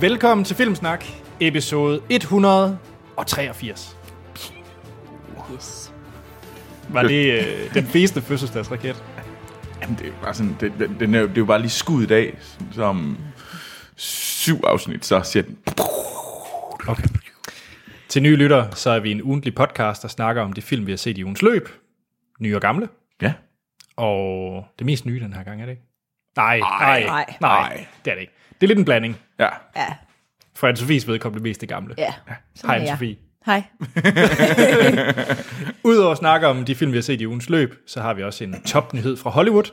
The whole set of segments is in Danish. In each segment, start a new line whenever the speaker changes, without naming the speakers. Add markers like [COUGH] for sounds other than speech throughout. Velkommen til Filmsnak, episode 183.
Yes.
Var det øh, den bedste fødselsdagsraket?
Jamen, det er jo bare sådan, det, det, den er, jo- det er jo bare lige skudt i dag, som syv afsnit, så siger den,
Okay. Til nye lytter, så er vi en ugentlig podcast, der snakker om det film, vi har set i ugens løb. Nye og gamle.
ja,
Og det mest nye den her gang, er det ikke? Nej, nej,
Ej,
nej,
nej.
nej, det er det ikke. Det er lidt en blanding.
ja.
Ja,
For Anne-Sophies vedkommende mest det gamle.
ja. Sådan
Hej,
er jeg.
Anne-Sophie.
Hej.
Udover at snakke om de film, vi har set i ugens løb, så har vi også en topnyhed fra Hollywood.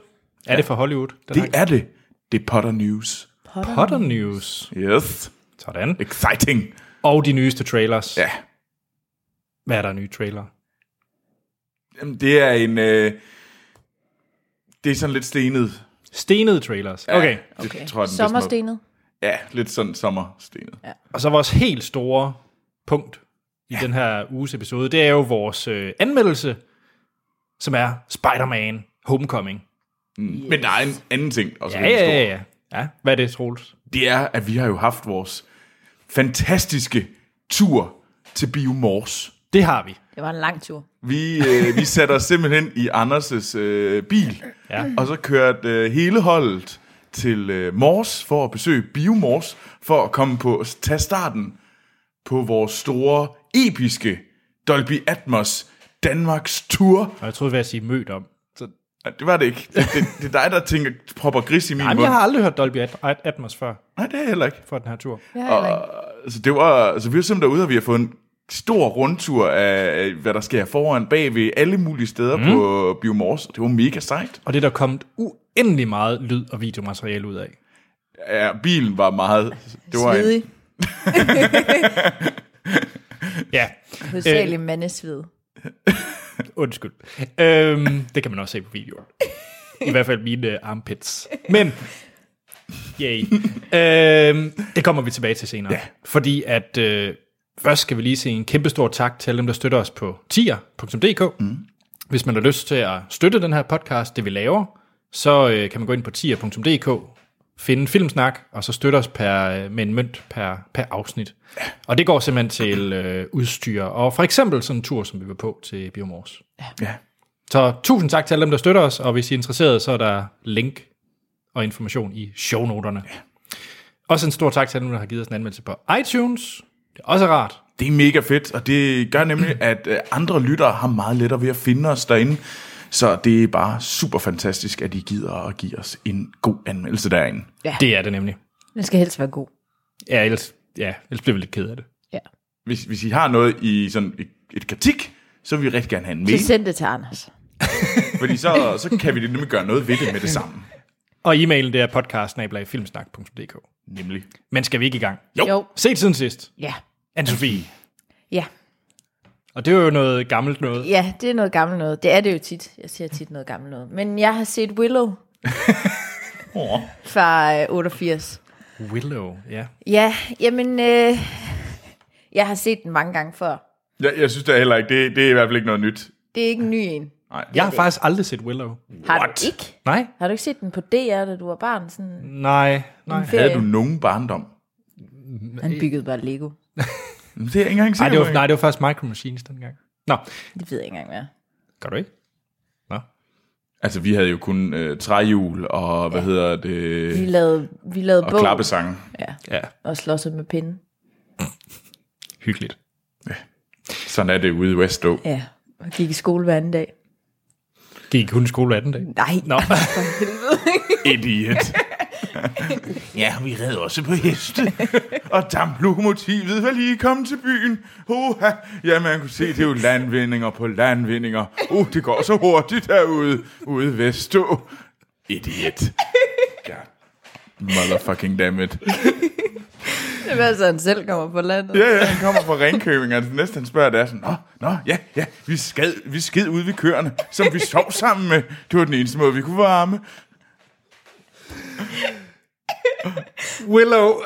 Er det fra Hollywood? Den
Det er det. Det er Potter News.
er Potter News.
Yes.
Sådan.
Exciting.
Og de nyeste trailers.
Ja.
Hvad er der nye trailer?
Jamen, det er en, øh, det er sådan lidt stenet.
Stenede trailers.
Ja,
Okay.
[LAUGHS] Det, tror jeg, den bedste måde.
Sommerstenet.
Ja, lidt sådan sommerstenet. Ja.
Og så vores helt store punkt i den her uges episode, det er jo vores øh, anmeldelse, som er Spider-Man Homecoming.
Mm. Men der er en anden ting også.
Ja,
lidt stor.
ja, ja, ja. ja. Hvad er det, Troels?
det er, at vi har jo haft vores fantastiske tur til Biomors.
Det har vi.
Det var en lang tur.
Vi, øh, vi satte os simpelthen i Anders' øh, bil,
Ja.
og så kørte øh, hele holdet til øh, Mors for at besøge Biomors, for at komme på tage starten på vores store, episke Dolby Atmos Danmarks Tour.
Og jeg troede, vi ville sige mødt om.
Så, nej, det var det ikke. Det, det, det er dig, der tænker, propper gris i min
Jamen,
mund.
jeg har aldrig hørt Dolby At- At- Atmos før,
Nej, det er jeg heller ikke.
før den her tur.
Ja, eller ikke.
Så det var, altså, vi var simpelthen derude, og vi har fået en stor rundtur af, hvad der sker foran, bagved, alle mulige steder mm. på Biomors. Det var mega sejt.
Og det er der kommet uendelig meget lyd- og videomateriale ud af.
Ja, bilen var meget... Det var en,
Svedig.
Ja,
Øh,
Hovedsageligt mandesved.
undskyld. Øhm, det kan man også se på videoer. I hvert fald mine øh, armpits. Men, yay. Øhm, det kommer vi tilbage til senere. Ja. Fordi at øh, først skal vi lige sige en kæmpe stor tak til alle dem, der støtter os på tier.dk. Mm. Hvis man har lyst til at støtte den her podcast, det vi laver, så øh, kan man gå ind på tier.dk, finde Filmsnak, og så støtte os per, øh, med en mønt per, per afsnit. Og det går simpelthen til øh, udstyr, og for eksempel sådan en tur, som vi var på til Biomors.
ja.
Så tusind tak til alle dem, der støtter os, og hvis I er interesserede, så er der link og information i shownoterne. Ja. Også en stor tak til alle dem, der har givet os en anmeldelse på iTunes. Det er også rart.
Det er mega fedt, og det gør nemlig, at øh, andre lyttere har meget lettere ved at finde os derinde. Så det er bare super fantastisk, at I gider at give os en god anmeldelse derinde.
Ja.
Det er det nemlig.
Den skal helst være god.
Ja, ellers, ja, ellers bliver vi lidt ked af det.
Ja.
Hvis, hvis I har noget i sådan et, et kritik, så vil vi rigtig gerne have en
Så
mail,
send det til Anders.
fordi så, så kan vi nemlig gøre noget ved det med det samme.
Og e-mailen, det er podcast
Nemlig.
Men skal vi ikke i gang?
Jo,
Jo.
jo.
Se siden sidst,
Ja.
Anne-Sophie.
Ja.
Og det var jo noget gammelt noget.
ja, det er noget gammelt noget. Det er det jo tit. Jeg siger tit noget gammelt noget. Men jeg har set Willow
[LAUGHS] Oh,
fra øh, 88.
Willow, ja.
Ja, jamen, øh, jeg har set den mange gange før.
jeg, jeg synes da heller ikke, det, det er i hvert fald ikke noget nyt.
Det er ikke en ny en.
Nej.
Jeg har faktisk aldrig set Willow.
Har
What?
du ikke?
Nej?
Har du ikke set den på DR, da du var barn? Sådan
Nej, nej.
en
Havde du
ferie?
nogen barndom?
Han byggede bare Lego.
Det er jeg ikke engang
Nej,
sikker
det
på,
var,
ikke?
nej, det var faktisk Micro Machines dengang. Nå,
Det ved jeg ikke engang mere.
gør du ikke? Nå.
Altså, vi havde jo kun øh, træhjul og, hvad ja. hedder det,
Vi lavede, vi lavede
og
bog
klappesange.
ja,
Ja,
og slåsede med pinden.
hyggeligt.
Sådan er det ude i Westå.
Ja, og gik i skole hver anden dag.
Gik hun i skole 18 dag?
Nej,
Nå,
Idiot. ja, vi red også på heste. Og damplokomotivet var lige kommet til byen. Oha. Ja, man kunne se, det er jo landvindinger på landvindinger. Uh, det går så hurtigt derude, ude i Vestå. Idiot. God. Motherfucking dammit.
det var altså, han selv kommer på landet.
Ja, ja, han kommer fra Ringkøbing, og det næste han spørger, det er sådan, Nå, nå, ja, ja, vi sked, vi sked ude ved køerne, som vi sov sammen med. Det var den eneste måde, vi kunne varme.
[LAUGHS] Willow. [LAUGHS]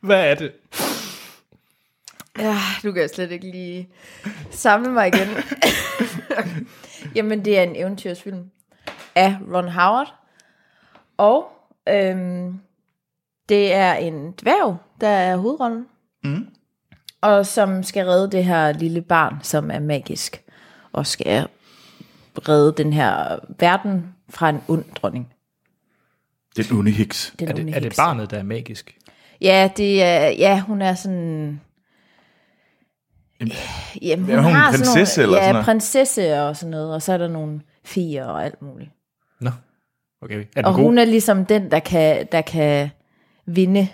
Hvad er det?
Ja, du kan jeg slet ikke lige samle mig
[LAUGHS]
igen. Jamen, det er en eventyrsfilm af Ron Howard. Og øhm, Det er en dværg, der er hovedrollen. Mm. Og som skal redde det her lille barn, som er magisk. Og skal redde den her verden fra en ond dronning.
Den onde hiks.
Den
Er det,
onde
er det
heks.
barnet, der er magisk?
Ja, det er, ja, hun er sådan... Jamen, hun,
er hun en
har sådan
prinsesse
nogle,
eller
ja,
sådan noget?
prinsesse og sådan noget, og så er der nogle fier og alt muligt.
Nå. Okay. Er den
Og
god?
hun er ligesom den, der kan, der kan vinde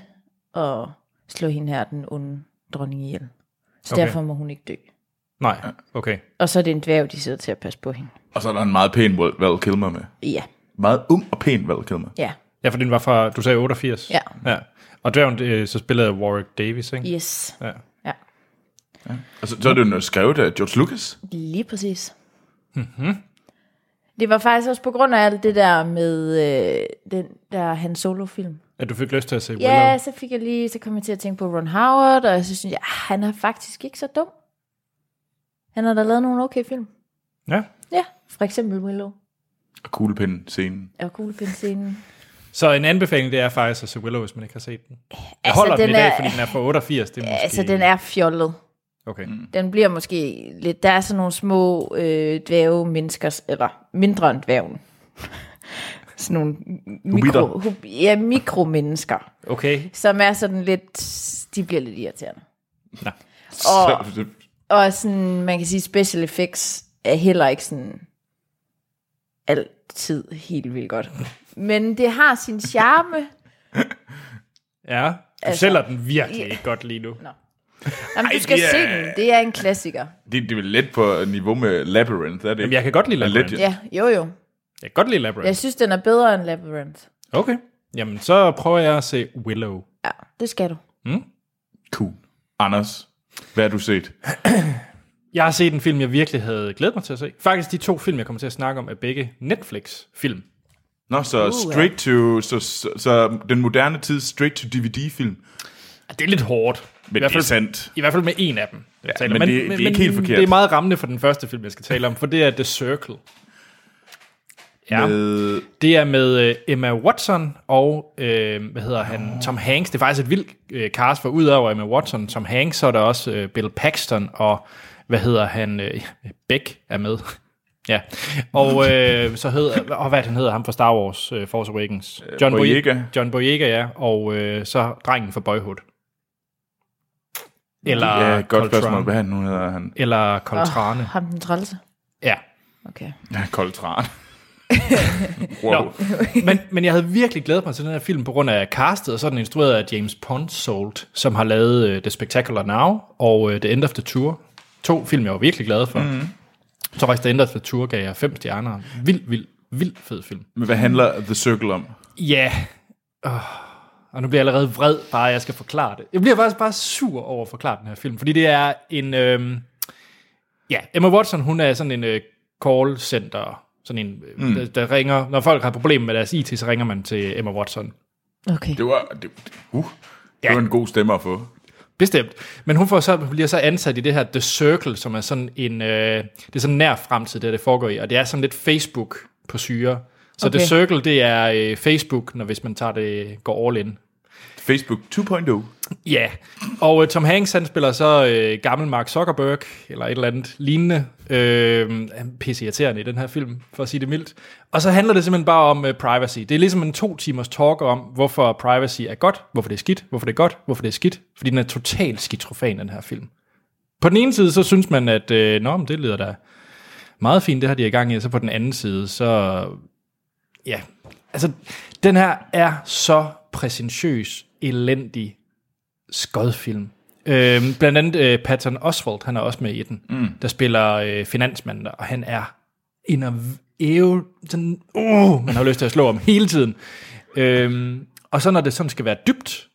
og slå hende her, den onde dronning ihjel. Så
Okay.
okay. derfor må hun ikke dø.
Nej. Okay.
Og så er det en dværg, de sidder til at passe på hende.
Og så er der en meget pæn Val Val Kilmer med.
Ja,
Meget ung og pæn Val Kilmer.
ja,
Ja, for den var fra, du sagde 88?
Ja.
ja. Og dværgen, øh, så spillede Warwick Davis, ikke?
yes,
Ja.
ja,
Og Altså, så, så er det jo skrevet af George Lucas.
lige præcis. Mm-hmm. Det var faktisk også på grund af alt det der med øh, den der Han Solo-film.
At du fik lyst til at se Willow?
Ja, så fik jeg lige, så kom jeg til at tænke på Ron Howard, og så synes jeg, ah, han er faktisk ikke så dum. Han har da lavet nogle okay film.
ja.
Ja, for eksempel Willow
Og kuglepinden-scenen.
og Kuglepindscenen.
Så en anbefaling, det er faktisk at se Willow, hvis man ikke har set den. Jeg
Altså,
holder den,
den
i dag,
er-
fordi den er fra 88. Det er måske...
Altså, den er fjollet.
Okay. Mm.
Den bliver måske lidt... Der er sådan nogle små øh, dvæve mennesker, eller mindre end dvæven. [LAUGHS] sådan nogle
Hobitter.
mikro, hub, ja, mikromennesker,
Okay.
som er sådan lidt... De bliver lidt irriterende.
Nå.
Og,
Så, det,
og sådan, man kan sige, special effects er heller ikke sådan altid helt vildt godt. Men det har sin charme.
Ja. Du altså,
Altså-
sælger den virkelig ikke godt lige nu.
Jamen,
Ej,
du skal
det er-
se den. Det er en klassiker.
det, det er vel lidt på niveau med Labyrinth, er det
Jamen,
ikke?
jeg kan godt lide
Lidt,
Labyrinth.
ja.
Ja, jo jo.
Jeg kan godt lide Labyrinth.
Jeg synes, den er bedre end Labyrinth.
Okay. Jamen, så prøver jeg at se Willow.
Ja, det skal du.
Cool. Anders, hvad har du set?
Jeg har set en film, jeg virkelig havde glædet mig til at se. Faktisk de to film, jeg kommer til at snakke om, er begge Netflix-film.
Nå, så straight to... Så, så, så den moderne tid straight to DVD-film.
Ah, Det er lidt hårdt. I
Men
hvert
det er
fald,
sandt.
I hvert fald med en af dem. jeg taler om.
men det- det er ikke helt forkert.
Det er meget rammende for den første film, jeg skal tale om, for det er The Circle. Ja,
Med,
det er med øh, Emma Watson og, øh, hvad hedder
Ah.
han, Tom Hanks. Det er faktisk et vildt øh, cast, for udover Emma Watson, Tom Hanks, så er der også øh, Bill Paxton og, hvad hedder han, øh, [LAUGHS] Beck er med. [LAUGHS] ja, og øh, så hedder, og hvad er det, han hedder, ham fra Star Wars, øh, Force Awakens. John
Boyega.
John Boyega, ja, og øh, så drengen fra Boyhood. Eller
ja, godt
Ah, Coltrane.
spørgsmål. Ah. Hvad han nu hedder han?
Eller Coltrane.
Ham den trælse.
Ja.
Okay.
Ja, Coltrane.
[LAUGHS]
wow.
Nå. [LAUGHS] Men, men jeg havde virkelig glædet mig til den her film på grund af castet, og så er den instrueret af James Ponsolt, som har lavet uh, The Spectacular Now og uh, The End of the Tour. To film, jeg var virkelig glad for. Mm. Så faktisk The End of the Tour gav jeg fem stjerner. Vild, vild, vild fed film.
Men hvad handler The Circle om?
Ja. Oh. Og nu bliver jeg allerede vred, bare jeg skal forklare det. Jeg bliver faktisk bare sur over at forklare den her film, fordi det er en... Øhm, ja, Emma Watson, hun er sådan en øh, call center, sådan en, mm. der, der ringer... Når folk har problemer med deres IT, så ringer man til Emma Watson.
Okay.
Det var... Det, uh, det
Ja.
var en god stemme at få.
Bestemt. Men hun får så, bliver så ansat i det her The Circle, som er sådan en... Øh, det er sådan nær fremtid, det her, det foregår i, og det er sådan lidt Facebook på syre. Så okay.
Okay.
The Circle, det er øh, Facebook, når hvis man tager det, går all in.
Facebook 2.0.
Ja, og øh, Tom Hanks han spiller så øh, gammel Mark Zuckerberg, eller et eller andet lignende. Øh, han er pisse irriterende i den her film, for at sige det mildt. Og så handler det simpelthen bare om øh, privacy. Det er ligesom en to timers talk om, hvorfor privacy er godt, hvorfor det er skidt, hvorfor det er godt, hvorfor det er skidt. Fordi den er totalt skizofren, den her film. På den ene side, så synes man, at øh, nå, men det lyder da meget fint, det har de i gang i. Og så på den anden side, så ja, altså den her er så præsentiøs, elendig skodfilm. Øhm, blandt andet øh, Patton Oswalt, han er også med i den, mm. der spiller øh, finansmanden, der, og han er en af æve, sådan, uh, man har lyst til at slå ham [LAUGHS] hele tiden. Øhm, og så når det sådan skal være dybt,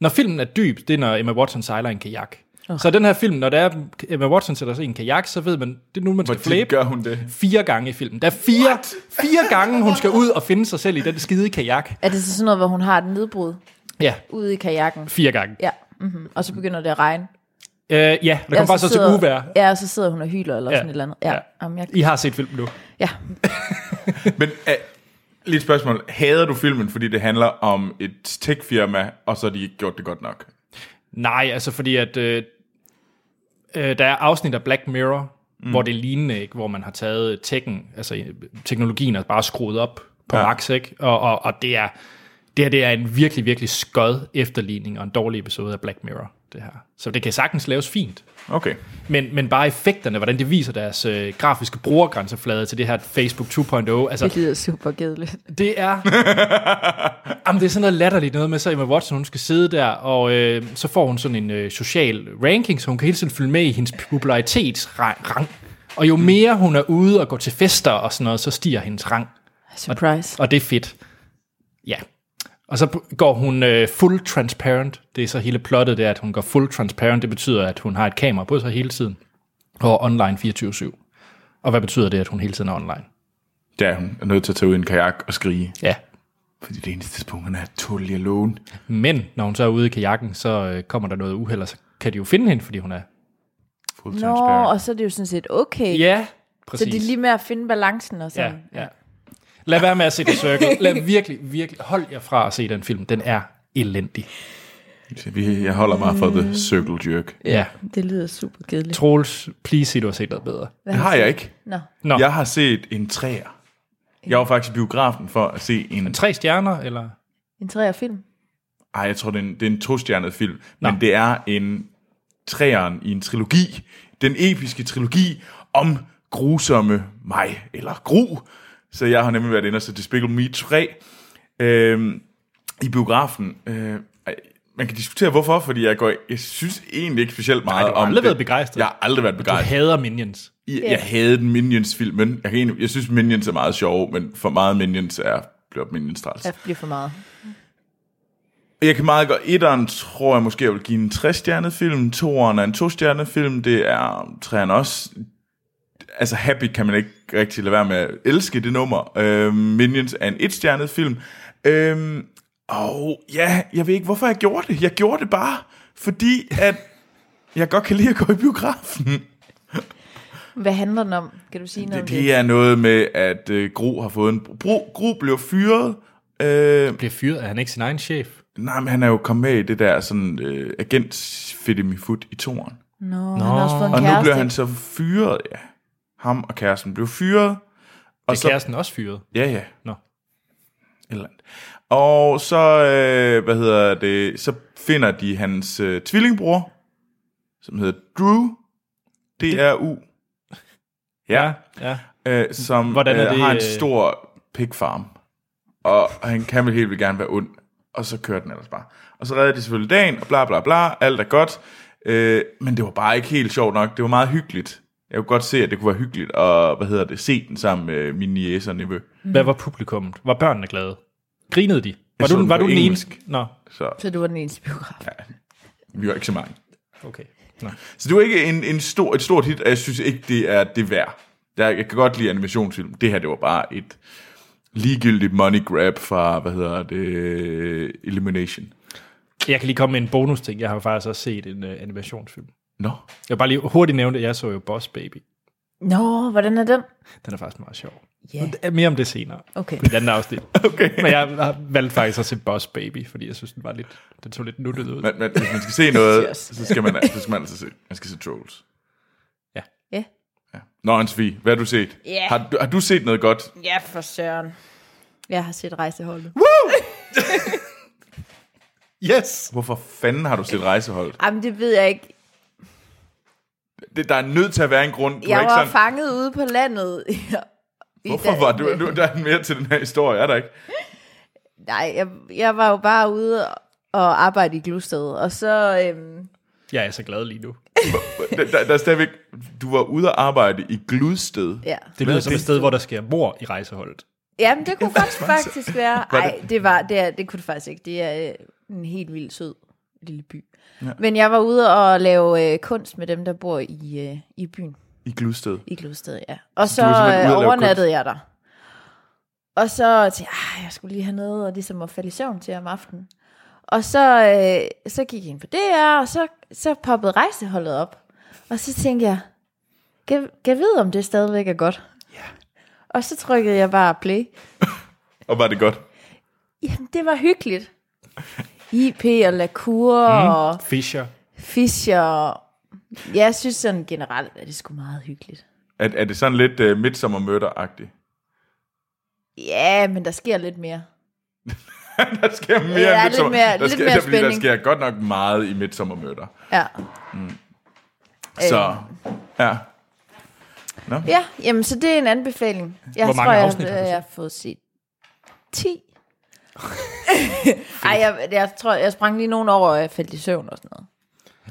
når filmen er dyb, det er når Emma Watson sejler i en kajak. Oh. Så den her film, når det er, Emma Watson sætter sig i en kajak, så ved man, det er nu, man skal
Hvordan
flæbe
gør hun det?
fire gange i filmen. Der er fire, fire gange, hun skal ud og finde sig selv i den skide kajak.
Er det så sådan noget, hvor hun har et nedbrud
Ja,
ude i kajakken?
fire gange.
Ja. Mm-hmm. Og så begynder det at regne.
Øh, ja, der kommer
Ja,
bare så til
sidder-
uvær.
Ja, og så sidder hun og hyler eller
Ja.
sådan et eller andet. Ja,
Ja.
Jamen, jeg,
I har set filmen nu.
ja.
Men er, Lidt spørgsmål. Hader du filmen, fordi det handler om et techfirma, og så har de ikke gjort det godt nok?
Nej, altså fordi at øh, øh, der er afsnit af Black Mirror, mm. hvor det er lignende, ikke? hvor man har taget tekken, altså øh, teknologien er bare skruet op på ja.
Ja.
max, ikke? Og, og, og det er det her det er en virkelig, virkelig skød efterligning og en dårlig episode af Black Mirror, det her. Så det kan sagtens laves fint,
Okay.
men, men bare effekterne, hvordan det viser deres øh, grafiske brugergrænseflade til det her Facebook 2.0, altså
lyder super kedeligt.
det er... jamen, det er sådan noget latterligt noget med, så Emma Watson, hun skal sidde der, og øh, så får hun sådan en øh, social ranking, så hun kan hele tiden følge med i hendes popularitetsrang. Og jo mere hun er ude og går til fester og sådan noget, så stiger hendes rang.
Surprise.
Og det er fedt. Ja. Og så går hun øh, full transparent. Det er så hele plottet, det er, at hun går full transparent. Det betyder, at hun har et kamera på sig hele tiden. Og er online 24-7. Og hvad betyder det, at hun hele tiden er online?
Ja, hun er nødt til at tage ud i en kajak og skrige.
Ja.
Fordi det eneste tidspunkt, hun er totally alone.
Men når hun så er ude i kajakken, så øh, kommer der noget uheld, og så kan de jo finde hende, fordi hun er...
Full
Nå,
transparent.
og så er det jo sådan set okay.
Ja,
så
præcis.
det er lige med at finde balancen og sådan.
ja, ja. Lad være med at se The Circle. Lad virkelig, virkelig... Hold jer fra at se den film. Den er elendig.
Så vi- Jeg holder meget for
Mm.
The Circle Jerk.
Ja. ja.
Det lyder super kedeligt.
Troels, please sig, du har set noget bedre.
Hvad
Det har jeg ikke.
Nå.
Nå.
Jeg har set en træer. Jeg var faktisk i biografen for at se en...
Tre stjerner, eller...
En træer film.
Ej, jeg tror, det er en, det er en tostjernet film. Nå. Men det er en træeren i en trilogi. Den episke trilogi om grusomme mig, eller gru. Så jeg har nemlig været inde og se Despicable Me 3 øhm, i biografen. Øh, ej, man kan diskutere hvorfor, fordi jeg, går, jeg synes egentlig ikke specielt meget
du har
om
aldrig
den.
været begejstret.
Jeg har aldrig været
Du
begejstret.
hader Minions.
Jeg, jeg havde den Minions-filmen. Jeg, kan egentlig, jeg synes, Minions er meget sjov, men for meget Minions er bliver Minions træls.
Det bliver for meget.
Jeg kan meget godt... Etteren tror jeg måske, jeg vil give en 3-stjernet film. Toeren er en 2-stjernet film. Det er træerne også. Altså, Happy kan man ikke rigtig lade være med at elske det nummer. Øh, Minions er en 1-stjernet film. Øh, og ja, jeg ved ikke, hvorfor jeg gjorde det. Jeg gjorde det bare, fordi at jeg godt kan lide at gå i biografen.
Hvad handler den om? Kan du sige noget
Det,
om det?
det er noget med, at øh, Gro har fået en... Gro, Gro blev fyret. Øh,
Bliver fyret, er han ikke sin egen chef?
nej, men han er jo kommet med i det der sådan, øh, agent Fidemifut i toren.
Nå, han har også fået en
Og nu
kæreste.
blev han så fyret, ja. Ham og kæresten blev fyret. Og
Er kæresten også fyret?
Ja, ja.
Nå.
Et Eller andet. Og så, øh, hvad hedder det, så finder de hans øh, tvillingbror, som hedder Drew. D-R-U. Ja. ja.
ja.
øh, som
Hvordan er
øh,
det,
har en
øh?
stor pigfarm. Og han kan vel helt vildt gerne være ond. Og så kører den ellers bare. Og så redder de selvfølgelig dagen, og bla bla bla, alt er godt. Øh, men det var bare ikke helt sjovt nok. Det var meget hyggeligt. Jeg kunne godt se, at det kunne være hyggeligt at hvad hedder det, se den sammen med min niece og nevø.
Hvad var publikummet? Var børnene glade? Grinede de? Var
så
du,
den
var
på
du den
engelsk.
eneste? Nå,
Så
Så du var den eneste biograf. Ja.
vi var ikke så mange.
okay. Nå.
Så det var ikke en, en stor, et stort hit, og jeg synes ikke, det er det værd. Jeg, jeg kan godt lide animationsfilm. Det her, det var bare et ligegyldigt money grab fra, hvad hedder det, Elimination.
Jeg kan lige komme med en bonus ting. Jeg har jo faktisk også set en uh, animationsfilm.
Nå. No.
Jeg vil bare lige hurtigt nævne, at jeg så jo Boss Baby.
Nå, hvordan er den?
Den er faktisk meget sjov.
Ja,
Ja, Mere om det senere.
okay.
I et andet afsnit.
[LAUGHS] Okay.
Men jeg har valgt faktisk at se Boss Baby, fordi jeg synes, den var lidt, den så lidt nuttet ud.
Men, men hvis man skal se noget,
Yes.
så skal man, så skal man altså se, man skal se Trolls.
Ja,
Ja. Nå, Anne-Sophie, hvad har du set?
Ja.
Har, du, har du set noget godt?
ja for søren. Jeg har set rejseholdet.
Yes!
Hvorfor fanden har du set Rejseholdet?
Jamen, det ved jeg ikke.
Det, der er nødt til at være en grund. Du er
Jeg
ikke
var
sådan,
fanget ude på landet. [LAUGHS] I
hvorfor var du, nu, der er mere til den her historie, er der ikke?
Nej, jeg, jeg var jo bare ude og arbejde i Glusted, og så... Øhm,
Jeg er så glad lige nu.
Der, der, der er stadigvæk, du var ude at arbejde i Gludsted.
ja.
Det
Hvad
lyder
er
som et
det?
sted, hvor der sker mor i rejseholdet.
Jamen, det kunne faktisk,
var det?
faktisk være... Nej, det, var, det, er, det kunne det faktisk ikke. Det er øh, en helt vildt sød lille by. Ja. Men jeg var ude og lave øh, kunst med dem, der bor i, øh, i byen.
I Gludsted.
I Gludsted, ja. Og så
du var simpelthen ude
øh,
at lave
overnattede jeg der. Og så tænkte jeg, "Ah, jeg skulle lige have noget og ligesom at falde i søvn til om aftenen. Og så, øh, så gik jeg ind på DR, og så, så poppede rejseholdet op. Og så tænkte jeg, kan, kan jeg vide, om det stadigvæk er godt? Ja. Og så trykkede jeg bare play.
Og var det godt?
Jamen, det var hyggeligt. IP og Lacour
Mhm.
mm. og
Fischer.
Fischer. Ja, jeg synes sådan generelt, at det skulle meget hyggeligt.
Er, er det sådan lidt uh, midsommermørderagtigt? [LAUGHS]
Ja, men der sker lidt mere.
der sker mere
Ja,
end
lidt
midtsommer-
mere-
der
lidt
sker,
mere
der, fordi der
spænding.
sker godt nok meget i midsommermørder.
Ja. Øh.
Så, ja.
Ja, jamen, så det er en anbefaling. Jeg
Hvor
tror,
mange
jeg,
afsnit har du
jeg,
set?
jeg har fået set 10. Ej, jeg, jeg, tror, jeg sprang lige nogen over, og jeg faldt i søvn og sådan noget.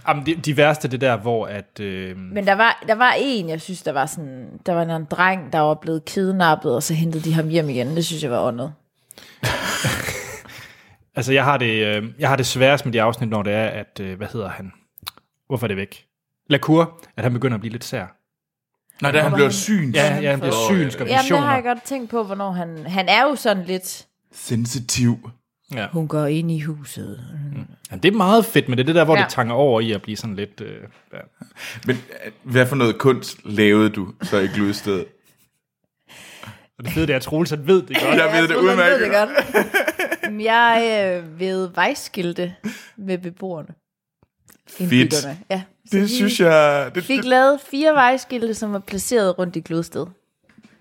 Jamen, de, de værste det der, hvor at... Øh,
Men der var, der var en, jeg synes, der var sådan, der var en anden dreng, der var blevet kidnappet, og så hentede de ham hjem igen. Det synes jeg var åndet.
altså, jeg har, det, øh, jeg har det sværest med de afsnit, når det er, at... Øh, hvad hedder han? Hvorfor er det væk? Lacour, at han begynder at blive lidt sær.
Nå, da han
var
blev
han-
syns.
Ja, ja han bliver
Åh,
synsk og
Jamen, det har
visioner.
jeg godt tænkt på, hvornår han... Han er jo sådan lidt...
Sensitiv.
Ja.
Hun går ind i huset.
Jamen, det er meget fedt, men det er det der, hvor ja.
Ja.
det tanger over i at blive sådan lidt... Øh, ja.
Men øh, hvad for noget kunst lavede du så i Gludsted?
Og det fede det er, at Troels han ved det
[LAUGHS]
godt.
Jeg ved det
tror, man
udmærket
ved det godt. Jamen, Jeg øh, ved vejskilte med beboerne. Indbyggerne, Ja. Så
Det
vi
synes jeg... Det,
fik
det,
lavet fire vejskilte, som var placeret rundt i Glodsted.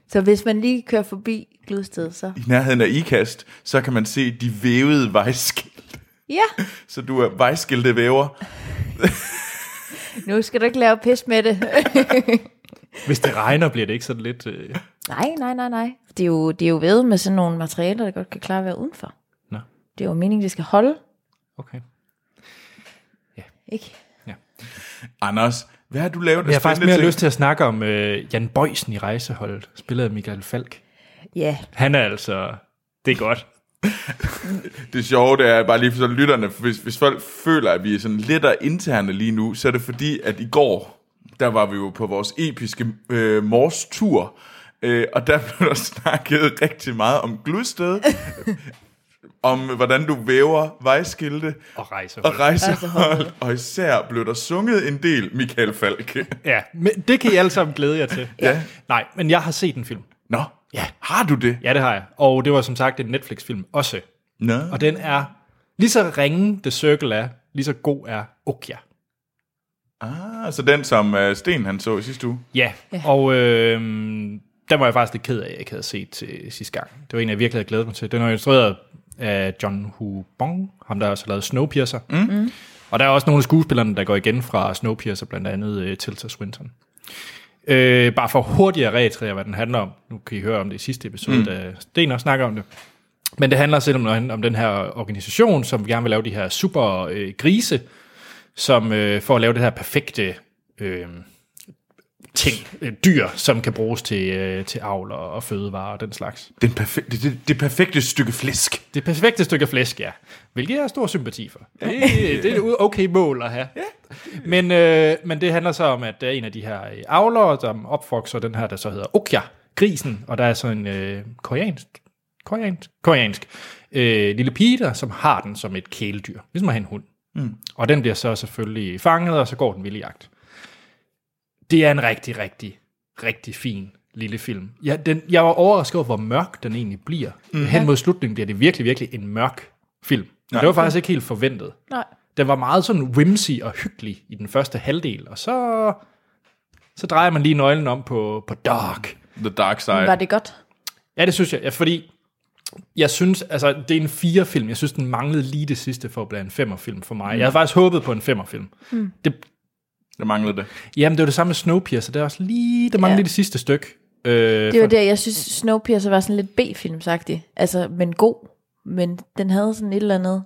Så hvis man lige kører forbi Glodsted, så...
I nærheden af IKAST, så kan man se de vævede vejskilte.
Ja,
Så du er vejskilte væver.
nu skal du ikke lave pis
[LAUGHS]
med det.
Hvis det regner, bliver det ikke sådan lidt... Øh,
nej, nej, nej, nej. Det er jo, det er jo ved med sådan nogle materialer, der godt kan klare at være udenfor.
Nå,
Det er jo meningen, det skal holde,
okay.
ikke?
Anders, hvad har du lavet? af
Jeg har faktisk
spændende
mere
ting?
lyst til at snakke om øh, Jan Bøjsen i rejseholdet, spillet af Michael Falk.
Ja,
Han er altså... Det er godt.
Det sjove det er bare lige for så lytterne, hvis, hvis folk føler, at vi er sådan lidt af interne lige nu, så er det fordi, at i går, der var vi jo på vores episke øh, morstur, øh, og der [LAUGHS] blev der snakket rigtig meget om
[LAUGHS]
gludsted, om hvordan du væver vejskilte
Og rejseholdet.
og rejsehold, og især blev der sunget en del Michael
[LAUGHS]
Falk.
Ja, men det kan I alle sammen glæde jer til.
Ja.
Nej, men jeg har set en film.
Nå,
Ja.
har du det?
Ja, det har jeg. Og det var som sagt en Netflix-film også.
Nå.
Og den er lige så ringe The Circle er, lige så god er Okja.
Ah, så den, som øh, Sten han så i sidste uge.
Ja, og øh, den var jeg faktisk lidt ked af, at jeg ikke havde set til sidste gang. Det var en, jeg virkelig havde glædet mig til. Den er instrueret af John Hu Bong, ham der også har lavet Snowpiercer. Mm. Og der er også nogle af skuespillerne, der går igen fra Snowpiercer, blandt andet øh, Tilda Swinton. Øh, bare for hurtigt at registrere, hvad den handler om. Nu kan I høre om det i sidste episode, mm. da Sten også snakker om det. Men det handler simpelthen om den her organisation, som gerne vil lave de her super øh, grise, som øh, for at lave det her perfekte øh, ting, øh, dyr, som kan bruges til, øh, til avl og, og fødevarer og den slags.
Den perfekte, det, det, det perfekte stykke flæsk.
Det perfekte stykke flæsk, ja. Hvilket jeg har stor sympati for. Det, det er et u- okay mål at have. Men, øh, men det handler så om, at der er en af de her øh, avlere, som opfokser den her, der så hedder Okja, grisen. Og der er så en øh, koreansk, koreansk, koreansk øh, lille pige, der, som har den som et kæledyr. Ligesom at have en hund. Mm. Og den bliver så selvfølgelig fanget, og så går den vilde jagt. Det er en rigtig, rigtig, rigtig fin lille film. Ja, den, jeg var overrasket over, hvor mørk den egentlig bliver. Mm. Hen mod slutningen bliver det virkelig, virkelig en mørk film. Nej. Det var faktisk ikke helt forventet.
nej.
Den var meget sådan whimsy og hyggelig i den første halvdel, og så, så drejer man lige nøglen om på, på dark.
The Dark Side.
Var det godt?
Ja, det synes jeg, ja, fordi jeg synes, altså det er en fire film. Jeg synes, den manglede lige det sidste for at blive en femmerfilm for mig. Mm. Jeg havde faktisk håbet på en femmerfilm. Mm. Det,
Der manglede det.
jamen, det var det samme med Snowpiercer. Det er også lige, det manglede
Ja.
lige det sidste stykke. Øh,
Det var der, jeg synes, Snowpiercer var sådan lidt B-filmsagtig. Altså, men god. Men den havde sådan et eller andet...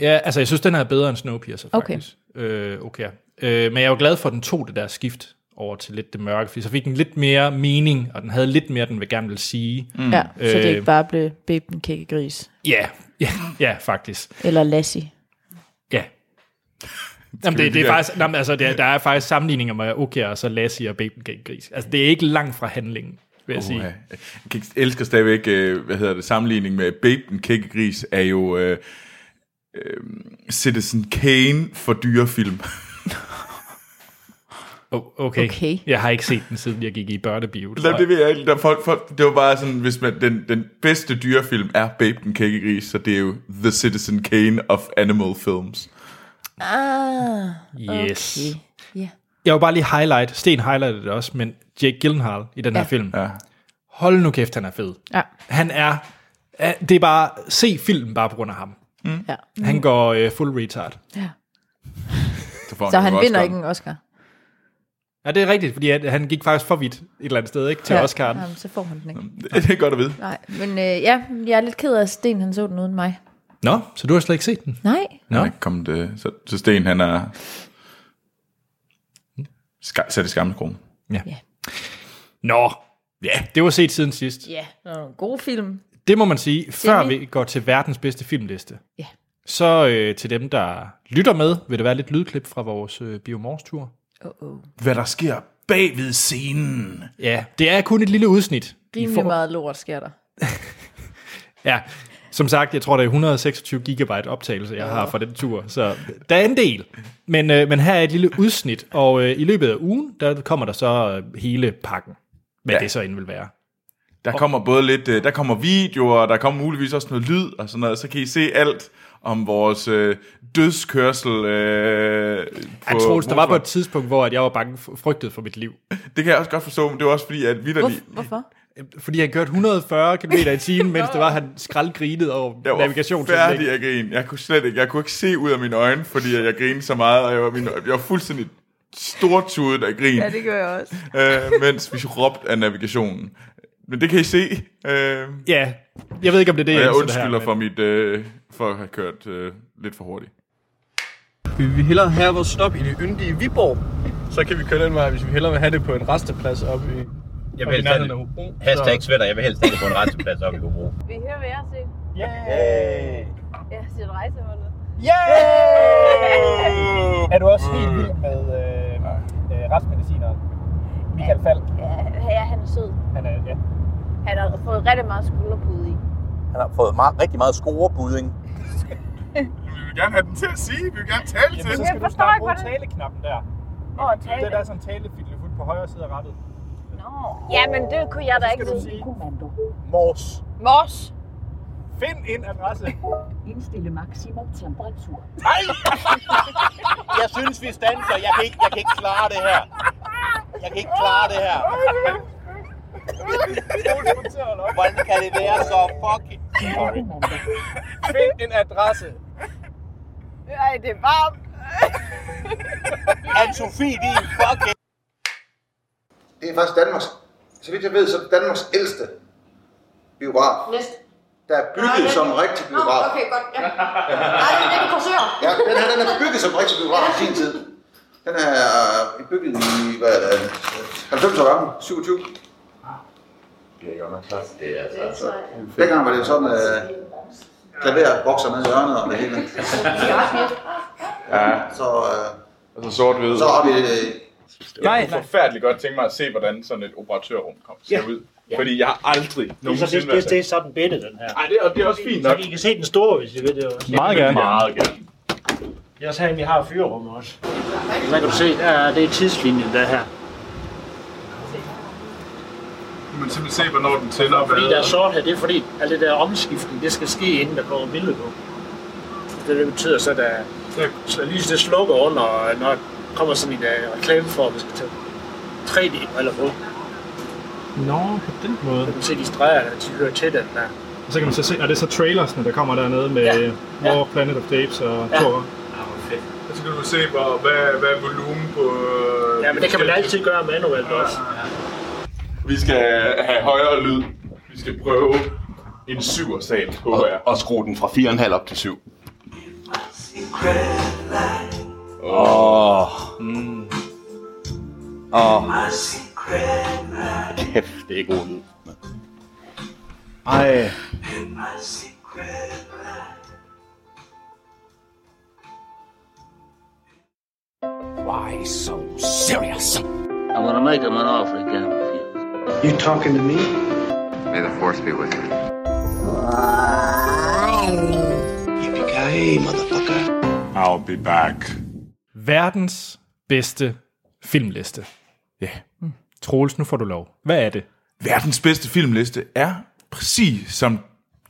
Ja, altså jeg synes, den her er bedre end Snowpiercer,
Okay.
faktisk. Øh, okay. Øh, men jeg var glad for, at den tog det der skift over til lidt det mørke, fordi så fik den lidt mere mening, og den havde lidt mere, den vil gerne vil sige. Mm.
Ja, så det
Øh.
ikke bare blev Baben Kækkegris.
Ja, [LAUGHS] ja, ja, faktisk.
Eller Lassie.
Ja. Jamen, det, det er
Ja.
faktisk, jamen, altså, der, der er faktisk sammenligninger med okay, og så Lassie og Baby Gang Gris. Altså, det er ikke langt fra handlingen, vil jeg sige.
Uha. Jeg elsker stadigvæk, øh, hvad hedder det, sammenligning med Babe den kækkegris er jo øh, øh, [LAUGHS] Citizen Kane for dyrefilm.
Oh, okay.
Okay.
Jeg har ikke set den, siden jeg gik i børnebio. tror
Nej,
jeg.
det ved jeg ikke. Der folk, folk, det var bare sådan, hvis man, den, den bedste dyrefilm er Babe den kække gris, så det er jo The Citizen Kane of animal films.
Ah,
Yes.
okay. Ja.
Jeg vil bare lige highlight, Sten highlightede det også, men Jake Gyllenhaal i den her
Ja.
film.
Ja.
Hold nu kæft, han er fed.
Ja.
Han er, er- det er bare, se filmen bare på grund af ham.
ja.
Han går øh, full retard.
ja.
Så, får
Så
jo
han
også
vinder
godt-
ikke en Oscar.
Ja, det er rigtigt, fordi at han gik faktisk for vidt et eller andet sted, ikke? Til ja.
ja.
Oscar'en.
Jamen, så får han den ikke.
[LAUGHS] Det er godt at vide.
Nej, men øh, ja, jeg er lidt ked af, at Sten han så den uden mig.
Nå, så du har slet ikke set den?
Nej.
Nå.
Ja. Kom det, øh, så, så Sten, han er ska, sat i skammekrogen.
Ja.
Nå, ja, det var set siden sidst.
Ja, det var en god film.
Det må man sige, før
vi-
vi går til verdens bedste filmliste.
Ja.
Så øh, til dem, der lytter med, vil der være lidt lydklip fra vores øh, biomors-tur.
Oh, oh.
Hvad der sker bagved scenen.
Ja, det er kun et lille udsnit. I
Rimelig
får-
meget lort sker der.
Ja, som sagt, jeg tror, det er 126 gigabyte optagelse, jeg har fra den tur, så der er en del. Men, øh, men her er et lille udsnit, og øh, i løbet af ugen, der kommer der så øh, hele pakken, hvad ja.
Ja.
det så end vil være.
Der kommer både lidt, øh, der kommer videoer, der kommer muligvis også noget lyd og sådan noget, så kan I se alt om vores øh, dødskørsel. Øh,
Jeg tror, der var på et tidspunkt, hvor at jeg var bange for, frygtet for mit liv.
Det kan jeg også godt forstå, men det var også fordi, at vi der lige...
Hvor, hvorfor?
Fordi han kørte 140 km i
[LAUGHS]
timen, mens det var, han skraldgrinede
Jeg
over
var
navigationsanlæg.
færdig at grine. Jeg kunne slet ikke, jeg kunne ikke se ud af mine øjne, fordi jeg grinede så meget, og jeg var, mine, jeg var fuldstændig stortudet af grin,
Ja, det gør jeg også.
øh, mens vi råbte af navigationen. Men det kan I se. Øh,
Ja, jeg ved ikke, om det er det,
og jeg
elsker det
undskylder
her,
for, mit, øh, for at have kørt øh, lidt for hurtigt.
Vi vil hellere have vores stop i det yndige Viborg. Så kan vi køre den vej, hvis vi hellere vil have det på en resteplads oppe i,
Jeg
oppe i
vil helst have
nærheden af
det.
Hobro.
Hashtag svætter, jeg vil helst have det på en retsplads op i Hobro.
Vi hører, hvad jeg har set.
Yeah!
Jeg har set rejseholdet.
Er du også helt vild med øh, øh, retsmedicineren? Michael Falk,
Ja, ja, han er sød.
han er, øh, ja.
Han har fået rigtig meget skulderpude i.
Han har fået meget, rigtig meget scorebudding.
Vi vil gerne have den til at sige, vi vil gerne tale
Jamen, så
Jeg
skal du
forstår
snart
ikke,
bruge
hvordan-
taleknappen der.
Åh,
Det
tale.
der er sådan talefiddelefut på højre side af rettet.
Nå. Ja, men det kunne jeg da ikke
skal du
vide.
sige, Mors.
Mors.
Find en
[LAUGHS]
adresse.
Indstille maksimum temperatur.
Nej! Jeg synes, vi standser. Jeg kan, ikke, jeg kan ikke klare det her. Jeg kan ikke klare det her. Hvordan kan det være så fucking... Sorry.
Mandag.
Find en adresse.
Ej, det er varmt.
Anne-Sophie, din fucking...
Det er faktisk Danmarks, så vidt jeg ved, så er det Danmarks ældste biograf.
Næste.
Der er bygget som en rigtig
Nå,
biograf.
okay, godt. Ja. Nej, det er den korsør.
Ja, den her den er bygget som en rigtig biograf i sin tid. Den er øh, bygget i, hvad er det, 90 år gammel, 27. Dengang var det jo sådan, øh, klaver vokser ned i hjørnet og det hele.
Ja,
Så, øh,
altså sort-hvid.
så har vi øh,
Jeg kunne forfærdeligt godt tænke mig at se, hvordan sådan et operatørrum kom, ser ja. ud. Fordi jeg har aldrig nogensinde været det.
sådan bitte, den her.
Nej, det, og det er også fint nok.
I kan se den store, hvis I vil det også.
Meget gerne.
Meget gerne.
Det er også her, vi har fyrerum også. Der kan du se, der er, det er tidslinjen, der er her.
Man simpelthen se, hvornår den tæller op.
Fordi der er sort her, det er fordi, alt det der omskiftning, det skal ske, inden der kommer billede på. Det, det betyder så, at der, så lys det slukker under, og når der kommer sådan en uh, reklame for, at vi skal tage 3D-briller på.
Nå, på den
Så
måde.
kan du se de streger, der de hører til den der.
Og så kan man så se, og det er så trailersne, der kommer dernede med ja.
Ja.
War, Planet of the Apes og
Ja.
Thor.
Så skal du se, hvor, hvad, hvad er volumen på... øh,
Ja, men det kan man altid gøre manuelt også.
Vi skal have højere lyd. Vi skal prøve en syversal, håber jeg.
Og skru den fra 4,5 op til 7. Åh. Åh. Kæft, det er god lyd. Ej. Why so serious? I'm gonna make him an offer again with you.
You talking to me?
May the force be with you.
Yippee-ki-yay, motherfucker.
I'll be back.
Verdens bedste filmliste.
Ja.
Mm. Troels, nu får du lov. Hvad er det?
Verdens bedste filmliste er præcis som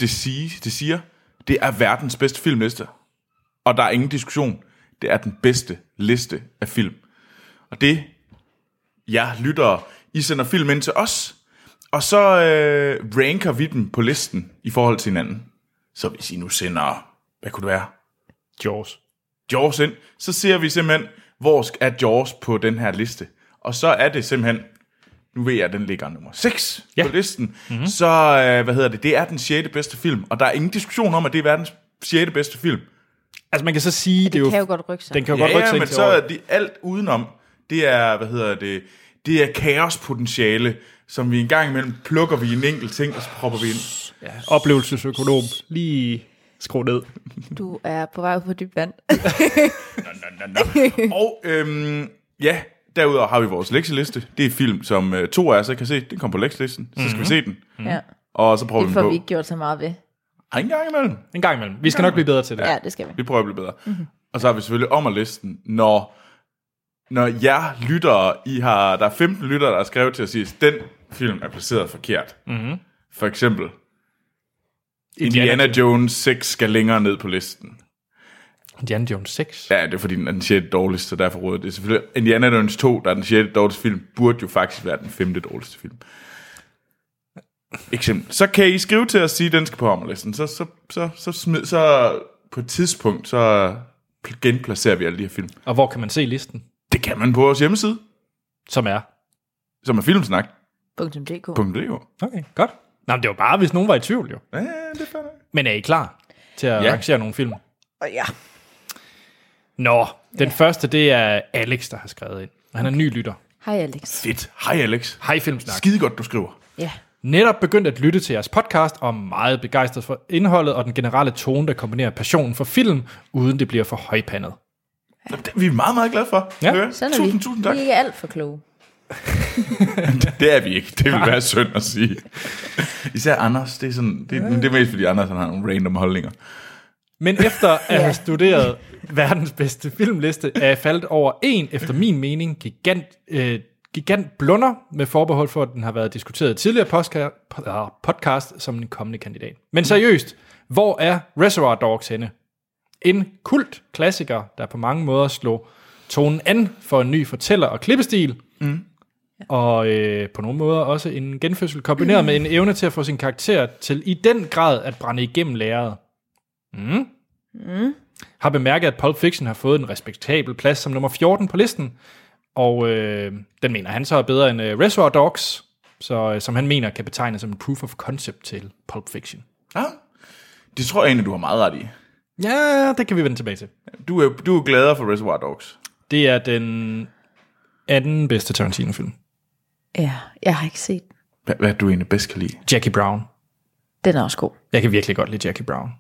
det, sige, det siger. Det er verdens bedste filmliste. Og der er ingen diskussion. Det er den bedste liste af film. Og det, jeg lytter, I sender film ind til os, og så øh, ranker vi dem på listen i forhold til hinanden. Så hvis I nu sender, hvad kunne det være?
Jaws.
Jaws ind, så ser vi simpelthen, hvor sk- er Jaws på den her liste. Og så er det simpelthen, nu ved jeg, at den ligger nummer 6 ja. på listen.
Mhm.
Mm-hmm. Så, øh, hvad hedder det, det er den 6. bedste film. Og der er ingen diskussion om, at det er verdens 6. bedste film.
Altså man kan så sige, det, det er jo...
kan jo godt rykke sig.
Den kan jo godt rykke sig
ja,
ind
men
til
så
året.
er det alt udenom, det er, hvad hedder det, det er kaospotentiale, som vi en gang imellem plukker vi en enkelt ting, og så propper vi
[LAUGHS]
ind.
Ja, oplevelsesøkonom. Lige skru ned.
Du er på vej ud på dybt vand.
Og øhm, ja, derudover har vi vores lektieliste. Det er film, som øh, to af os ikke kan se. Den kom på lektielisten, så skal
Mhm.
mm-hmm. vi se den.
Ja.
Og så prøver
Det
vi den
får
på.
vi ikke gjort så meget ved.
Ej, en gang imellem.
En gang imellem. Vi skal nok blive bedre til det.
Ja, det skal vi.
Vi prøver at blive bedre.
Mhm.
Mm-hmm. Og så har vi selvfølgelig om at listen, når, når jeg lyttere, I har, der er 15 lyttere, der har skrevet til at sige, den film er placeret forkert.
Mhm.
For eksempel, Indiana, Indiana Jones 6 skal længere ned på listen.
Indiana Jones 6?
Ja, det er fordi, den er den 6. dårligste, så derfor råder det. Selvfølgelig, Indiana Jones 2, der er den 6. dårligste film, burde jo faktisk være den 5. dårligste film. Eksempel. Så kan I skrive til os, sige, at den skal på ommerlisten. Så, så, så, så, smid, så på et tidspunkt, så genplacerer vi alle de her film.
Og hvor kan man se listen?
Det kan man på vores hjemmeside,
Som er?
som er filmsnak.dk.
.dk.
Okay, godt. Nå, men det var bare, hvis nogen var i tvivl jo.
Ja, det er fair nok.
Men er I klar til at
Ja.
ja. arrangere nogle film?
Ja.
Nå, den ja. første, det er Alex, der har skrevet ind. Og Han er ny lytter.
Hej Alex.
Fedt. Hej Alex.
Hej Filmsnak.
Skide godt, du skriver.
Ja.
Netop begyndt at lytte til jeres podcast og er meget begejstret for indholdet og den generelle tone, der kombinerer passionen for film, uden det bliver for højpandet.
Nå, det er Vi er meget, meget glade for.
Ja.
Hør.
Sådan er
Tusind,
vi.
tusind tak.
Vi er ikke alt for kloge.
Det er vi ikke. Det vil være synd at sige. Især Anders, det er, sådan, det, men det er mest fordi Anders han har nogle random holdninger.
Men efter at have studeret verdens bedste filmliste, er jeg faldet over en, efter min mening, gigant, øh, gigant blunder, med forbehold for, at den har været diskuteret i tidligere postka- pod- ah, podcast som en kommende kandidat. Men seriøst, hvor er Reservoir Dogs henne? En kult klassiker, der på mange måder slog tonen an for en ny fortæller og klippestil,
Mm.
og øh, på nogle måder også en genfødsel kombineret med en evne til at få sin karakter til i den grad at brænde igennem læret. Mm.
Mm.
Har bemærket, at Pulp Fiction har fået en respektabel plads som nummer 14 på listen, og øh, den mener han så er bedre end øh, Reservoir Dogs, så, øh, som han mener kan betegnes som en proof of concept til Pulp Fiction.
Ja, det tror jeg egentlig, du har meget ret i.
Ja, det kan vi vende tilbage til.
Du er, du er gladere for Reservoir Dogs.
Det er den anden bedste Tarantino-film.
Ja, jeg har ikke set den.
Hvad, hvad er du egentlig bedst kan lide?
Jackie Brown.
Den er også god.
Jeg kan virkelig godt lide Jackie Brown.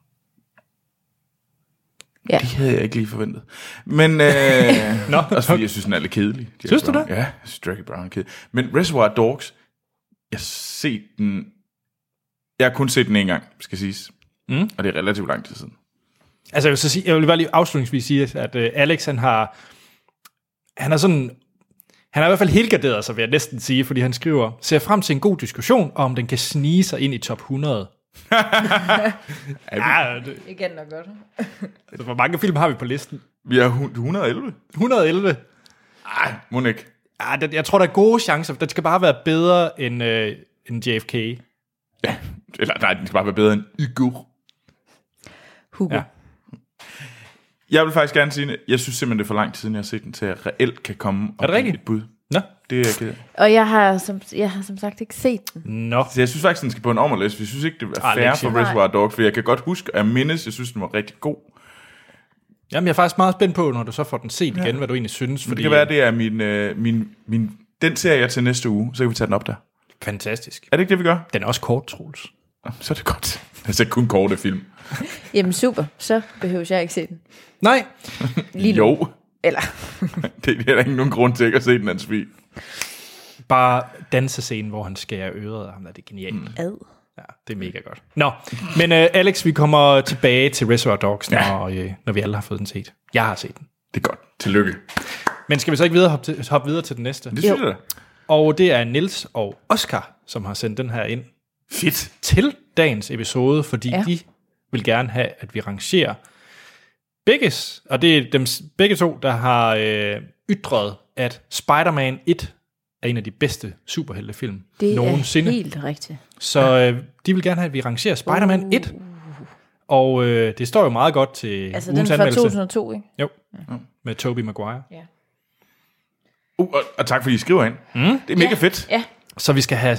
Ja.
Det havde jeg ikke lige forventet. Men øh,
[LAUGHS] Nå,
også fordi jeg synes, den er lidt kedelig. Jackie
Synes du
Brown.
det?
Ja, jeg synes, Jackie Brown er kedelig. Men Reservoir Dogs, jeg har set den... Jeg har kun set den en gang, skal siges.
Mm.
Og det er relativt lang tid siden.
Altså, jeg vil, så sige, jeg vil bare lige afslutningsvis sige, at øh, Alex, han har, han er sådan, han har i hvert fald helgarderet sig, vil jeg næsten sige, fordi han skriver, ser frem til en god diskussion, og om den kan snige sig ind i top 100.
[LAUGHS]
ja, det,
Igen nok godt.
altså, hvor mange film har vi på listen?
Vi er hu- 111.
111.
Ej, må den ikke.
Ja, den, jeg tror, der er gode chancer. Den skal bare være bedre end, øh, end JFK.
Ja, eller nej, den skal bare være bedre end Igur.
Hugo.
Ja.
Ja.
Jeg vil faktisk gerne sige, at jeg synes simpelthen, det er for lang tid siden, jeg har set den, til at jeg reelt kan komme og
Er det
give
rigtigt?
et bud.
Nå.
Det er jeg ked af.
Og jeg har, som, jeg har som sagt ikke set den.
Nå.
Så jeg synes faktisk, den skal på en ommerliste. Vi synes ikke, det er
Ah,
fair
lektie.
for Reservoir Dogs, for jeg kan godt huske, at jeg mindes, jeg synes, den var rigtig god.
Jamen, jeg er faktisk meget spændt på, når du så får den set igen, ja. hvad du egentlig synes.
Fordi...
Fordi,
Det kan være, det er min, øh, min, min, den ser jeg til næste uge, så kan vi tage den op der.
Fantastisk.
Er det ikke det, vi gør?
Den er også kort, Troels.
Nå, Så er det godt. [LAUGHS] Altså kun korte film.
Jamen super, så behøver jeg ikke se den.
Nej,
Lige nu.
Jo, [LAUGHS]
Eller,
det, det er der ikke nogen grund til ikke at se den anden svig.
bare dansescenen, hvor han skærer øret af ham, der er det genialt. Mm.
ad.
Ja, det er mega godt. Nå, men øh, Alex, vi kommer tilbage til Reservoir Dogs, når, ja. øh, når vi alle har fået den set. Jeg har set den.
Det er godt. Tillykke.
Men skal vi så ikke videre hoppe, til, hoppe videre til den næste? Det
synes jeg da.
Og det er Nils og Oscar, som har sendt den her ind.
Fedt.
Til dagens episode, fordi ja. de vil gerne have, at vi rangerer begges, og det er dem begge to, der har øh, ytret, at Spider-Man 1 er en af de bedste superheltefilm
Det
nogensinde.
er helt rigtigt.
Så øh, de vil gerne have, at vi rangerer Spider-Man uh. 1. Og øh, det står jo meget godt til
Altså den
ugens
fra
anmeldelse.
2002, ikke?
Jo, med Tobey Maguire.
Uh, og, og tak fordi I skriver ind.
Mm?
Det er mega fedt.
Ja.
Så vi skal have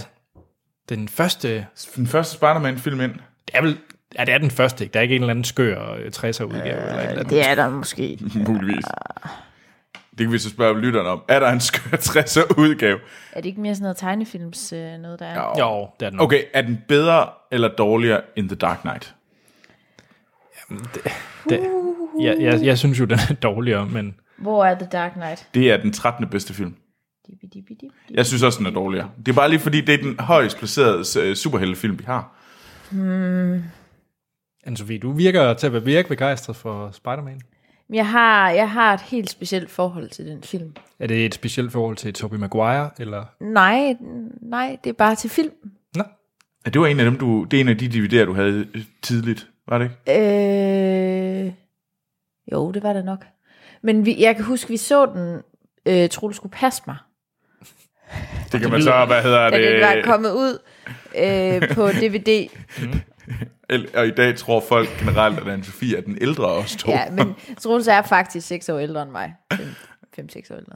den første...
Den første Spider-Man-film ind. [LAUGHS]
Det er vel... Ja, det er den første, ikke? Der er ikke en eller anden skør øh, 60'er udgave. Ja, eller et eller andet.
Det er der måske.
Muligvis. Det kan vi så spørge lytteren om. Er der en skør 60'er udgave?
Er det ikke mere sådan noget tegnefilms øh, noget, der er?
Jo, det er den.
Okay, er den bedre eller dårligere end The Dark Knight?
Det, jeg, jeg, jeg synes jo, den er dårligere, men...
Hvor er The Dark Knight?
Det er den 13. bedste film.
Dibidibidi.
Jeg synes også, den er dårligere. Det er bare lige fordi, det er den højst placerede øh, superheltefilm, vi har.
Hmm.
Anne-Sophie, du virker til at være virkelig begejstret for Spider-Man.
Jeg har, jeg har et helt specielt forhold til den film.
Er det et specielt forhold til Tobey Maguire, eller...
Nej, nej, det er bare til film.
Ja, det var en af dem, du, det er en af de DVD'er, du havde øh, tidligt, var det ikke?
Øh, jo, det var det nok. Men vi, jeg kan huske, vi så den, øh, Troels skulle passe mig.
Det kan man så, hvad hedder
Der kan være
det?
kommet ud øh, på DVD.
el- Og i dag tror folk generelt, at Anne-Sophie er den ældre af os to.
Ja, men Troels er faktisk 6 år ældre end mig. 5-6 år ældre.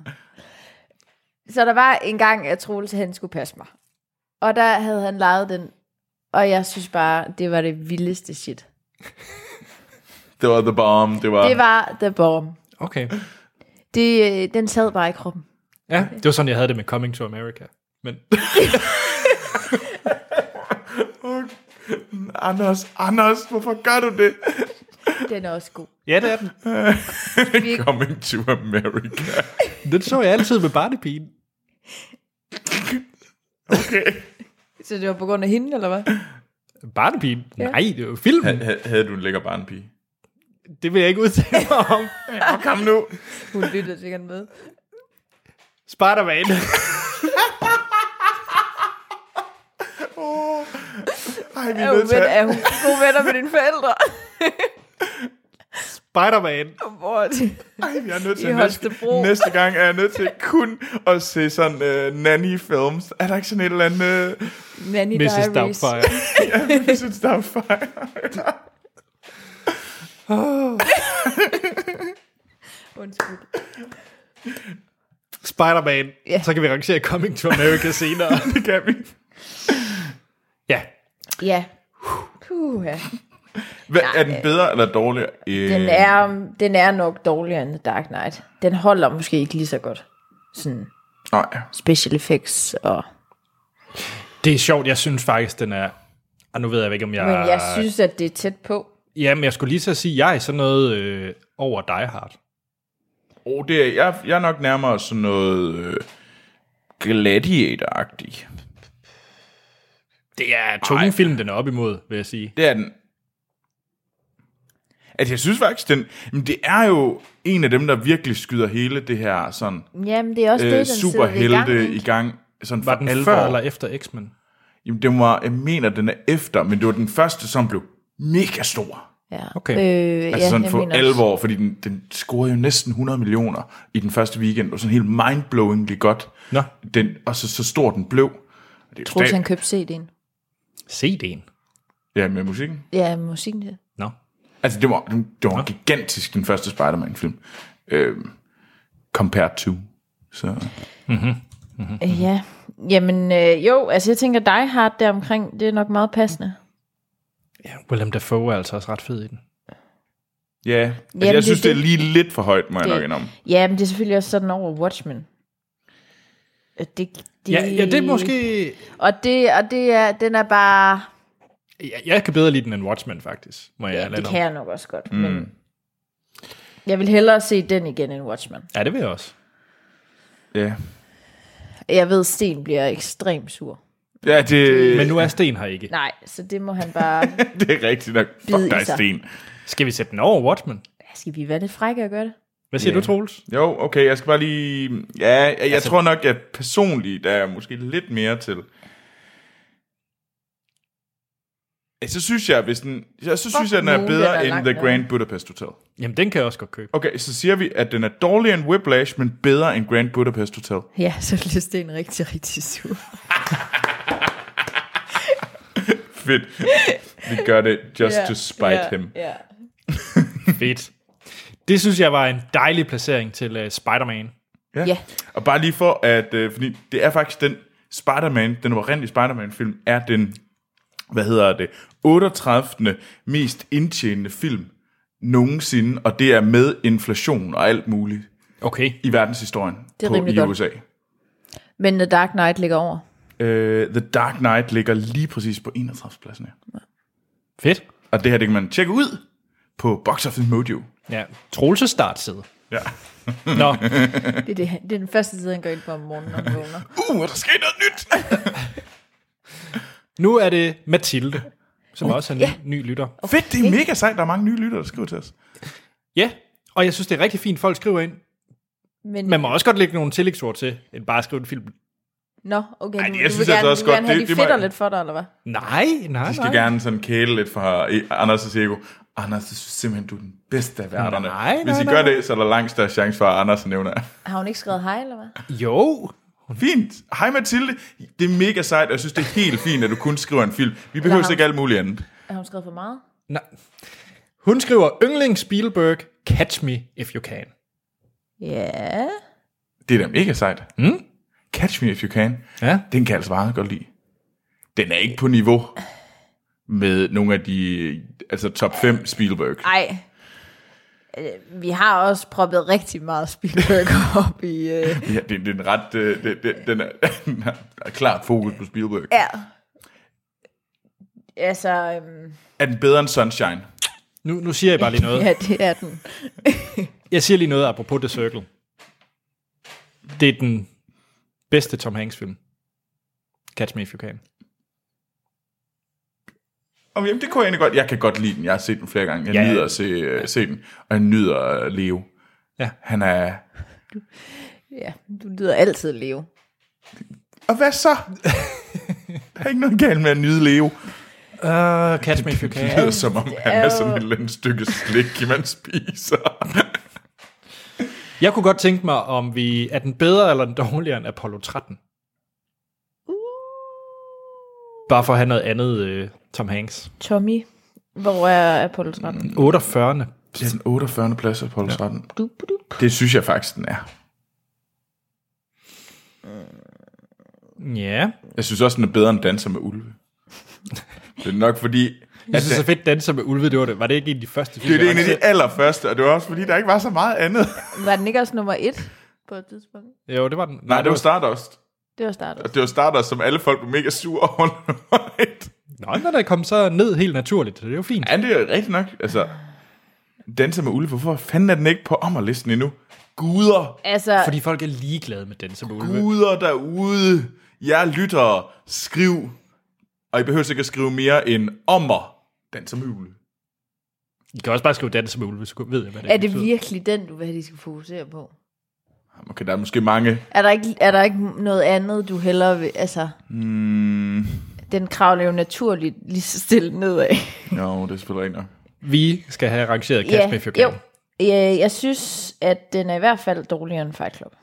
Så der var en gang, at Troels han skulle passe mig. Og der havde han lejet den. Og jeg synes bare, det var det vildeste shit.
Det var The Bomb, det var...
Det var The Bomb.
Okay.
Det, øh, den sad bare i kroppen.
Ja, det var sådan, jeg havde det med Coming to America. Men
Anders, Anders, hvorfor gør du det?
Den er også god.
ja, det er [LAUGHS] den.
Vi-
Coming to America.
Den så jeg altid med barnepigen.
Okay.
Så det var på grund af hende, eller hvad?
Barnepigen?
Ja.
Nej, det var filmen.
H- havde du en lækker barnpige?
Det vil jeg ikke udtale mig om.
Ja, kom nu.
Hun lytter sikkert med.
Spider-Man.
Ej, vi
Er
er
hun,
nødt til
ven, er
at...
hun gode venner med dine forældre? [LAUGHS]
Spider-Man.
Hvor er det?
Ej, vi er nødt
I
til næste,
Holstebro.
næste gang er jeg nødt til kun at se sådan øh, nanny-films. Er der ikke sådan et eller andet... Øh,
Nanny
Mrs.
Diaries.
Doubtfire.
[LAUGHS] ja, jeg synes, der er fejl.
Undskyld.
Spider-Man.
Ja.
Så kan vi rangere Coming to
[LAUGHS]
America senere.
Det kan vi.
ja,
Ja. Puh, ja.
Hvad, er den bedre eller dårligere? Øh,
Den, er, den er nok dårligere end The Dark Knight. Den holder måske ikke lige så godt. Sådan
Nej.
special effects og...
det er sjovt. Jeg synes faktisk, den er... Og nu ved jeg ikke, om jeg...
Men jeg
Ah.
synes, at det er tæt på.
Jamen, jeg skulle lige så sige, jeg er sådan noget øh, over Die Hard.
Oh, det er, jeg, jeg er nok nærmere sådan noget øh, gladiator-agtig.
Det er tunge film, den er op imod, vil jeg sige.
Det er den. Altså, jeg synes faktisk, den, men det er jo en af dem, der virkelig skyder hele det her sådan,
Jamen, det er også øh, det,
øh,
den sidder i gang.
superhelte i
ikke?
gang. Sådan
Var
for
den
alvor.
før eller efter X-Men?
Jamen, den var, jeg mener, den er efter, men det var den første, som blev mega stor.
Ja.
Okay.
Øh,
Altså
ja,
ja, sådan
jeg
for
mener også.
alvor, fordi den, den scorede jo næsten 100 millioner i den første weekend, og sådan helt mindblowingly godt.
Nå.
Den, og så, så stor den blev. Det er jo
Troels,
stat-
han købte CD'en.
CD'en.
Ja, med musikken.
Ja, musikken det.
Nå.
Altså, det var, det var gigantisk, den første Spider-Man-film. Øh, compared to. Så. Altså,
Mm-hmm. Ja. Jamen, øh, jo, altså jeg tænker, Die Hard der omkring, det er nok meget passende.
Ja, Willem Dafoe er altså også ret fed i den.
Ja, yeah. altså,
Jamen, det er
jeg synes, det,
det.
er lige lidt for højt, må jeg
Det-
nok indrømme.
Ja, men det er selvfølgelig også sådan over Watchmen. Øh, Det, det,
Ja, ja, det er måske...
Og, det, og det er, den er bare...
Jeg, jeg kan bedre lide den end Watchmen, faktisk. Må jeg
Ja,
lade
det
om.
kan jeg nok også godt. Mm. Men jeg vil hellere se den igen end Watchmen.
Ja, det vil jeg også.
Ja,
Jeg ved, Sten bliver ekstremt sur.
ja det,
Men nu er Sten her ikke.
Nej, så det må han bare... [LAUGHS]
[LAUGHS] det er rigtigt nok.
Bid i
Fuck dig,
sig.
Sten.
Skal vi sætte den over Watchmen?
Skal vi være lidt frække og gøre det?
Hvad siger
Ja.
du, Troels?
Jo, okay, jeg skal bare lige... Ja, jeg, jeg
Altså-
tror nok, at personligt der er jeg måske lidt mere til... Ja, Så synes jeg, hvis den, jeg, så synes jeg, den
nu,
er
den er
bedre end
langt
The
nede.
Grand Budapest Hotel.
Jamen, den kan jeg også godt købe.
Okay, så siger vi, at den er dårligere end Whiplash, men bedre end Grand Budapest Hotel.
Ja, så lyst det er en rigtig, rigtig sur.
Fedt.
[LAUGHS]
Vi gør det just
Ja,
to spite
ja,
him.
Ja.
Fedt. Det synes jeg var en dejlig placering til uh, Spider-Man.
Ja. ja. Og bare lige for at, øh, fordi det er faktisk den Spider-Man, den oprindelige Spider-Man-film, er den, hvad hedder det, 38. mest indtjenende film nogensinde, og det er med inflation og alt muligt.
Okay.
I verdenshistorien
Det er
på,
rimelig
i
godt.
USA.
Men The Dark Knight ligger over.
Øh, The Dark Knight ligger lige præcis på 31. pladsen her.
Fedt.
Og det her, det kan man tjekke ud på Box Office Mojo.
Ja, Troels' startside.
Ja.
Nå.
Det er, det, han- det er den første tid, han går ind på om morgenen, når han vågner.
Uh, er der sket noget nyt?
Nu er det Mathilde, som
Uh,
også er en
ja. Oh.
ny lytter.
Fedt, det er mega sejt. Der er mange nye lyttere, der skriver til os.
Ja, og jeg synes, det er rigtig fint, folk skriver ind.
Men,
Man må også godt lægge nogle tillægsord til, end bare at skrive en film.
Nå, okay,
Ej,
du,
det- jeg
du
synes
vil
altså
gerne,
også
du vil
godt,
gerne have,
det-
de
det må
fedter
jeg-
lidt for dig, eller hvad?
Nej, nej,
De skal
nej.
gerne sådan kæle lidt for eh, Anders og Diego. Anders, jeg synes simpelthen, du er den bedste af værterne.
Nej, nej,
Hvis I
nej.
gør det, så er der langt større chance for, at Anders nævner jer.
Har hun ikke skrevet hej, eller hvad?
Jo.
Fint. Hej Mathilde. Det er mega sejt, og jeg synes, det er helt fint, at du kun skriver en film. Vi behøver
ham.
ikke alt muligt andet.
Har hun skrevet for meget?
Nej. Hun skriver, yndling Spielberg, catch me if you can.
Ja.
Det er da mega sejt.
Mm?
Catch me if you can.
Ja.
Den kan jeg altså meget godt lide. Den er ikke på niveau med nogle af de altså top 5 Spielberg.
Ej. Øh, Vi har også proppet rigtig meget Spielberg [LAUGHS] op i... Øh...
Ja, det, det er en ret... øh, Det, det, den, er, [LAUGHS] den er klart fokus på Spielberg.
Ja. Altså, øhm,
Er den bedre end Sunshine?
Nu, nu siger jeg bare lige noget.
ja, det er den.
Jeg siger lige noget apropos The Circle. Det er den bedste Tom Hanks film. Catch me if you can.
Om, jamen, det kunne jeg egentlig godt. Jeg kan godt lide den. Jeg har set den flere gange. Jeg
Ja.
ja, nyder at se, ja. se den. Og jeg nyder at leve.
Ja.
Han er...
Ja, du lyder altid leve.
Og hvad [LAUGHS] så? Der er ikke noget galt med at nyde leve.
Uh, catch me if you
Det
can.
lyder som om, han er
jo-
sådan et eller andet stykke slik, man spiser.
[LAUGHS] Jeg kunne godt tænke mig, om vi er den bedre eller den dårligere end Apollo 13. Bare for at have noget andet øh, Tom Hanks.
Tommy, hvor er Apollo 13?
48.
Det er den 48. plads på Apollo 13. Det synes jeg faktisk, den er.
Ja.
Jeg synes også, den er bedre end Danser med Ulve. Det er nok fordi...
Jeg synes, det er fedt danser med ulve, det var det. Var det ikke en af de første
Det er
film?
det en af de allerførste, og det var også fordi, der ikke var så meget andet.
Var den ikke også nummer et på et tidspunkt?
Jo, det var den.
Nej, det var Stardust.
Det var startet.
Og det var Stardust, som alle folk blev mega sure over.
Nå, den er da kommet så ned helt naturligt, så det er jo fint.
[LAUGHS] Ja, det er jo rigtigt nok. Altså, Danser med Ulve, hvorfor fanden er den ikke på ommerlisten endnu? Guder,
Altså,
Fordi folk er ligeglade med danser med ulve.
guder derude, jer lyttere, skriv. Og I behøver ikke at skrive mere end ommer Danser med Ulve.
I kan også bare skrive danser med ulve, så ved jeg, hvad det
er det
betyder.
virkelig den, du vil have, de skal fokusere på?
Okay, der er måske mange.
Er der ikke, er der ikke noget andet, du hellere vil... Altså,
Hmm,
den kravler jo naturligt lige så stille nedad.
jo, det er selvfølgelig rigtigt nok.
Vi skal have arrangeret Catch yeah, Me If You Can.
jo. Øh, Jeg synes, at den er i hvert fald dårligere end Fight Club.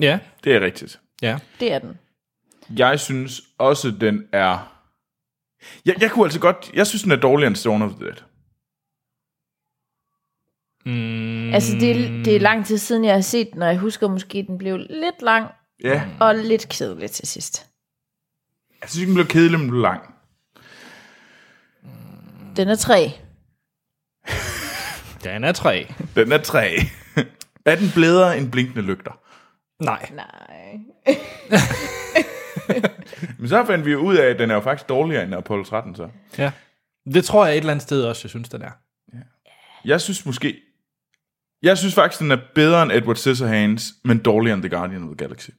Ja,
Det er rigtigt.
ja.
Det er den.
Jeg synes også, den er... Jeg, jeg kunne altså godt... Jeg synes, den er dårligere end Stone of the Dead.
Mm,
Altså, det er, det er lang tid siden, jeg har set den, og jeg husker måske, at den blev lidt lang
Ja,
og lidt kedelig til sidst.
Mm. jeg synes ikke, den blev kedelig, men den blev lang.
Den er tre.
Den er tre.
Den er tre. er den bedre end Blinkende Lygter?
Nej.
Nej.
Men så fandt vi ud af, at den er jo faktisk dårligere end Apollo 13, så.
Ja. Det tror jeg et eller andet sted også, jeg synes, den er.
Jeg synes måske... Jeg synes faktisk, den er bedre end Edward Scissorhands, men dårligere end The Guardian of the Galaxy. [LAUGHS]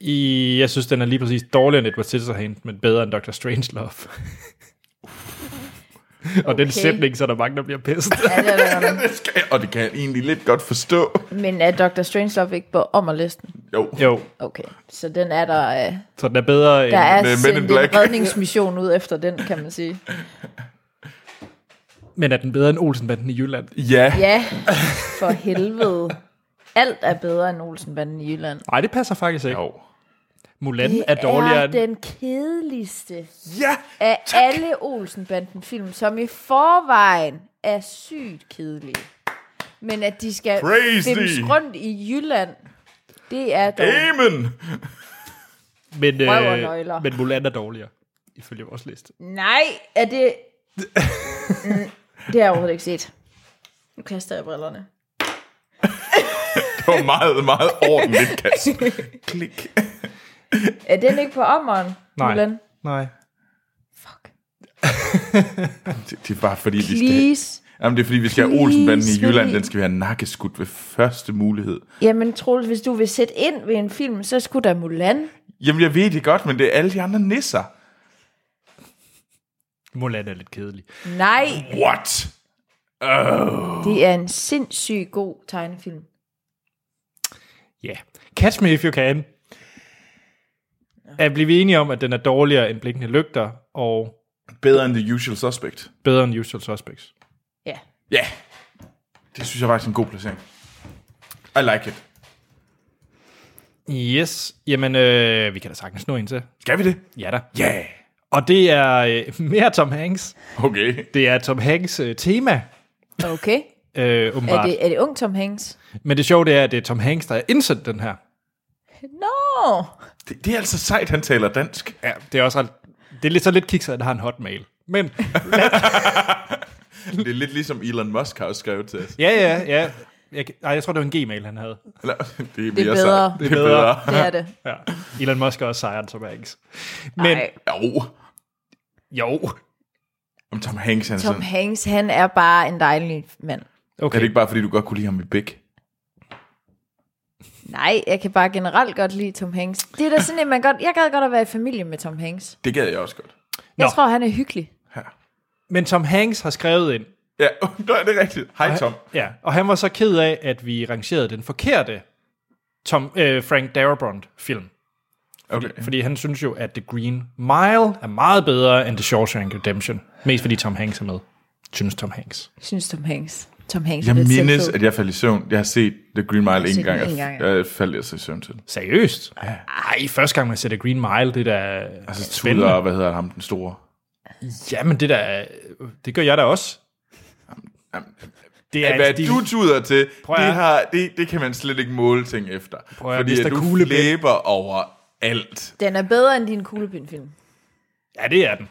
I, jeg synes, den er lige præcis dårligere end Edward Scissorhands, men bedre end Dr. Strangelove. [LAUGHS] Og okay. den sætning, så er der mange, der bliver pæst.
[LAUGHS]
det skal jeg, og det kan jeg egentlig lidt godt forstå.
Men er Dr. Strangelove ikke på ommerlisten?
Jo.
Jo.
Okay, så den er der... Øh,
Så den er bedre end...
der er
Men in
sendt
Black.
en redningsmission ud efter den, kan man sige.
Men er den bedre end Olsenbanden i Jylland?
Ja.
Ja, for helvede. Alt er bedre end Olsenbanden i Jylland.
Nej, det passer faktisk ikke.
Jo.
Mulan er
Det
dårligere
er
end...
den kedeligste
ja,
af alle Olsenbanden-film, som i forvejen er sygt kedelige. Men at de skal
Crazy.
filmes rundt i Jylland, det er dog...
Amen!
Men, øh,
Røvernøgler.
men Mulan er dårligere, ifølge vores liste.
Nej, er
[LAUGHS]
det... Mm, det har jeg overhovedet ikke set. Nu kaster jeg brillerne.
Det var meget, meget ordentligt [LAUGHS] kast. Klik.
Er den ikke på ommeren, Mulan?
Nej.
Det, det er bare fordi, vi skal...
Please.
Jamen, det er fordi, vi skal have
Please,
Olsenbanden i Jylland.
fordi-
Den skal vi have nakkeskudt ved første mulighed.
Jamen, Troels, hvis du vil sætte ind ved en film, så skulle der Mulan.
Jamen, jeg ved det godt, men det er alle de andre nisser.
Mulan er lidt kedelig.
Nej,
What? Oh.
det er en sindssygt god tegnefilm.
Ja. Yeah. Catch me if you can. Er blive enige om, at den er dårligere end Blinkende Lygter, og
Bedre end The Usual Suspect.
bedre end Usual Suspects.
Ja.
Ja. Yeah. Det synes jeg faktisk er en god placering. I like it.
Yes. Jamen, øh, vi kan da sagtens nå en til.
Skal vi det?
Ja da.
Ja. Yeah.
Og det er øh, mere Tom Hanks.
Okay.
Det er Tom Hanks' øh, tema,
Okay.
øh,
Er
åbenbart. Det...
det, er det ung Tom Hanks?
Men det sjove det er, at det er Tom Hanks, der har indsendt den her.
No!
Det, det er altså sejt, han taler dansk.
Ja, det er også ret... Det er lidt så lidt kikset, at han har en hotmail. Men
Det er lidt ligesom Elon Musk har også skrevet til os.
ja, ja, ja. Jeg, nej, jeg tror, det var en gmail, han havde.
Eller, det er, mere
bedre.
Sejt. Det er bedre.
Det er det.
Ja. Elon Musk er også sejren, Tom Hanks. Men,
Nej,
Jo.
jo.
Om Tom Hanks, han Tom
Tom
sådan.
Hanks, han er bare en dejlig mand.
Okay.
Er det ikke bare, fordi du godt kunne lide ham i Big?
Nej, jeg kan bare generelt godt lide Tom Hanks. Det er da sådan, at man godt, jeg gad godt at være i familie med Tom Hanks.
Det gad jeg også godt.
Jeg
Nå.
tror, han er hyggelig.
Men Tom Hanks har skrevet ind.
Ja, [LAUGHS] det er det rigtigt. Hej, Tom.
Ja, og han var så ked af, at vi rangerede den forkerte Tom, øh, Frank Darabont-film.
Okay.
Fordi han synes jo, at The Green Mile er meget bedre end The Shawshank Redemption. Mest fordi Tom Hanks er med, synes Tom Hanks.
Jeg synes Tom Hanks. Tom Hanks er
Jeg
lidt
mindes,
selvfed.
at jeg faldt i søvn. Jeg har set The Green Mile en
set den
gang, og
en gang,
jeg faldt altså i søvn til den.
Seriøst? Ej, første gang man ser The Green Mile, det der
Altså,
altså, spændende.
Tudor, hvad hedder ham, den store?
Jamen, det der, det gør jeg da også. Det er,
Hvad
en stil-
du tuder til,
Prøv at-
det, har, det, det kan man slet ikke måle ting efter.
Prøv at-
fordi
Mr.
at du
Kuglepen.
flæber over alt.
Den er bedre end din kuglepindfilm.
Ja, det er den.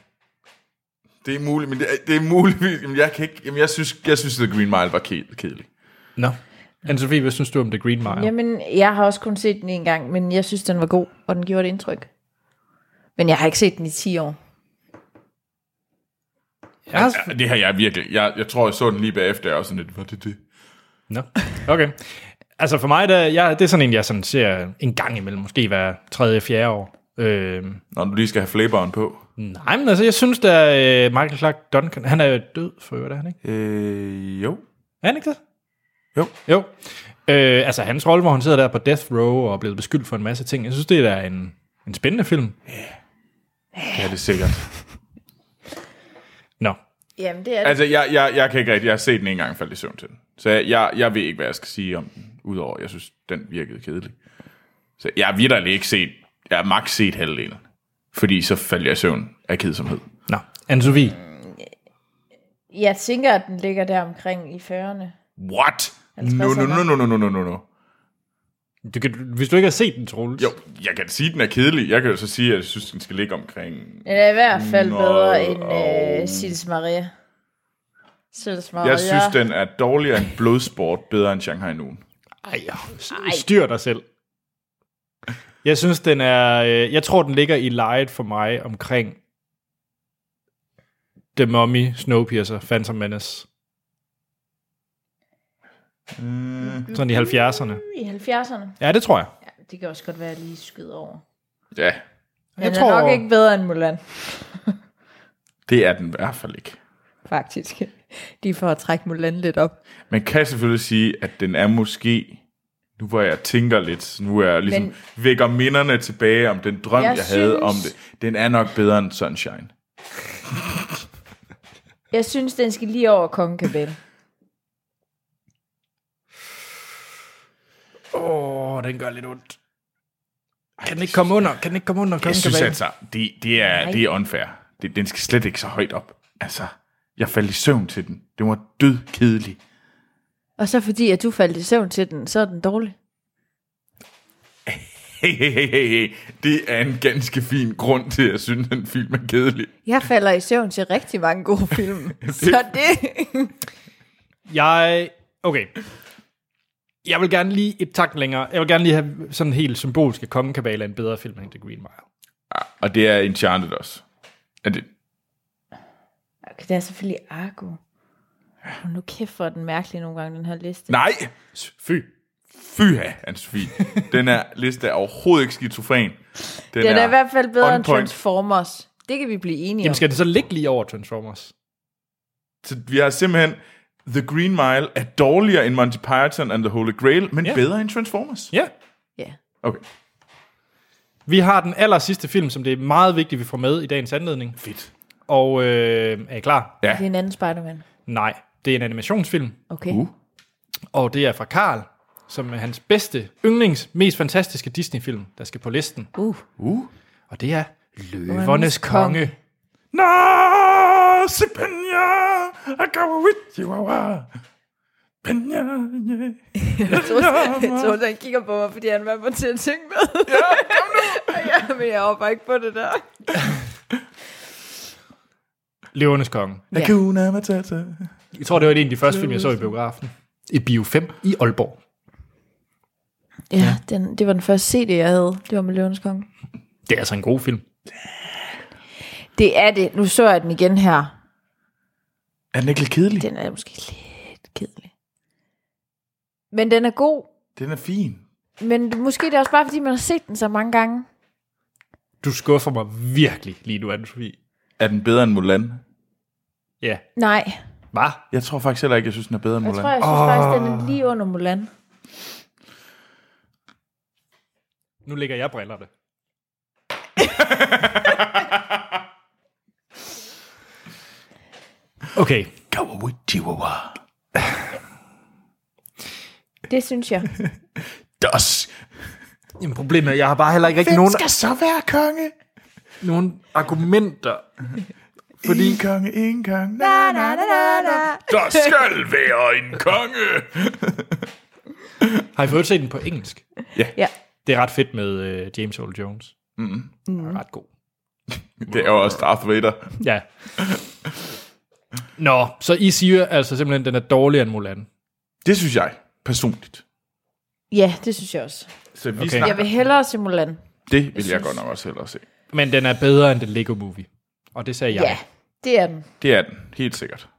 Det er muligt, men det er, det er muligvis... Jamen, jeg, kan ikke, jamen, jeg, synes, jeg synes, The Green Mile var ked- kedelig.
Nå. Anne-Sophie, hvad synes du om The Green Mile? Jamen.
Jamen, jeg har også kun set den en gang, men jeg synes, den var god, og den gjorde et indtryk. Men jeg har ikke set den i 10 år.
Jeg har,
Ja, det har jeg virkelig. Jeg, jeg tror, jeg så den lige bagefter, og jeg var sådan lidt, var det det?
Nå, okay. Altså for mig, der, jeg, det er sådan en, jeg sådan ser en gang imellem, måske hver tredje, fjerde år. Øh,
Når du lige skal have flæberen på.
nej, men altså, jeg synes da, øh, Michael Clark Duncan, han er jo død for øvrigt, er han ikke?
Øh, jo.
Er han ikke det?
Jo.
Jo. Øh, altså hans rolle, hvor han sidder der på Death Row og er blevet beskyldt for en masse ting, jeg synes, det er da en, en spændende film.
Ja, det er sikkert.
Nå,
Jamen, det er det.
Altså, jeg, jeg, jeg kan ikke rigtig... Jeg har set den en gang falde i søvn til den. Så jeg, jeg, jeg ved ikke, hvad jeg skal sige om den. Udover, jeg synes, den virkede kedelig. Så jeg har vidderlig ikke set... Jeg har max set halvdelen. Fordi så faldt jeg i søvn af kedsomhed.
nå. Anne-Sophie,
Jeg tænker, at den ligger der omkring i 40'erne.
What? No, no, no, no, no, no, no, no.
du kan, hvis du ikke har set den, Troels.
Jo, jeg kan sige, at den er kedelig. Jeg kan jo så sige, at jeg synes, den skal ligge omkring...
Den er i hvert fald
Nå,
bedre end
og-
øh, Sils Maria. Sils Maria.
Jeg synes, den er dårligere end Blodsport, bedre end Shanghai Noon.
Ej, styr dig selv. Jeg synes, den er... øh, Jeg tror, den ligger i lejet for mig omkring The Mummy, Snowpiercer, Phantom Menace. Mm. Sådan i 70'erne.
I 70'erne.
Ja, det tror jeg.
Ja, det kan også godt være, at jeg lige skyder over.
Ja,
Den
Jeg
er
tror-
nok ikke bedre end Mulan.
det er den i hvert fald ikke.
faktisk. [LAUGHS] De er for at trække Mulan lidt op.
Man kan selvfølgelig sige, at den er måske... Nu hvor jeg tænker lidt, nu er jeg ligesom
Men-
Men, vækker minderne tilbage om den drøm,
Jeg
jeg, jeg havde om
synes-
det. Den er nok bedre end Sunshine.
Jeg synes, den skal lige over Kongen Kabel.
Åh, oh, den gør lidt ondt. Kan den ikke komme under? Kan den ikke komme under?
Jeg
Kongen
synes
Kabal?
altså, det, det,
Nej.
er, det er unfair. Det, den skal slet ikke så højt op. Altså, jeg faldt i søvn til den. Den var død kedelig.
Og så fordi, at du faldt i søvn til den, så er den dårlig.
Hey, hey, hey, hey, hey. Det er en ganske fin grund til, at jeg synes, den film er kedelig.
Jeg falder i søvn til rigtig mange gode [LAUGHS] film. så det...
Jeg... Okay. Jeg vil gerne lige et tak længere. Jeg vil gerne lige have sådan helt symbolsk, at Kongen Kabale er en bedre film end The Green Mile.
Og det er Enchanted også. Er det?
Okay, det er selvfølgelig Argo. Hold nu kæft, for den mærkelig nogle gange, den her liste.
Nej! Fy. Fy af, Anne-Sophie. Den her liste er overhovedet ikke skizofren.
Den, den er, er i hvert fald bedre
on
end
point.
Transformers. Det kan vi blive enige
Jamen
om.
skal den så ligge lige over Transformers?
Så vi har simpelthen... The Green Mile er dårligere end Monty Python and the Holy Grail, men
Ja.
yeah. bedre end Transformers.
Ja.
Ja.
Okay.
Vi har den aller sidste film, som det er meget vigtigt, vi får med i dagens anledning.
Fedt.
Og øh, er I klar?
Det er en anden Spider-Man.
Nej, det er en animationsfilm.
Okay. Uh.
Og det er fra Karl, som er hans bedste, yndlings, mest fantastiske Disney-film, der skal på listen.
Uh.
uh. Og det er Løvernes Konge. konge.
Nå, se Penya, I go with you, wow. Penya, yeah.
Jeg troede, jeg troede, han kigger på mig, fordi han var på til at synge med. [LAUGHS] Ja, kom nu! ja, men jeg hopper ikke på det der.
Løvernes Konge.
Ja.
Hakuna Matata.
Jeg tror, det var en af de første film, jeg så i biografen. I Bio 5 i Aalborg.
Ja, ja. Den, det var den første CD, jeg havde. Det var med Løvens Konge.
Det er altså en god film.
Det er det. Nu så jeg den igen her.
Er den ikke lidt kedelig?
Den er måske lidt kedelig. Men den er god.
Den er fin.
Men måske det er også bare, fordi man har set den så mange gange.
Du skuffer mig virkelig lige nu, anne
Er den bedre end Mulan?
Ja.
Nej.
Hvad?
Jeg tror faktisk heller ikke, jeg synes, den er bedre end
Jeg
Mulan.
tror, jeg synes oh. faktisk, den er lige under Mulan.
Nu lægger jeg brillerne. [LAUGHS] okay.
Go with Chihuahua.
Det synes jeg.
Das.
Jamen, problemet er, jeg har bare heller ikke rigtig
Hvem
nogen,
skal så være konge?
nogen argumenter. Fordi
En konge, en konge.
Na, na, na, na, na.
Der skal være en konge.
Har I fået set den på engelsk?
Ja.
Ja.
Det er ret fedt med uh, James Earl Jones.
Mm.
Mm. Ret god.
Det er jo også Darth Vader.
Ja. Nå, så I siger altså simpelthen, at den er dårligere end Mulan.
Det synes jeg, personligt.
Ja, det synes jeg også.
Så vi
Okay.
okay. snakker,
Jeg vil hellere se Mulan.
det vil jeg godt nok også hellere se.
Men den er bedre end den Lego Movie. Og det sagde jeg.
Ja, det er den.
Det er den, helt sikkert.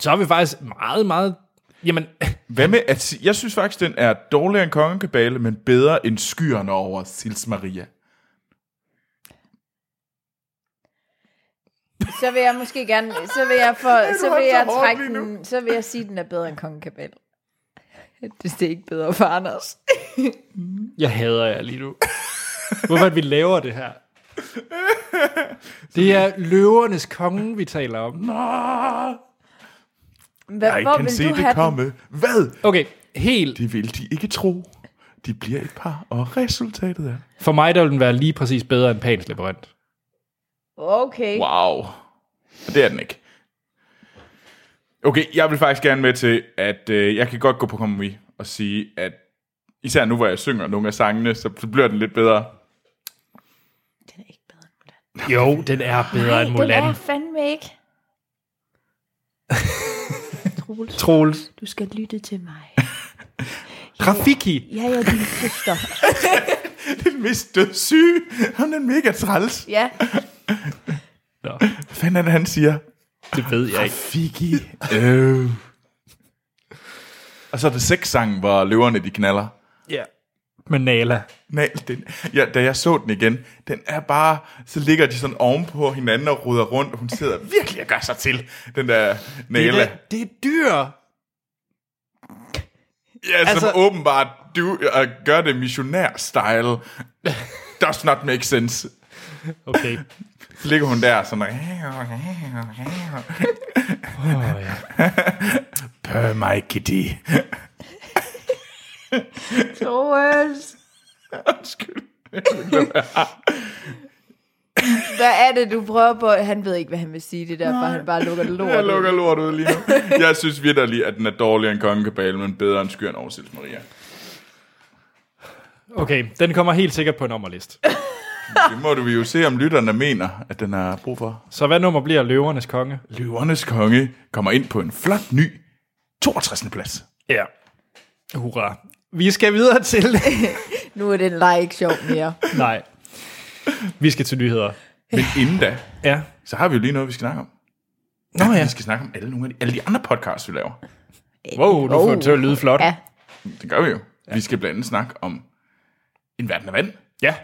Så er vi faktisk meget, meget... Jamen, [LAUGHS]
Hvad med at sige? Jeg synes faktisk, den er dårligere end Kongekabale, men bedre end skyerne over Sils Maria.
Så vil jeg måske gerne, så vil jeg, for, så
har
vil
det så
jeg
hårdt
trække
lige nu.
den, så vil jeg sige, at den er bedre end Kongen Kabel. Det det er ikke bedre for Anders.
jeg hader jer lige nu. Hvorfor at vi laver det her? Det er løvernes konge, vi taler om.
Nå,
Hvad,
jeg
hvor
kan
vil
se
du have
det
den?
komme. Hvad?
Okay, helt...
Det vil de ikke tro. De bliver et par, og resultatet er...
For mig, der vil den være lige præcis bedre end Pans Labyrinth.
Okay.
Wow. Og det er den ikke. Okay, jeg vil faktisk gerne med til, at øh, jeg kan godt gå på kompromis og sige, at især nu, hvor jeg synger nogle af sangene, så, så bliver den lidt bedre.
Jo, den er bedre end
Den er
Mulan.
jeg fandme ikke. Troels,
Troels.
du skal lytte til mig.
Rafiki.
Jeg er din søster.
Den mest dødssyge. Han er mega træls.
[LAUGHS] Ja,
Nå,
Hvad fanden er det, han siger?
det ved jeg ikke.
Fiki. øh. Og så er det seks sange, hvor løverne de knaller.
Ja. med Nala.
Nal, den, ja, da jeg så den igen, den er bare, så ligger de sådan ovenpå hinanden og ruder rundt, og hun sidder virkelig og gør sig til, den der Nala.
da- det er dyr.
Ja, altså,
Altså-
som åbenbart du, øh, gør det missionær-style. Does not make sense.
Okay.
Så ligger hun der sådan,
Åh, ja.
pør mig, kitty.
Troels, hvad er det, du prøver på? Han ved ikke, hvad han vil sige det der, for han bare lukker lort.
Jeg
ud.
lukker lort ud lige nu. Jeg synes virkelig, at den er dårligere end kongekabalen, men bedre end skyr end Aarhus Maria.
Okay, den kommer helt sikkert på en nummerlist.
Det må du jo se, om lytterne mener, at den har brug for.
Så hvad nummer bliver Løvernes Konge?
Løvernes konge kommer ind på en flot ny 62. plads.
Ja. Hurra. Vi skal videre til...
[LAUGHS] Nu er den leg ikke sjov mere.
Nej. Vi skal til nyheder.
Men inden da,
Ja.
så har vi jo lige noget, vi skal snakke om.
Nå ja.
Vi skal snakke om alle, nogle af de, alle de andre podcasts, vi laver.
Wow, nu får det til at lyde flot.
Ja.
Det gør vi jo. Vi skal blandt andet snakke om En Verden af Vand.
Ja.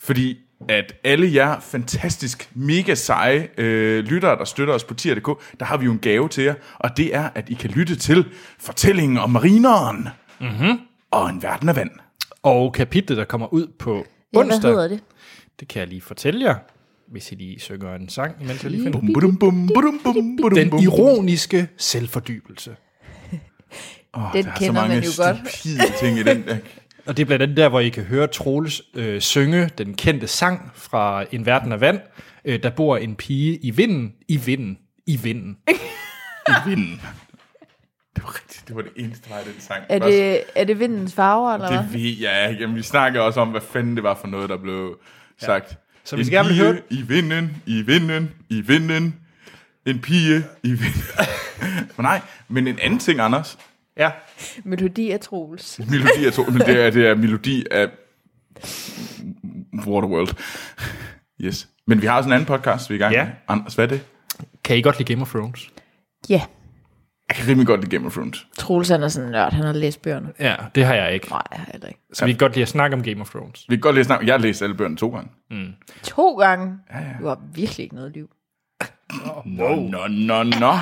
Fordi at alle jer fantastisk, mega seje øh, lyttere, der støtter os på tier.dk, der har vi jo en gave til jer, og det er, at I kan lytte til fortællingen om marineren Mhm.
Mm-hmm.
og En Verden af Vand.
Og kapitlet, der kommer ud på
Ja,
onsdag,
hvad hedder det?
det kan jeg lige fortælle jer, hvis I lige synger en sang, imens jeg lige finder
Bum, budum, bum, budum, bum, budum,
Den
bum.
ironiske selvfordybelse.
Åh,
Den
der er så
kender
mange
man jo godt.
stupide ting i den. der.
Og det er blandt andet der, hvor I kan høre Troels øh, synge den kendte sang fra En Verden af Vand. Øh, der bor en pige i vinden, i vinden, i vinden.
I vinden. [LAUGHS] Det var rigtigt. Det var det eneste vej, den sang.
Er
var så-
det, er det vindens farver, eller hvad?
Det ved jeg ikke. Jamen, vi snakker også om, hvad fanden det var for noget, der blev sagt.
Så vi
En
skal gerne
pige
høre-
I vinden, i vinden, i vinden. En pige i vinden. [LAUGHS] men nej, men en anden ting, Anders.
Ja.
Melodi af Troels.
Melodi af to, men det er, det er melodi af Waterworld. Yes. Men vi har også en anden podcast, vi er i gang
Ja.
med. Anders, hvad er det?
Kan I godt lide Game of Thrones?
Ja,
Jeg kan rimelig godt lide Game of Thrones.
Troels han er sådan en nørd, han har læst bøgerne.
Ja, det har jeg ikke.
Nej, jeg har heller ikke.
Så vi kan godt lide at snakke om Game of Thrones.
Vi kan godt læse navn. Jeg har læst alle bøgerne to gange.
To gange.
Ja, ja.
Du har virkelig ikke noget liv.
Wow. Nå, nå, nå.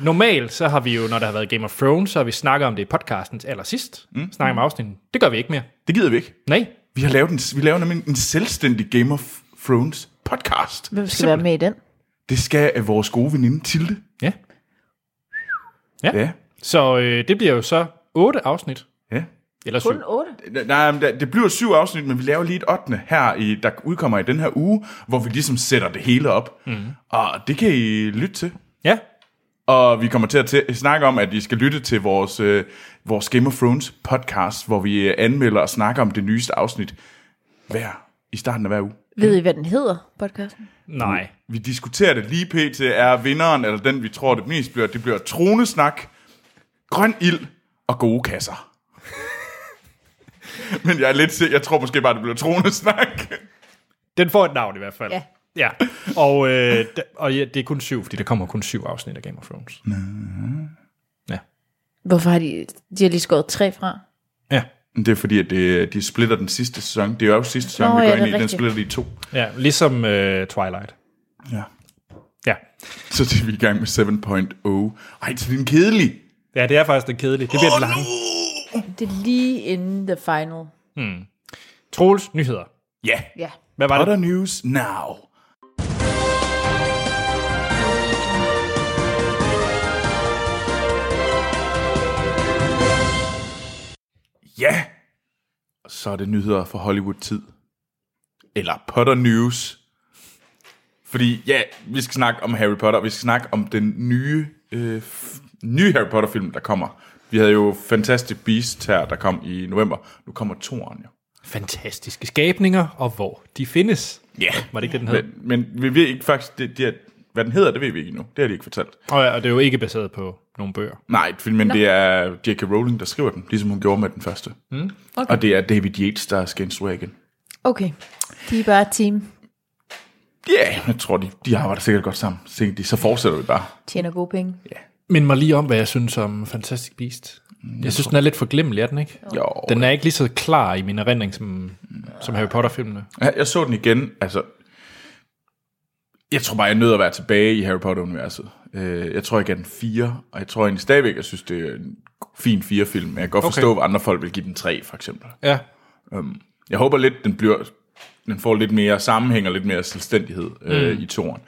Normalt så har vi jo, når der har været Game of Thrones, så har vi snakket om det i podcasten til allersidst. Mm. Snakker om afsnitten. Det gør vi ikke mere.
Det gider vi ikke.
Nej.
Vi har lavet en, vi laver nemlig en selvstændig Game of Thrones podcast.
Hvem skal være med i den?
Det skal øh, vores gode veninde Tilde.
Ja. Ja.
Ja.
Så øh, det bliver jo så otte afsnit.
ja.
Eller syv.
Kun otte.
Nej, men der- det bliver syv afsnit, men vi laver lige et ottende her, i, der udkommer i den her uge, hvor vi ligesom sætter det hele op. Mm. Og det kan I lytte til.
Ja.
Og vi kommer til at tæ- snakke om, at I skal lytte til vores, øh, vores Game of Thrones podcast, hvor vi øh, anmelder og snakker om det nyeste afsnit hver, i starten af hver uge.
Ved I, hvad den hedder, podcasten?
Nej.
Vi diskuterer det lige pt. Er vinderen, eller den vi tror det mest bliver, det bliver tronesnak, grøn ild og gode kasser. [LAUGHS] Men jeg er lidt sikker, jeg tror måske bare, det bliver tronesnak.
Den får et navn i hvert fald.
Ja.
Ja. Og, øh, d- og ja, det er kun syv, fordi der kommer kun syv afsnit af Game of Thrones. Ja.
Hvorfor har de... De har lige skåret tre fra.
Ja.
Men Det er fordi, at det, de splitter den sidste sæson. Det er jo også sidste sæson,
Nå,
vi går
ja,
ind
det er
i. Den
rigtigt.
splitter de i to.
Ja, ligesom øh, Twilight.
Ja.
Ja.
Så det er vi i gang med 7.0. Ej, så det er en kedelig.
Ja, det er faktisk den kedelige. Det bliver oh, den lange.
Det er lige inden the final.
Troels, nyheder.
Ja.
Ja.
Hvad var det?
Other news now. Ja, så er det nyheder fra Hollywood-tid. Eller Potter News. Fordi ja, vi skal snakke om Harry Potter, og vi skal snakke om den nye, øh, f- nye Harry Potter-film, der kommer. Vi havde jo Fantastic Beasts her, der kom i november. Nu kommer toeren jo.
Fantastiske skabninger, og hvor de findes.
Ja.
Var det ikke det, den hed?
Men, men vi ved ikke faktisk, det, det er, hvad den hedder, det ved vi ikke endnu. Det har de ikke fortalt.
Og, og det er jo ikke baseret på nogle bøger.
Nej, men det er J.K. Rowling, der skriver den, ligesom hun gjorde med den første. Mm. Okay. Og det er David Yates, der skal instruere igen.
Okay. De er bare et team.
Ja, yeah, jeg tror, de, de arbejder sikkert godt sammen. Så tænkte de, så fortsætter vi bare.
Tjener gode penge.
Mind mig lige om, hvad jeg synes om Fantastic Beast. Mm, Jeg synes, den er lidt forglemmelig, er den ikke?
Jo.
Den er ikke lige så klar i min erindring, som, som Harry Potter-filmene.
Ja, Jeg så den igen, altså... Jeg tror bare, jeg nødt at være tilbage i Harry Potter-universet. Øh, Jeg tror, jeg gav den fire, og jeg tror egentlig stadigvæk, jeg synes, det er en fin fire film, men jeg kan godt
Okay.
forstå, at andre folk vil give den tre, for eksempel.
Ja.
Øhm, Jeg håber lidt, den bliver, den får lidt mere sammenhæng og lidt mere selvstændighed øh,
Mm.
i toren.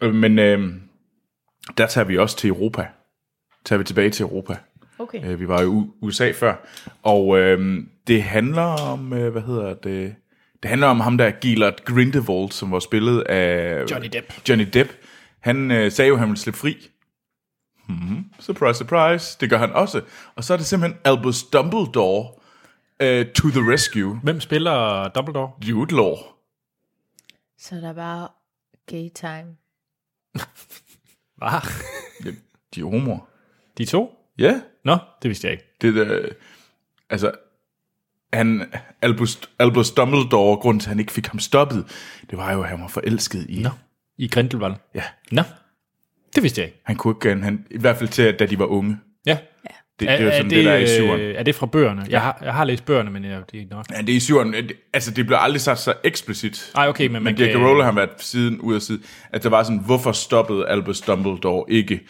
Øh, Men øh, der tager vi også til Europa. Tager vi tilbage til Europa.
Okay.
Øh, vi var i U- USA før. Og øh, det handler om, øh, hvad hedder det? Det handler om ham der, Gilad Grindelwald, som var spillet af...
Johnny Depp.
Johnny Depp. Han øh, sagde jo, at han ville slippe fri. Hmm, surprise, surprise. Det gør han også. Og så er det simpelthen Albus Dumbledore øh, to the rescue.
Hvem spiller Dumbledore?
Jude Law.
Så der er bare gay time.
Hvad?
Ja, de er homoer.
De to?
Ja.
Nå, det vidste jeg ikke.
Det der, altså, han, Albus, Albus Dumbledore, grund til, at han ikke fik ham stoppet, det var jo, at han var forelsket i... Nå.
I Grindelwald?
Ja.
Nå, det vidste jeg ikke.
Han kunne ikke, han- han, i hvert fald til, da de var unge.
Ja.
Det, det er jo sådan det, øh, der er i syveren.
øh, Er det fra bøgerne?
Ja.
Jeg, har, jeg har læst bøgerne, men jeg, det er nok.
Ja, det er i syveren. øh, det- Altså, det blev aldrig sagt så eksplicit.
Ej, okay, men man
men J.K.
kan-
Rowling har været siden ud af siden, at der var sådan, hvorfor stoppede Albus Dumbledore ikke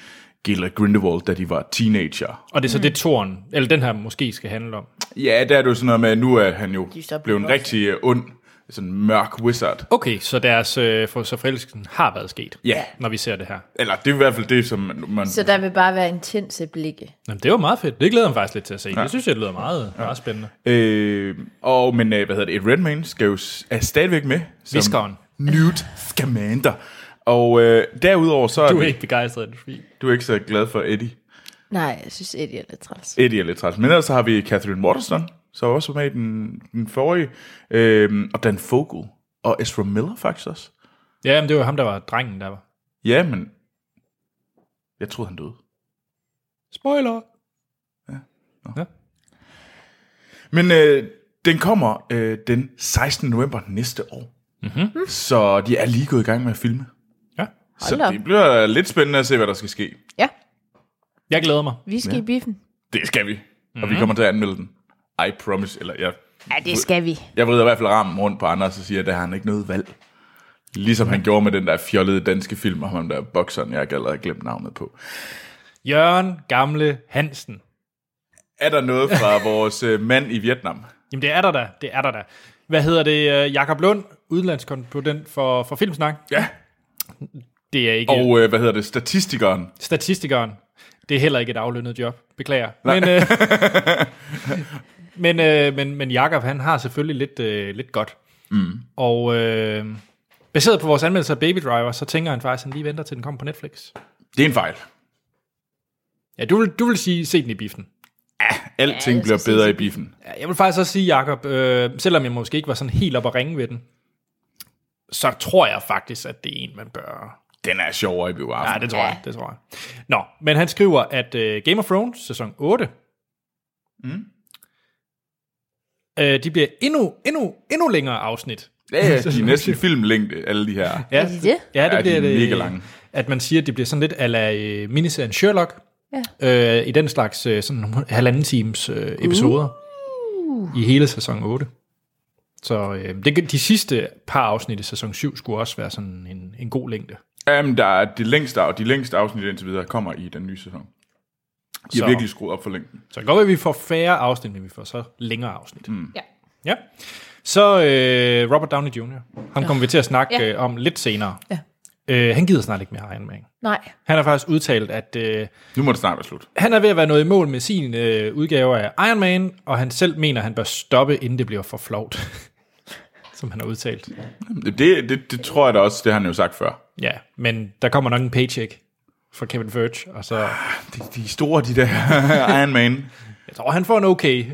Gellert Grindelwald, da de var teenager?
Og det er så mm. det, toren, eller den her måske skal handle om.
Ja, der er det jo sådan noget med, at nu er han jo
er så
blevet en
blevet
rigtig øh, ond, sådan mørk wizard.
Okay, så deres øh, for, så forelskelsen har været sket,
Ja.
når vi ser det her.
Eller det er i hvert fald det, som man... man
Så der vil bare være intense blikke.
Jamen, det var meget fedt. Det glæder jeg mig faktisk lidt til at se.
Ja.
Ja. Det synes jeg, det lyder meget, meget spændende.
Øh, og, men øh, hvad hedder det, Ed Redmayne skal jo, s- er stadigvæk med. som
Viskeren.
Newt Scamander. Og øh, derudover så...
Du er
det-
ikke begejstret, det er fordi-
Du er ikke så glad for Eddie.
Nej, jeg synes, Eddie er lidt træls.
Eddie er lidt træls. Men ellers så har vi Catherine Waterston, som også var med i den, den forrige. Øh, og Dan Fogel. Og Ezra Miller faktisk også.
Ja, men det var ham, der var drengen, der var.
Ja, men... Jeg troede, han døde.
Spoiler!
Men øh, den kommer øh, den 16. november næste år.
Mm-hmm.
Så de er lige gået i gang med at filme.
Ja.
Så
Hold da op.
det bliver lidt spændende at se, hvad der skal ske.
Ja,
Jeg glæder mig.
vi skal
Ja.
ja. i biffen.
Det skal vi. Mm-hmm. Og vi
Mhm.
kommer til at anmelde den. I promise. Eller jeg,
Ja, det skal vi.
jeg vrider i hvert fald rammen rundt på Anders og siger, at der har han ikke noget valg. Ligesom
Mhm.
han gjorde med den der fjollede danske film om ham der bokseren, jeg har allerede glemt navnet på.
Jørgen Gamle Hansen.
Er der noget
[LAUGHS]
fra vores øh, mand i Vietnam?
Jamen, det er der da. Det er der da. Hvad hedder det? øh, Jakob Lund, udenlandskonsulent for, for Filmsnak.
Ja.
Det er ikke
Og øh, hvad hedder det? Statistikeren.
statistikeren. Det er heller ikke et aflønnet job. Beklager. Men, øh, men, øh, men, men Jakob, han har selvfølgelig lidt, øh, lidt godt.
Mm.
Og øh, baseret på vores anmeldelse af Baby Driver, så tænker han faktisk, at han lige venter til den kommer på Netflix.
Det er en fejl.
Ja, du vil, du vil sige, se den i biffen.
Alting ja, bliver bedre i biffen.
Ja, Jeg vil faktisk også sige, Jakob, øh, selvom jeg måske ikke var sådan helt op at ringe ved den, så tror jeg faktisk, at det er en, man bør...
Den er sjovere i biografen.
Ja, det tror jeg. Det tror jeg. Nå, men han skriver, at øh, Game of Thrones sæson 8,
Mm.
øh, de bliver endnu, endnu, endnu længere afsnit.
Ja, ja, de er næsten filmlængde, alle de her.
Ja,
de det?
Ja, det
Ja, de
bliver
er
det.
mega lange.
At man siger, at det bliver sådan lidt ala øh, miniserien Sherlock.
Ja.
Øh, I den slags øh, sådan nogle halvanden times øh, episoder. Uh. I hele sæson 8. Så øh, det, de sidste par afsnit i sæson 7 skulle også være sådan en, en god længde.
Jamen, der er de længste, af- de længste afsnit indtil videre kommer i den nye sæson. De
Så-
har virkelig skruet op for længden.
Så det kan godt være, at vi får færre afsnit, men vi får så længere afsnit.
Mm.
Ja.
ja. Så øh, Robert Downey Jr., ham kommer vi til at snakke
Ja.
ja. øh, om lidt senere.
Ja.
Øh, han gider snart ikke mere Iron Man.
Nej.
Han har faktisk udtalt, at øh,
Nu må det snart være slut.
han er ved at være nået i mål med sin øh, udgave af Iron Man, og han selv mener, at han bør stoppe, inden det bliver for flovt. [LAUGHS] Som han har udtalt.
Det, det, det tror jeg da også, det har han jo sagt før.
Ja, men der kommer nok en paycheck fra Kevin Verge, og så...
De, de er store, de der [LAUGHS] Iron Man.
Jeg tror, han får en okay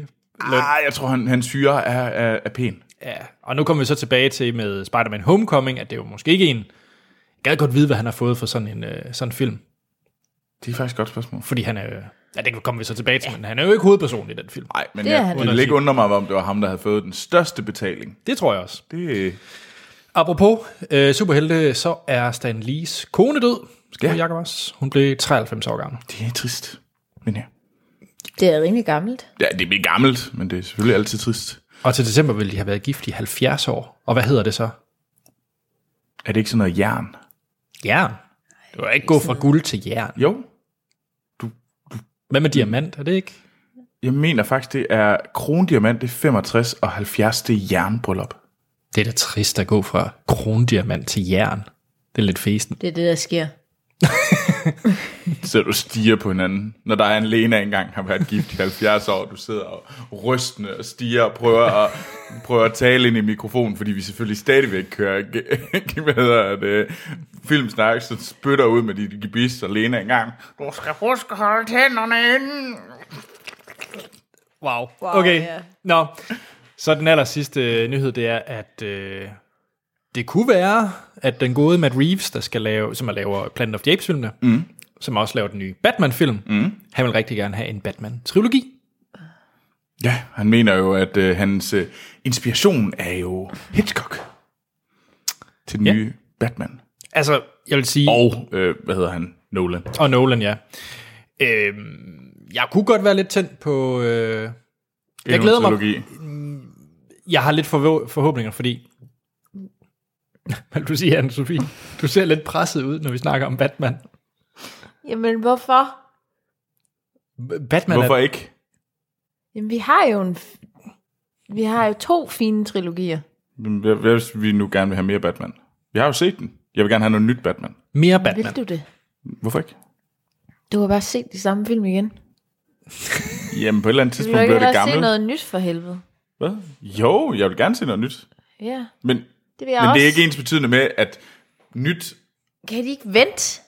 løn.
Ah, jeg tror, han, han syre er, er, er pæn.
Ja, og nu kommer vi så tilbage til med Spider-Man Homecoming, at det er jo måske ikke en... Jeg gad godt vide, hvad han har fået for sådan en øh, sådan en film.
Det er faktisk et godt spørgsmål.
Fordi han er... øh, Ja, det kommer vi så tilbage til, men han er jo ikke hovedpersonen i den film.
Nej, men
Det
det
er
jeg
han.
det ville ikke undre mig, om det var ham, der havde fået den største betaling.
Det tror jeg også.
Det,
Apropos øh, superhelte, så er Stan Lees kone død. Ja. Jakob også. Hun blev 93 år gammel.
Det er trist. Men ja.
Det er rimelig gammelt.
Ja, det bliver gammelt, men det er selvfølgelig altid trist.
Og til december ville de have været gift i 70 år. Og hvad hedder det så?
Er det ikke sådan noget jern?
Jern. Du kan ikke gå fra guld til jern.
Jo.
Hvad med diamant? Er det ikke?
Jeg mener faktisk, det er krondiamant, det er 65 og 70, det er jernbryllup.
Det er da trist at gå fra krondiamant til jern. Det er lidt festen.
Det er det, der sker.
Så du stiger på hinanden. Når der er en Lena engang har været gift i 70 år, du sidder og rystende og stiger og prøver at, prøver at tale ind i mikrofonen, fordi vi selvfølgelig stadigvæk kører hvad hedder det, filmsnak, så spytter ud med dit gibis, og Lena engang, du skal huske at holde tænderne inden.
Wow.
Wow,
okay.
ja.
Nå. Så den aller sidste øh, nyhed, det er, at øh, det kunne være, at den gode Matt Reeves, der skal lave, som er laver Planet of the Apes-filmene,
Mm.
som også laver den nye Batman-film,
Mm.
han vil rigtig gerne have en Batman-trilogi.
Ja, han mener jo, at øh, hans øh, inspiration er jo Hitchcock til den ja. nye Batman.
Altså, jeg vil sige...
Og, øh, hvad hedder han? Nolan.
Og Nolan, ja. Øhm, jeg kunne godt være lidt tændt på... Øh, jeg
en
glæder mig.
trilogi.
Jeg har lidt forvå- forhåbninger, fordi... Hvad vil du sige, anne Sofie? Du ser lidt presset ud, når vi snakker om Batman.
Jamen, hvorfor?
Batman
Hvorfor
er...
ikke?
Jamen, vi har jo en... f- Vi har jo to fine trilogier.
Hvad hvad hvis vi nu gerne vil have mere Batman? Vi har jo set den. Jeg vil gerne have noget nyt Batman.
Mere
Vil du det?
Hvorfor ikke?
Du har bare set de samme film igen.
Jamen, på et eller andet
Du
tidspunkt
vil ikke
bliver det
hellere se
gammelt.
noget nyt for helvede.
Hvad? Jo, jeg vil gerne se noget nyt.
Ja,
Men,
det vil jeg
men
også.
det er ikke ens betydende med, at nyt...
Kan de ikke
[LAUGHS]
vente?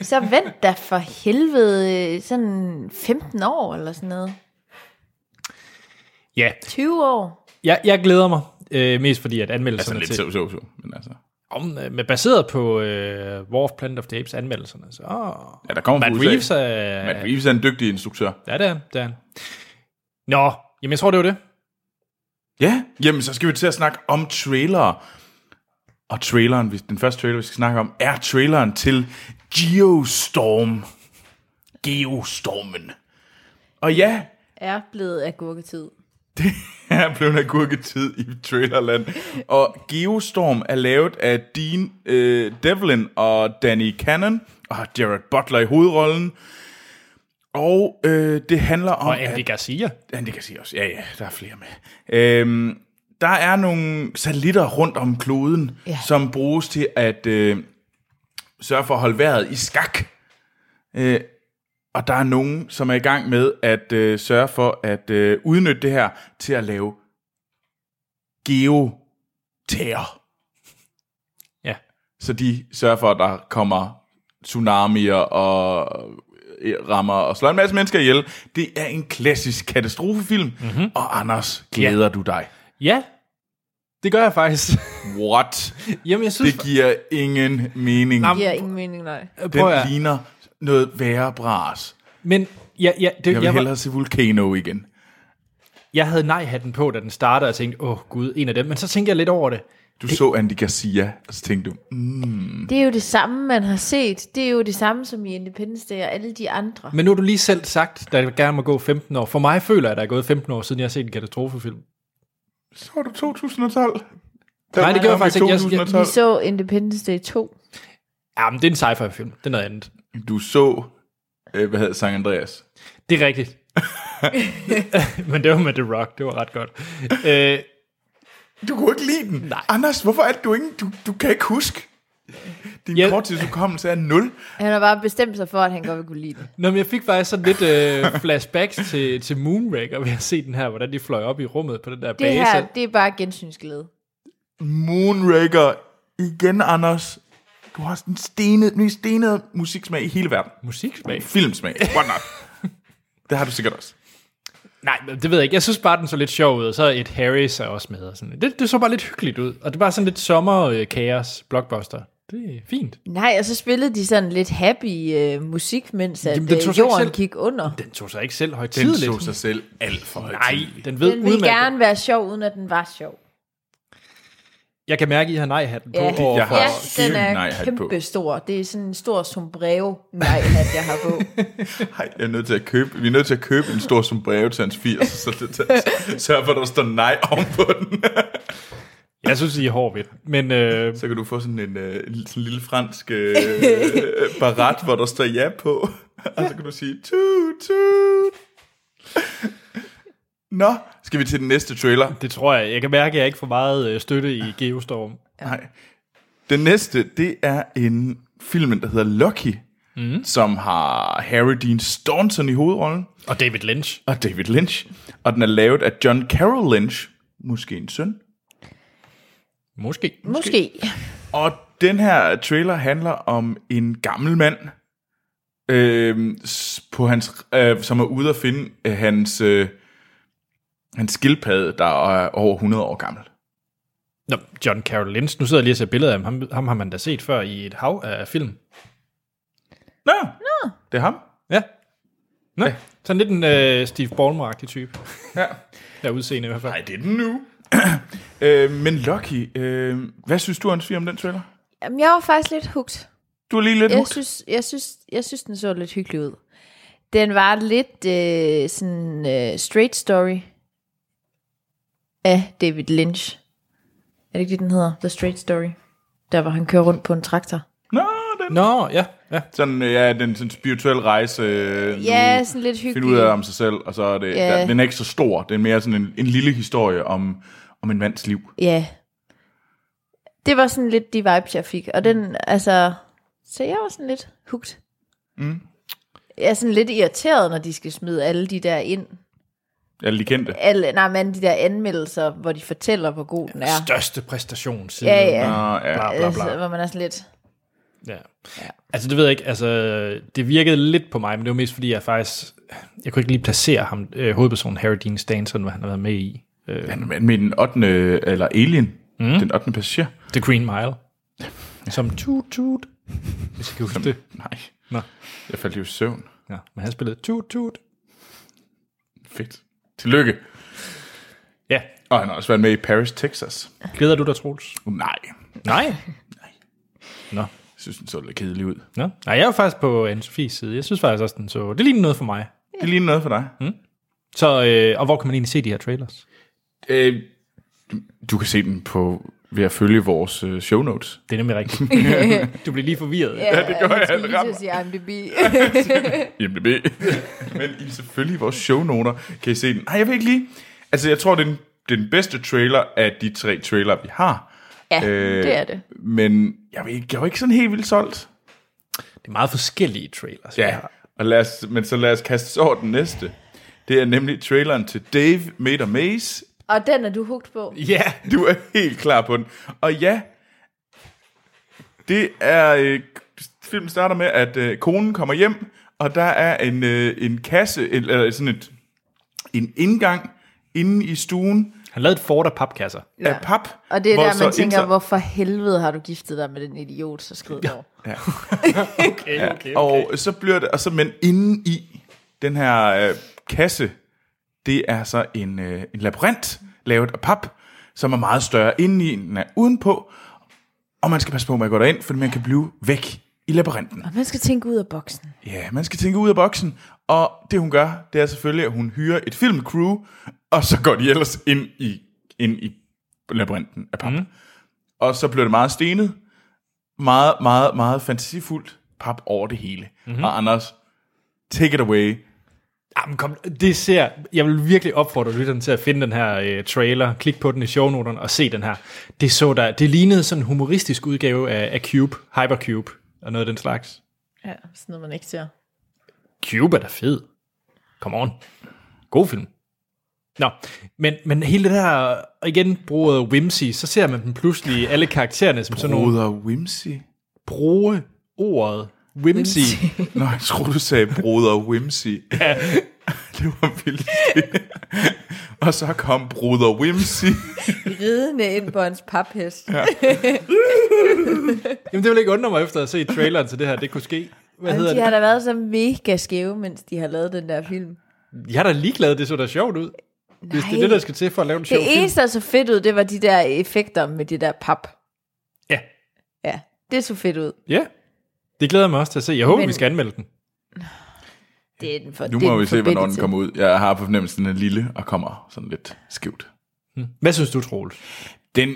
så vent da for helvede øh, sådan 15 år eller sådan noget.
Ja,
20 år.
jeg, jeg glæder mig. Øh, mest fordi, at
Altså
anmeldelserne
lidt så, så, så. Men altså,
Om, øh, men baseret på øh, War of Planet of the Apes anmeldelserne, så... Oh,
ja, der kommer fra
Matt
USA.
Reeves er...
Matt Reeves er en dygtig instruktør.
Ja, det er, han. det er han. Nå, jamen jeg tror, det var det.
Ja, jamen så skal vi til at snakke om trailere. Og traileren, vi- den første trailer, vi skal snakke om, er traileren til Geostorm. Geostormen. Og ja, [LAUGHS]
Er blevet agurketid.
er blevet en gurketid i trailerland. Og Geostorm er lavet af Dean øh, Devlin og Danny Cannon, og har Jared Butler i hovedrollen. Og øh, det handler om...
Og Andy Garcia.
Andy Garcia også. Ja, ja, der er flere med. Øhm, der er nogle satellitter rundt om kloden,
Ja.
som bruges til at øh, sørge for at holde vejret i skak. Øh, og der er nogen, som er i gang med at øh, sørge for at øh, udnytte det her til at lave geoterror.
Ja.
Så de sørger for, at der kommer tsunamier og øh, rammer og slår en masse mennesker ihjel. Det er en klassisk katastrofefilm. Mm-hmm. Og Anders, glæder du dig?
Mhm. Ja, det gør jeg faktisk.
What?
Jamen, jeg synes... øh,
Det giver ingen mening.
Det giver ingen mening, nej.
prøv at-
Den ligner noget værre bras.
Men ja, ja, det,
Jeg
jeg,
vil
var-
hellere se Volcano igen.
jeg havde nej-hatten på, da den startede, og tænkte, åh oh, gud, en af dem. Men så tænkte jeg lidt over det.
Du så Andy Garcia, og så tænkte du, mm,
Det er jo det samme, man har set. Det er jo det samme som i Independence Day og alle de andre.
Men nu har du lige selv sagt, at jeg gerne må gå 15 år. For mig føler jeg, at der er gået 15 år, siden jeg har set en katastrofefilm.
så var du 2012.
Nej, det gjorde jeg faktisk ikke. Jeg-
Vi så Independence Day 2.
Jamen, det er en sci-fi-film. Det er noget andet.
Du så, øh, hvad hedder det, Sankt Andreas.
Det er rigtigt. [LAUGHS] Men det var med The Rock. Det var ret godt. Øh,
Du kunne ikke lide den. Nej. Anders, hvorfor er det, du ikke, du, du kan ikke huske? Din
Jeg-
korttidsudkommelse er 0.
Han har bare bestemt sig for, at han godt vil kunne lide det.
Nå, men jeg fik faktisk sådan lidt øh, flashbacks til, til Moonraker ved at se den her, hvordan de fløj op i rummet på den der
Det
base.
her, det er bare gensynsglæde.
Moonraker. Igen, Anders. Du har den stenede, mest stenede musiksmag i hele verden.
Musiksmag?
Filmsmag. What not? det har du sikkert også.
Nej, men det ved jeg ikke. Jeg synes bare, den så lidt sjov ud, og så et Harris er også med. Og sådan. Det, det så bare lidt hyggeligt ud, og det var sådan lidt sommer-kaos, blockbuster. Det er fint.
Nej, og så spillede de sådan lidt happy øh, musik, mens at,
Jamen, den
øh,
tog sig ikke
jorden
selv-
gik under.
Den tog sig ikke selv
Den
højtidligt.
så sig selv alt for
Nej,
højtidligt.
den ved
Den ville
udmærket.
gerne være sjov, uden at den var sjov.
Jeg kan mærke, at I har nej-hatten på.
Ja,
overfor-
jeg har ja den er kæmpe stor. Det er sådan en stor sombrero nej-hat, jeg
[LAUGHS]
har på.
Ej, jeg er nødt til at købe, vi er nødt til at købe en stor sombrero til hans 80, så det tager, sørg for, at der står nej ovenpå den.
jeg synes, I er hård ved men, øh,
Så kan du få sådan en, øh, en sådan en lille fransk øh, barat, hvor der står ja på, og så kan du sige tut, tut. Nå, skal vi til den næste trailer?
Det tror jeg. Jeg kan mærke, at jeg ikke får meget øh, støtte i Geostorm.
Nej. Den næste, det er en film, der hedder Lucky, mm. som har Harry Dean Staunton i hovedrollen.
Og David Lynch.
Og David Lynch. Og den er lavet af John Carroll Lynch, måske en søn.
Måske.
Måske.
Og den her trailer handler om en gammel mand, øh, på hans, øh, som er ude at finde øh, hans, øh, hans skildpadde, der er over 100 år gammel.
Nå, John Carroll Lynch. Nu sidder jeg lige og ser billeder af ham. ham. Ham har man da set før i et hav af film.
Nå, Nå. det er ham.
Ja. Nå, ja. sådan lidt en øh, Steve ballmer type.
Ja.
Der er udseende i hvert fald.
Nej, det er den nu. [CLEARS THROAT] øh, men Lucky, øh, hvad synes du, Anne-Sophie, om den trailer?
Jamen, jeg var faktisk lidt hugt.
Du er lige lidt
jeg
hooked.
Synes, jeg, synes, jeg synes, den så lidt hyggelig ud. Den var lidt øh, sådan øh, straight story af David Lynch. Er det ikke det, den hedder? The Straight Story. Der, hvor han kører rundt på en traktor.
Nå,
den. Nå, ja. ja.
Sådan, øh, ja, den sådan spirituel rejse. øh,
Ja,
nu
sådan lidt
Finde ud af
hyggelig.
om sig selv, og så er det,
Ja.
yeah. der, den er ikke så stor. Det er mere sådan en, en lille historie om, om en mands liv.
Ja. Det var sådan lidt de vibes, jeg fik. Og den, altså... Så jeg var sådan lidt hugt.
Mm.
Jeg er sådan lidt irriteret, når de skal smide alle de der ind.
Alle de kendte.
Alle, nej, men de der anmeldelser, hvor de fortæller, hvor god den er.
Største præstation siden.
Ja, ja.
Nå, ja.
Bla, bla,
Altså,
bla.
hvor man er sådan lidt...
Ja. Altså, det ved jeg ikke. Altså, det virkede lidt på mig, men det var mest fordi, jeg faktisk... Jeg kunne ikke lige placere ham, øh, hovedpersonen Harry Dean Stanton, hvad han har været med i. Øh,
Han er med- med den 8. eller Alien. Mm. Den 8. passager.
The Green Mile. Som tut tut. Hvis jeg kan huske det.
Nej.
Nå.
Jeg faldt jo i søvn.
Ja, men han spillede tut tut.
Fedt. Tillykke.
Ja.
Og han har også været med i Paris, Texas. Uh,
Glæder du dig, Troels?
Nej.
Nej. Nå.
Jeg synes, den så lidt kedelig ud.
Nå. Nej, jeg er jo faktisk på Anne-Sophies side. Jeg synes faktisk også, den så... Det ligner noget for mig.
Det ligner noget for dig.
Mm. Så, øh, og hvor kan man egentlig se de her trailers?
Øh, du kan se den på ved at følge vores øh, show notes.
Det er nemlig rigtigt. du bliver lige forvirret.
skulle lige til at sige [LAUGHS] IMDb. ja,
IMDb. [LAUGHS] Men I selvfølgelig i vores shownoter kan I se den. Nej, jeg ved ikke lige. Altså, jeg tror, det er den, det er den bedste trailer af de tre trailer, vi har. Øh,
det er det.
Men jeg, ved ikke, jeg var ikke sådan helt vildt solgt.
Det er meget forskellige trailers.
Ja, og lad os, men så lad os kaste os over den næste. Det er nemlig traileren til Dave Meter Maze.
Og den er du hugt på.
Ja,
du er helt klar på den. Og ja, det er... Øh, filmen starter med, at øh, konen kommer hjem, og der er en, øh, en kasse, en- eller sådan et, en indgang inde i stuen
Han lavede et fort af papkasser.
af pap.
Og det er
hvor
der, man
så
tænker,
inter-
hvorfor helvede har du giftet dig med den idiot, så skrid over.
Ja.
Okay,
Ja, okay, okay. Og så bliver det, og så, men inden i den her øh, kasse, det er så en, øh, en labyrint, lavet af pap, som er meget større indeni, end den er udenpå. Og man skal passe på, at man går derind, for man kan blive væk i labyrinten.
Og man skal tænke ud af boksen.
Ja, man skal tænke ud af boksen. Og det hun gør, det er selvfølgelig, at hun hyrer et filmcrew, og så går de ellers ind i, ind i labyrinten af pap. Mm. Og så bliver det meget stenet, meget, meget, meget fantasifuldt pap over det hele. Mm-hmm. Og Anders, take it away.
Jamen kom, det ser, jeg vil virkelig opfordre lytteren til at finde den her øh, trailer, klik på den i shownoterne og se den her. Det så der, det lignede sådan en humoristisk udgave af, af Cube, Hypercube og noget af den slags.
Ja, sådan noget, man ikke ser.
Cube er da fed. Come on. God film. Nå, men, men hele det her, og igen bruget whimsy, så ser man dem pludselig, alle karaktererne som sådan nogle
Broder Whimsy.
bruge ordet whimsy. whimsy.
Nå, jeg tror du sagde Broder Whimsy.
Ja.
[LAUGHS] det var vildt. og så kom Broder Whimsy.
Ridende ind på hans paphest.
Ja.
Jamen det vil ikke undre mig efter at se traileren til det her, det kunne ske. Hvad
Hvad
hedder
de
det?
har da været så mega skæve, mens de har lavet den der film.
Jeg er da ligeglad, det så da sjovt ud. Hvis det er det, der skal til for at lave en sjov
Det
film.
eneste, der så fedt ud, det var de der effekter med de der pap.
Ja.
Ja, det så fedt ud.
Ja, det glæder jeg mig også til at se. Jeg håber,
Men-
vi skal anmelde den.
Det er den for,
Nu
det er
må vi se, hvornår den
forbindelse.
kommer ud. Jeg har på fornemmelsen, den er lille og kommer sådan lidt skævt.
Hvad synes du, Troels?
Den,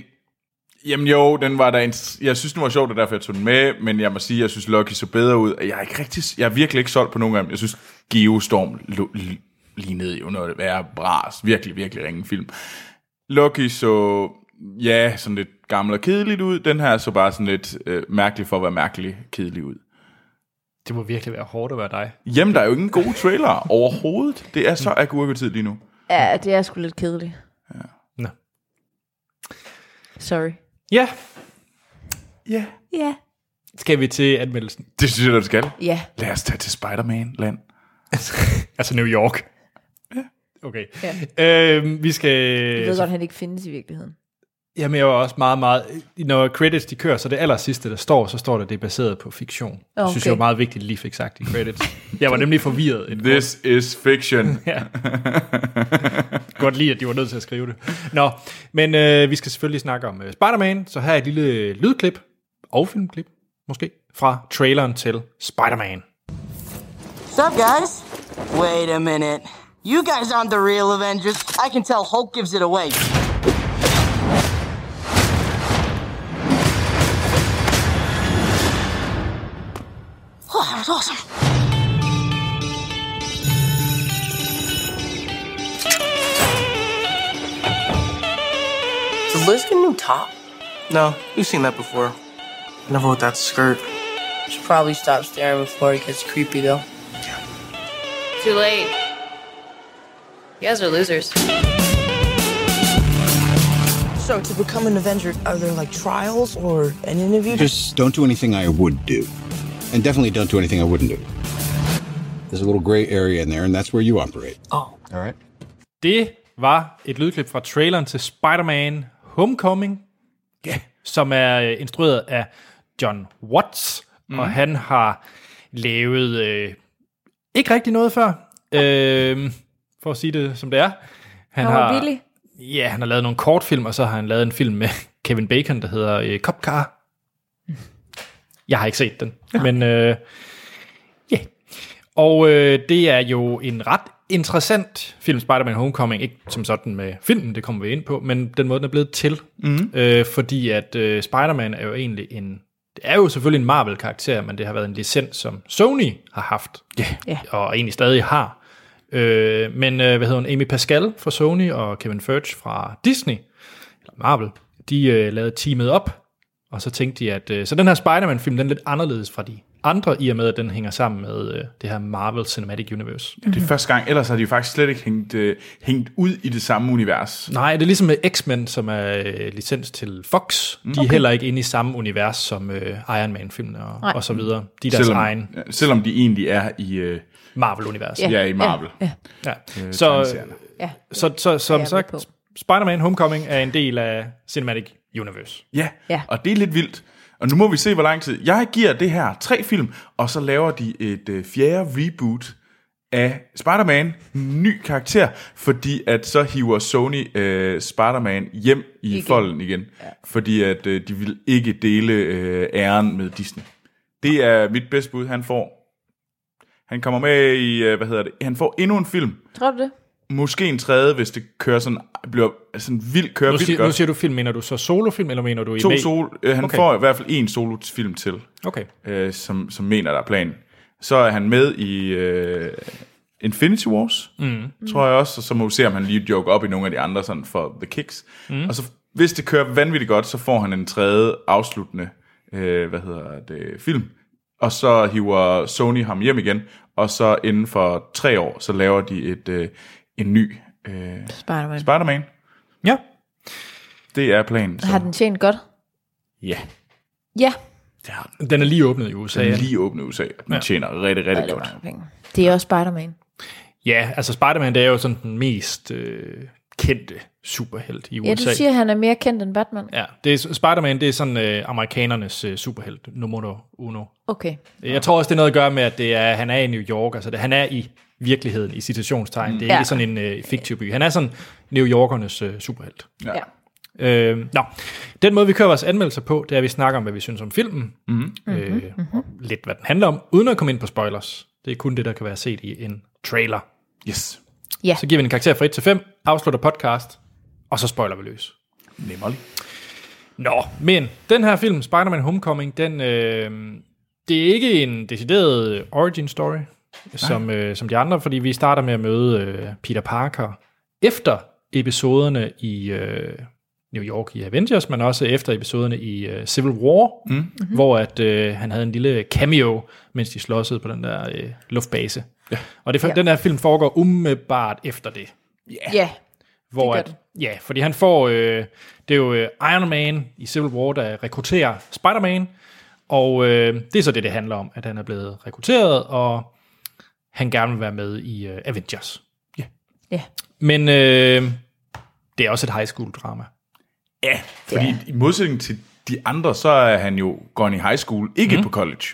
jamen jo, den var der en, jeg synes, den var sjov, det er derfor, jeg tog den med, men jeg må sige, jeg synes, Lucky så bedre ud. og Jeg er, ikke rigtig, jeg er virkelig ikke solgt på nogen af dem. Jeg synes, Geostorm lo- li- lignede jo noget værre bras. Virkelig, virkelig ringe film. Lucky så, ja, sådan lidt gammel og kedeligt ud. Den her så bare sådan lidt øh, mærkelig for at være mærkelig kedelig ud.
Det må virkelig være hårdt at være dig.
Jamen, der er jo ingen gode trailere overhovedet. Det er så agurketid lige nu.
Ja, det er sgu lidt kedeligt. Ja.
Nå.
Sorry.
Ja.
Ja.
Ja.
Skal vi til anmeldelsen?
Det synes jeg, du skal.
Ja.
Lad os tage til Spider-Man-land.
[LAUGHS] altså New York. Okay.
Ja.
Øhm, vi skal...
Jeg ved godt, han ikke findes i virkeligheden.
Jamen, jeg var også meget, meget... Når credits de kører, så det aller sidste, der står, så står der, det er baseret på fiktion. Okay. Jeg synes,
Okay.
det var meget vigtigt, at lige fik sagt i credits. Jeg var nemlig forvirret. Et
This is fiction.
ja. [LAUGHS] Godt lige, at de var nødt til at skrive det. Nå, men øh, vi skal selvfølgelig snakke om øh, Spider-Man, så her er et lille øh, lydklip, og filmklip måske, fra traileren til Spider-Man.
What's up, guys? Wait a minute. You guys aren't the real Avengers. I can tell Hulk gives it away. Oh, that was awesome.
Does Liz get a new top? No, we've seen that before. Never with that skirt.
Should probably stop staring before it gets creepy, though.
Too late. You guys are losers.
So, to become an Avenger, are there like trials or an interview?
Just don't do anything I would do. And definitely don't do anything I wouldn't do. There's a little gray area in there, and that's where you operate. Oh. All right.
Det var et lydklip fra traileren til Spider-Man Homecoming, ja. som er øh, instrueret af John Watts, mm.
Mhm.
og han har lavet øh, ikke rigtig noget før, øh, for at sige det som det er.
Han
Ah.
var billig.
Ja, han har lavet nogle kortfilm, og så har han lavet en film med [LAUGHS] Kevin Bacon, der hedder øh, Cop Car. Jeg har ikke set den, ja. men øh, ja. Og øh, det er jo en ret interessant film, Spider-Man Homecoming. Ikke som sådan med filmen, det kommer vi ind på, men den måde, den er blevet til.
Mhm.
Øh, fordi at øh, Spider-Man er jo egentlig en... Det er jo selvfølgelig en Marvel-karakter, men det har været en licens, som Sony har haft.
Ja.
Og egentlig stadig har. Øh, men øh, hvad hedder hun? Amy Pascal fra Sony og Kevin Furch fra Disney, eller Marvel, de øh, lavede teamet op, og så tænkte de, at... Øh, så den her Spider-Man-film, den er lidt anderledes fra de andre, i og med, at den hænger sammen med øh, det her Marvel Cinematic Universe.
Ja, det er første gang, ellers har de jo faktisk slet ikke hængt, øh, hængt ud i det samme univers.
Nej, det er ligesom med X-Men, som er øh, licens til Fox. De er
Okay.
heller ikke inde i samme univers som øh, Iron Man-filmene og,
Nej.
og så videre. De er deres
selvom,
egen
ja, Selvom de egentlig er i... Øh,
Marvel-univers.
Ja, i Marvel.
Ja. ja.
Øh,
Så,
tegneserierne.
ja.
så, så,
er
som
jeg
sagt,
med på.
Spider-Man Homecoming er en del af Cinematic Universe.
Ja,
Ja.
og det er lidt vildt. Og nu må vi se, hvor lang tid. Jeg giver det her tre film, og så laver de et øh, fjerde reboot af Spider-Man, ny karakter, fordi at så hiver Sony øh, Spider-Man hjem i
Igen.
igen. folden igen, ja. fordi at øh, de vil ikke dele øh, æren med Disney. Det er mit bedste bud, han får. Han kommer med i, øh, hvad hedder det, han får endnu en film,
Tror du det?
måske en tredje, hvis det kører sådan, bliver sådan vildt, kører
Nu
vildt
siger,
godt.
nu siger du film, mener du så solofilm, eller mener du i
To
med-
sol, øh, han okay. får i hvert fald en solofilm til,
Okay.
øh, som, som mener, der er planen. Så er han med i øh, Infinity Wars,
Mm.
mm. tror jeg også, og så må vi se, om han lige joker op i nogle af de andre sådan for The Kicks. Mm. Og så hvis det kører vanvittigt godt, så får han en tredje afsluttende øh, hvad hedder det, film, og så hiver Sony ham hjem igen, og så inden for tre år, så laver de et øh, en ny øh,
Spider-Man.
Spider-Man.
Ja.
Det er planen.
Har den tjent godt?
Ja.
Ja.
Den er lige åbnet i USA.
Den
ja.
er lige åbnet i USA. og Den
Ja.
ja. tjener rigtig, rigtig godt.
Det er også Spider-Man.
Ja, altså Spider-Man, det er jo sådan den mest øh, kendte superhelt i USA.
Ja, du siger, at han er mere kendt end Batman.
Ja, det er, Spider-Man, det er sådan øh, amerikanernes øh, superhelt, nummer uno.
Okay.
Jeg tror også, det er noget at gøre med, at det er, han er i New York. Altså det, han er i virkeligheden, i citationstegn. Det er
Ja.
ikke sådan en øh, fiktiv by. Han er sådan New Yorkernes øh, superhelt.
Ja.
Øh, nå, den måde vi kører vores anmeldelser på, det er, at vi snakker om, hvad vi synes om filmen,
mm-hmm.
øh, og lidt hvad den handler om, uden at komme ind på spoilers. Det er kun det, der kan være set i en trailer.
Yes.
Ja.
Så giver vi en karakter fra 1 til 5, afslutter podcast, og så spoiler vi løs.
Nemmerlig.
Nå, men den her film, Spider-Man Homecoming, den, øh, det er ikke en decideret øh, origin story, som, øh, som de andre, fordi vi starter med at møde øh, Peter Parker efter episoderne i øh, New York i Avengers, men også efter episoderne i øh, Civil War,
Mm. Mhm.
hvor at, øh, han havde en lille cameo, mens de slåsede på den der øh, luftbase. Ja. Og det,
Ja.
den her film foregår umiddelbart efter det.
Ja. ja.
Hvor
gør
at, ja, fordi han får, øh, det er jo øh, Iron Man i Civil War, der rekrutterer Spider-Man, og øh, det er så det, det handler om, at han er blevet rekrutteret, og han gerne vil være med i øh, Avengers.
Ja.
Men øh, det er også et high school drama.
Ja, fordi ja. i modsætning til de andre, så er han jo gone i high school, ikke mm. på college.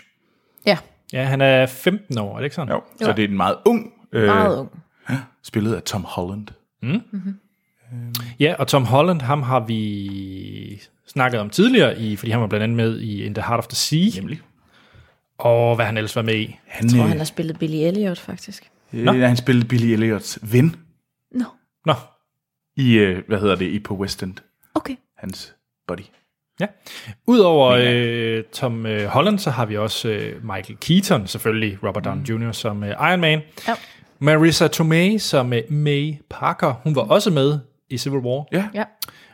Ja.
Ja, han er 15 år, er det ikke sådan?
Jo,
Jo.
så det er en meget ung.
Meget ung.
ja, Spillet af Tom Holland.
Mm. Ja, og Tom Holland, ham har vi snakket om tidligere, i, fordi han var blandt andet med i In the Heart of the Sea.
Nemlig.
Og hvad han ellers var med i.
Han,
Jeg tror,
øh,
han har spillet Billy Elliot, faktisk.
Nå.
Øh, han spillede Billy Elliots ven.
Nå.
Nå.
I, øh, hvad hedder det, i på West End.
Okay.
Hans buddy.
Ja. Udover øh, Tom øh, Holland, så har vi også øh, Michael Keaton, selvfølgelig Robert Downey mm. Jr. som øh, Iron Man.
Ja.
Marissa Tomei som øh, May Parker. Hun var også med i Civil War.
Ja.
Ja.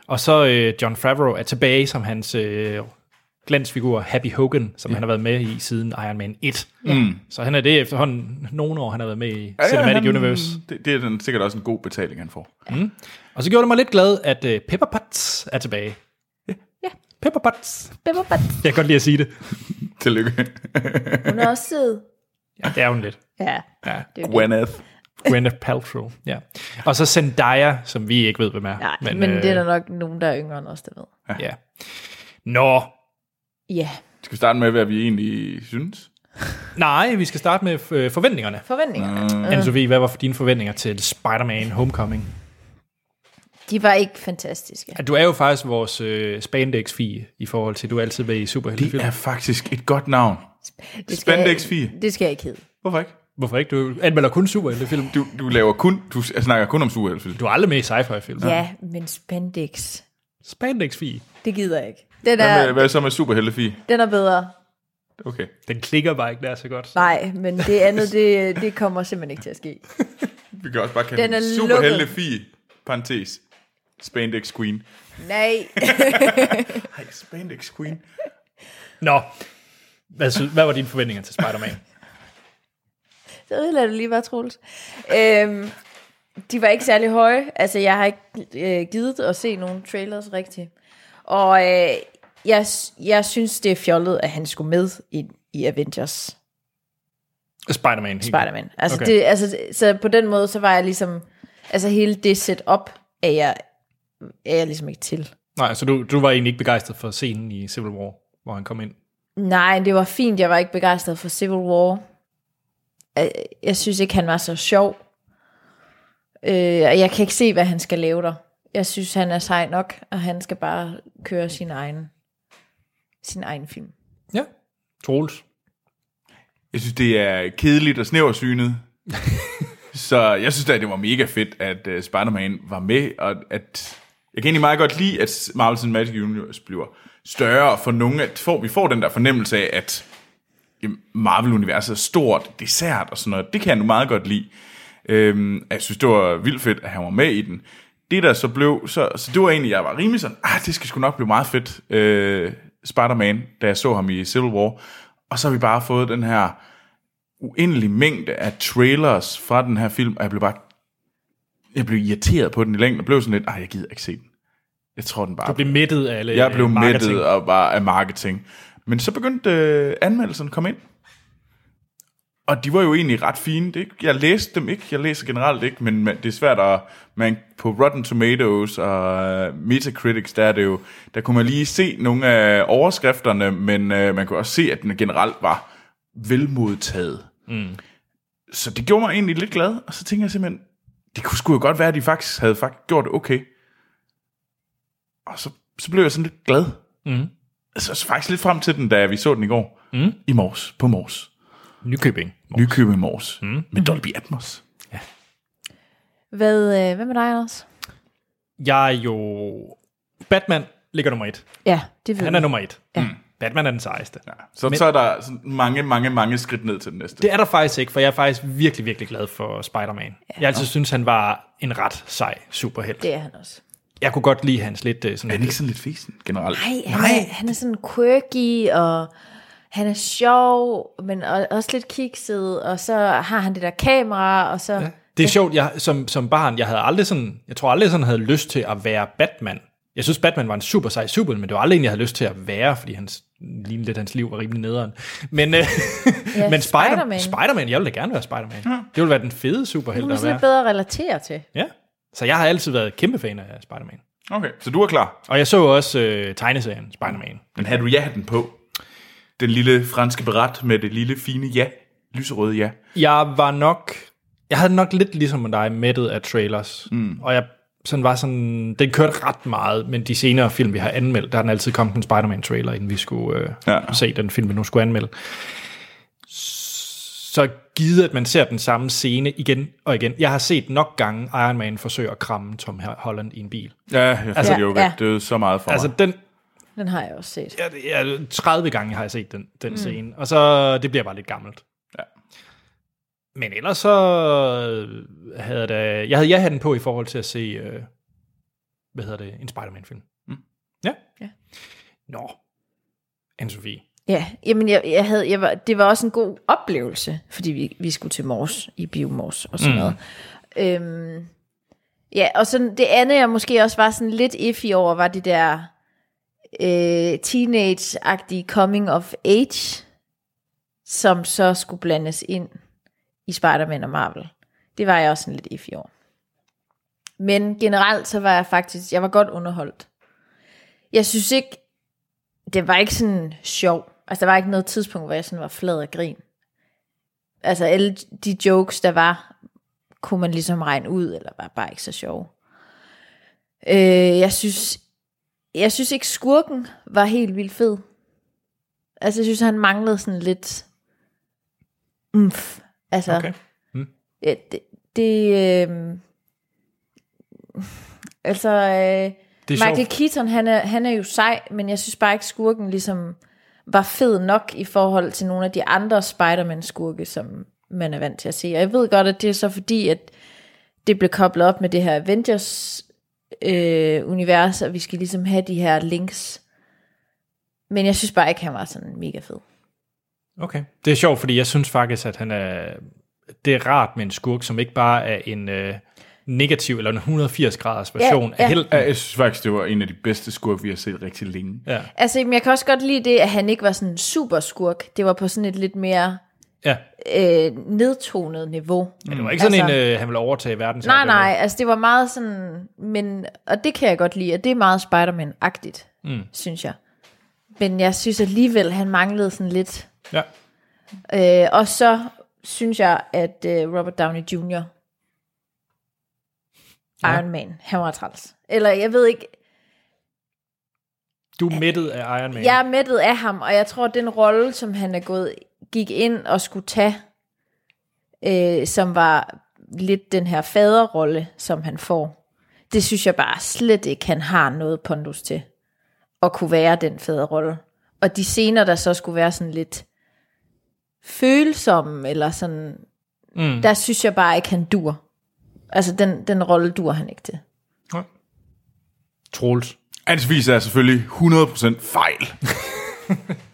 Og så øh, John Favreau er tilbage som hans øh, glansfigur Happy Hogan, som ja. han har været med i siden Iron Man 1.
Ja. Mm.
Så han er det efterhånden nogle år, han har været med i Cinematic
han,
Universe.
Det, det er den, sikkert også en god betaling, han får.
Mm. Og så gjorde det mig lidt glad, at øh, Pepper Potts er tilbage. Ja, Pepper Potts.
Pepper Potts.
Jeg kan godt lide at sige det.
Tillykke.
Hun er også sød.
Ja, det er hun lidt.
Ja.
Ja.
Det er jo
Gwyneth.
Gwyneth Paltrow, ja. Og så Zendaya, som vi ikke ved, hvem er.
Nej, men, men øh... det er der nok nogen, der er yngre end os, der ved.
Ja. Nå,
Ja.
Skal vi starte med, hvad vi egentlig synes?
nej, vi skal starte med øh, forventningerne.
Forventningerne.
Mm.
Mm.
Anne-Sophie, hvad var dine forventninger til Spider-Man Homecoming?
De var ikke fantastiske.
At Du er jo faktisk vores øh, spandex fie i forhold til, du er altid med i superheltefilm.
Det er faktisk et godt navn.
Det skal jeg-
Spandex 4.
Det skal jeg ikke hedde.
Hvorfor ikke?
Hvorfor ikke? Du anmelder kun superheltefilm.
Du, du laver kun, du snakker kun om superheltefilm.
Du er aldrig med i sci-fi-film.
Ja, ja men spandex.
Spandex fi.
Det gider jeg ikke. Den
Hvad, med,
er,
hvad så med superheltefi?
den er bedre.
Okay.
Den klikker bare ikke der så godt.
Nej, men det andet, det, det kommer simpelthen ikke til at ske.
Vi kan også bare kalde
Den
den
er
superheltefi, parentes, Spandex Queen.
Nej.
Hej, Spandex Queen.
Nå, hvad, sy- hvad var dine forventninger til Spider-Man?
Så ødelagde du lige bare Troels. Øhm, de var ikke særlig høje. Altså, jeg har ikke øh, givet at se nogen trailers rigtigt. Og øh, jeg, s- jeg synes, det er fjollet, at han skulle med i, i Avengers
Spider-Man. helt
Spider-Man.
klart.
Altså, okay. det, altså, så på den måde, så var jeg ligesom... Altså, hele det setup er jeg, er jeg ligesom ikke til.
Nej, så du, du var egentlig ikke begejstret for scenen i Civil War, hvor han kom ind.
Nej, det var fint. Jeg var ikke begejstret for Civil War. Øh, Jeg synes ikke, han var så sjov. Øh, og jeg kan ikke se, hvad han skal lave der. Jeg synes, han er sej nok, og han skal bare køre sin egen, sin egen film.
Ja. Troels.
Jeg synes, det er kedeligt og [LAUGHS] snæversynet. så jeg synes da, det var mega fedt, at uh, Spider-Man var med, og at jeg kan egentlig meget godt lide, at Marvel Cinematic Universe bliver større for nogle, at får, vi får den der fornemmelse af, at jamen, Marvel-universet er stort, det er sært og sådan noget. Det kan jeg nu meget godt lide. Øhm, og jeg synes, det var vildt fedt, at han var med i den. Det der så blev, så, så det var egentlig, jeg var rimelig sådan, ah, det skal sgu nok blive meget fedt, øh, Spider-Man, da jeg så ham i Civil War. Og så har vi bare fået den her uendelig mængde af trailers fra den her film, og jeg blev bare jeg blev irriteret på den i længden, og blev sådan lidt, ej, jeg gider ikke se den. Jeg tror, den bare...
Du blev mættet af alle
Jeg blev
øh, marketing.
mættet og bare af marketing. Men så begyndte øh, anmeldelsen at komme ind. Og de var jo egentlig ret fine. Det, jeg læste dem ikke. Jeg læser generelt ikke, men man, det er svært at... Man, på Rotten Tomatoes og øh, Metacritics, der er det jo... Der kunne man lige se nogle af overskrifterne, men øh, man kunne også se, at den generelt var velmodtaget.
Mm.
Så det gjorde mig egentlig lidt glad, og så tænker jeg simpelthen, det kunne sgu jo godt være, at de faktisk havde faktisk gjort det okay. Og så, så blev jeg sådan lidt glad.
Mm.
Altså, så faktisk lidt frem til den, da vi så den i går.
Mm.
I morges, på morges.
Nykøbing.
Mors. Nykøbing Mors. Mm. Med Dolby Atmos.
Hvad, øh, hvad med dig, Anders?
Jeg er jo... Batman ligger nummer et.
Ja, det ved
Han er
vi.
nummer et.
Ja.
Batman er den sejeste. Mm. Ja.
Så, Men, så er der sådan mange, mange, mange skridt ned til den næste.
Det er der faktisk ikke, for jeg er faktisk virkelig, virkelig glad for Spider-Man. Ja. Jeg altid synes, han var en ret sej superhelt.
Det er han også.
Jeg kunne godt lide hans lidt... øh, Sådan er
han ikke sådan lidt fesen generelt?
Nej, han, Nej. Er, han er sådan quirky, og han er sjov, men o- også lidt kikset, og så har han det der kamera, og så... Ja.
Det er sjovt, jeg, som, som barn, jeg havde aldrig sådan, jeg tror aldrig sådan havde lyst til at være Batman. Jeg synes, Batman var en super sej super, men det var aldrig en, jeg havde lyst til at være, fordi hans, lige lidt hans liv var rimelig nederen. Men, øh, ja, men Spider-Man.
Spider-Man.
Spider-Man, jeg ville da gerne være Spider-Man. Ja. Det ville være den fede
Nu
superhelt
er
at
sådan
være.
lidt bedre at relatere til.
Ja. Så jeg har altid været kæmpe fan af Spider-Man.
Okay, så du er klar.
Og jeg så også øh, tegneserien Spider-Man.
Men havde du ja-hatten på? Den lille franske beret med det lille fine ja. Lyserøde ja.
Jeg var nok... Jeg havde nok lidt ligesom dig mættet af trailers.
Mm.
Og jeg sådan var sådan... Den kørte ret meget, men de senere film, vi har anmeldt, der er den altid kommet en Spider-Man-trailer, inden vi skulle øh, ja. se den film, vi nu skulle anmelde. Så givet, at man ser den samme scene igen og igen. Jeg har set nok gange Iron Man forsøge at kramme Tom Holland i en bil.
Ja, jeg altså,
Altså-
det jo
Ja.
ja. Det er så meget for
Altså,
mig.
den,
Den har jeg også set.
Ja, det er 30 gange har jeg set den, den
Mm.
mm. scene, og så det bliver bare lidt gammelt.
Ja.
Men ellers så øh, havde jeg da, jeg havde jeg den på i forhold til at se, øh, hvad hedder det, en Spider-Man-film.
Mm.
Ja.
Ja.
Nå, Anne-Sophie.
Ja, jamen jeg, jeg havde, jeg var, det var også en god oplevelse, fordi vi, vi skulle til Mors, i Biomors og
Mm.
sådan mm. noget. Øhm, ja, og sådan, det andet, jeg måske også var sådan lidt iffy over, var det der øh, teenage-agtige coming of age, som så skulle blandes ind i Spider-Man og Marvel. Det var jeg også sådan lidt iffy over. Men generelt, så var jeg faktisk, jeg var godt underholdt. Jeg synes ikke, det var ikke sådan sjov. Altså, der var ikke noget tidspunkt, hvor jeg sådan var flad af grin. Altså, alle de jokes, der var, kunne man ligesom regne ud, eller var bare ikke så sjove. Øh, jeg synes, jeg synes ikke, skurken var helt vildt fed. Altså, jeg synes, han manglede sådan lidt... Umf. Altså,
Okay. Mm.
Ja, det, det øh, altså, øh, Michael
sjovt.
Keaton, han er, han er jo sej, men jeg synes bare ikke, skurken ligesom var fed nok i forhold til nogle af de andre Spider-Man-skurke, som man er vant til at se. Og jeg ved godt, at det er så fordi, at det blev koblet op med det her Avengers-univers, øh, univers, og vi skal ligesom have de her links. Men jeg synes bare ikke, han var sådan mega fed.
Okay. Det er sjovt, fordi jeg synes faktisk, at han er, det er rart med en skurk, som ikke bare er en øh, negativ eller en 180-graders version
ja.
af helten.
Ja, jeg synes faktisk, det var en af de bedste skurke, vi har set rigtig længe.
Ja.
Altså, men jeg kan også godt lide det, at han ikke var sådan en super skurk. Det var på sådan et lidt mere
ja.
øh, nedtonet niveau.
Men det var ikke sådan
altså,
en, øh, han ville overtage verden.
Nej, nej, altså det var meget sådan, men, og det kan jeg godt lide, at det er meget Spider-Man-agtigt,
Mm.
synes jeg. Men jeg synes alligevel, han manglede sådan lidt.
Ja.
Øh, og så synes jeg, at øh, Robert Downey Jr., Iron
Ja.
Man, han var træls. Eller jeg ved ikke,
Du er mættet af Iron Man.
jeg er mættet af ham, og jeg tror, at den rolle, som han er gået, gik ind og skulle tage, øh, som var lidt den her faderrolle, som han får, det synes jeg bare slet ikke, han har noget pondus til at kunne være den faderrolle. Og de scener, der så skulle være sådan lidt følsomme, eller sådan,
Mm.
der synes jeg bare ikke, han dur. Altså, den, den rolle dur han ikke til.
Troels.
Ansvis er selvfølgelig 100% fejl. [LAUGHS]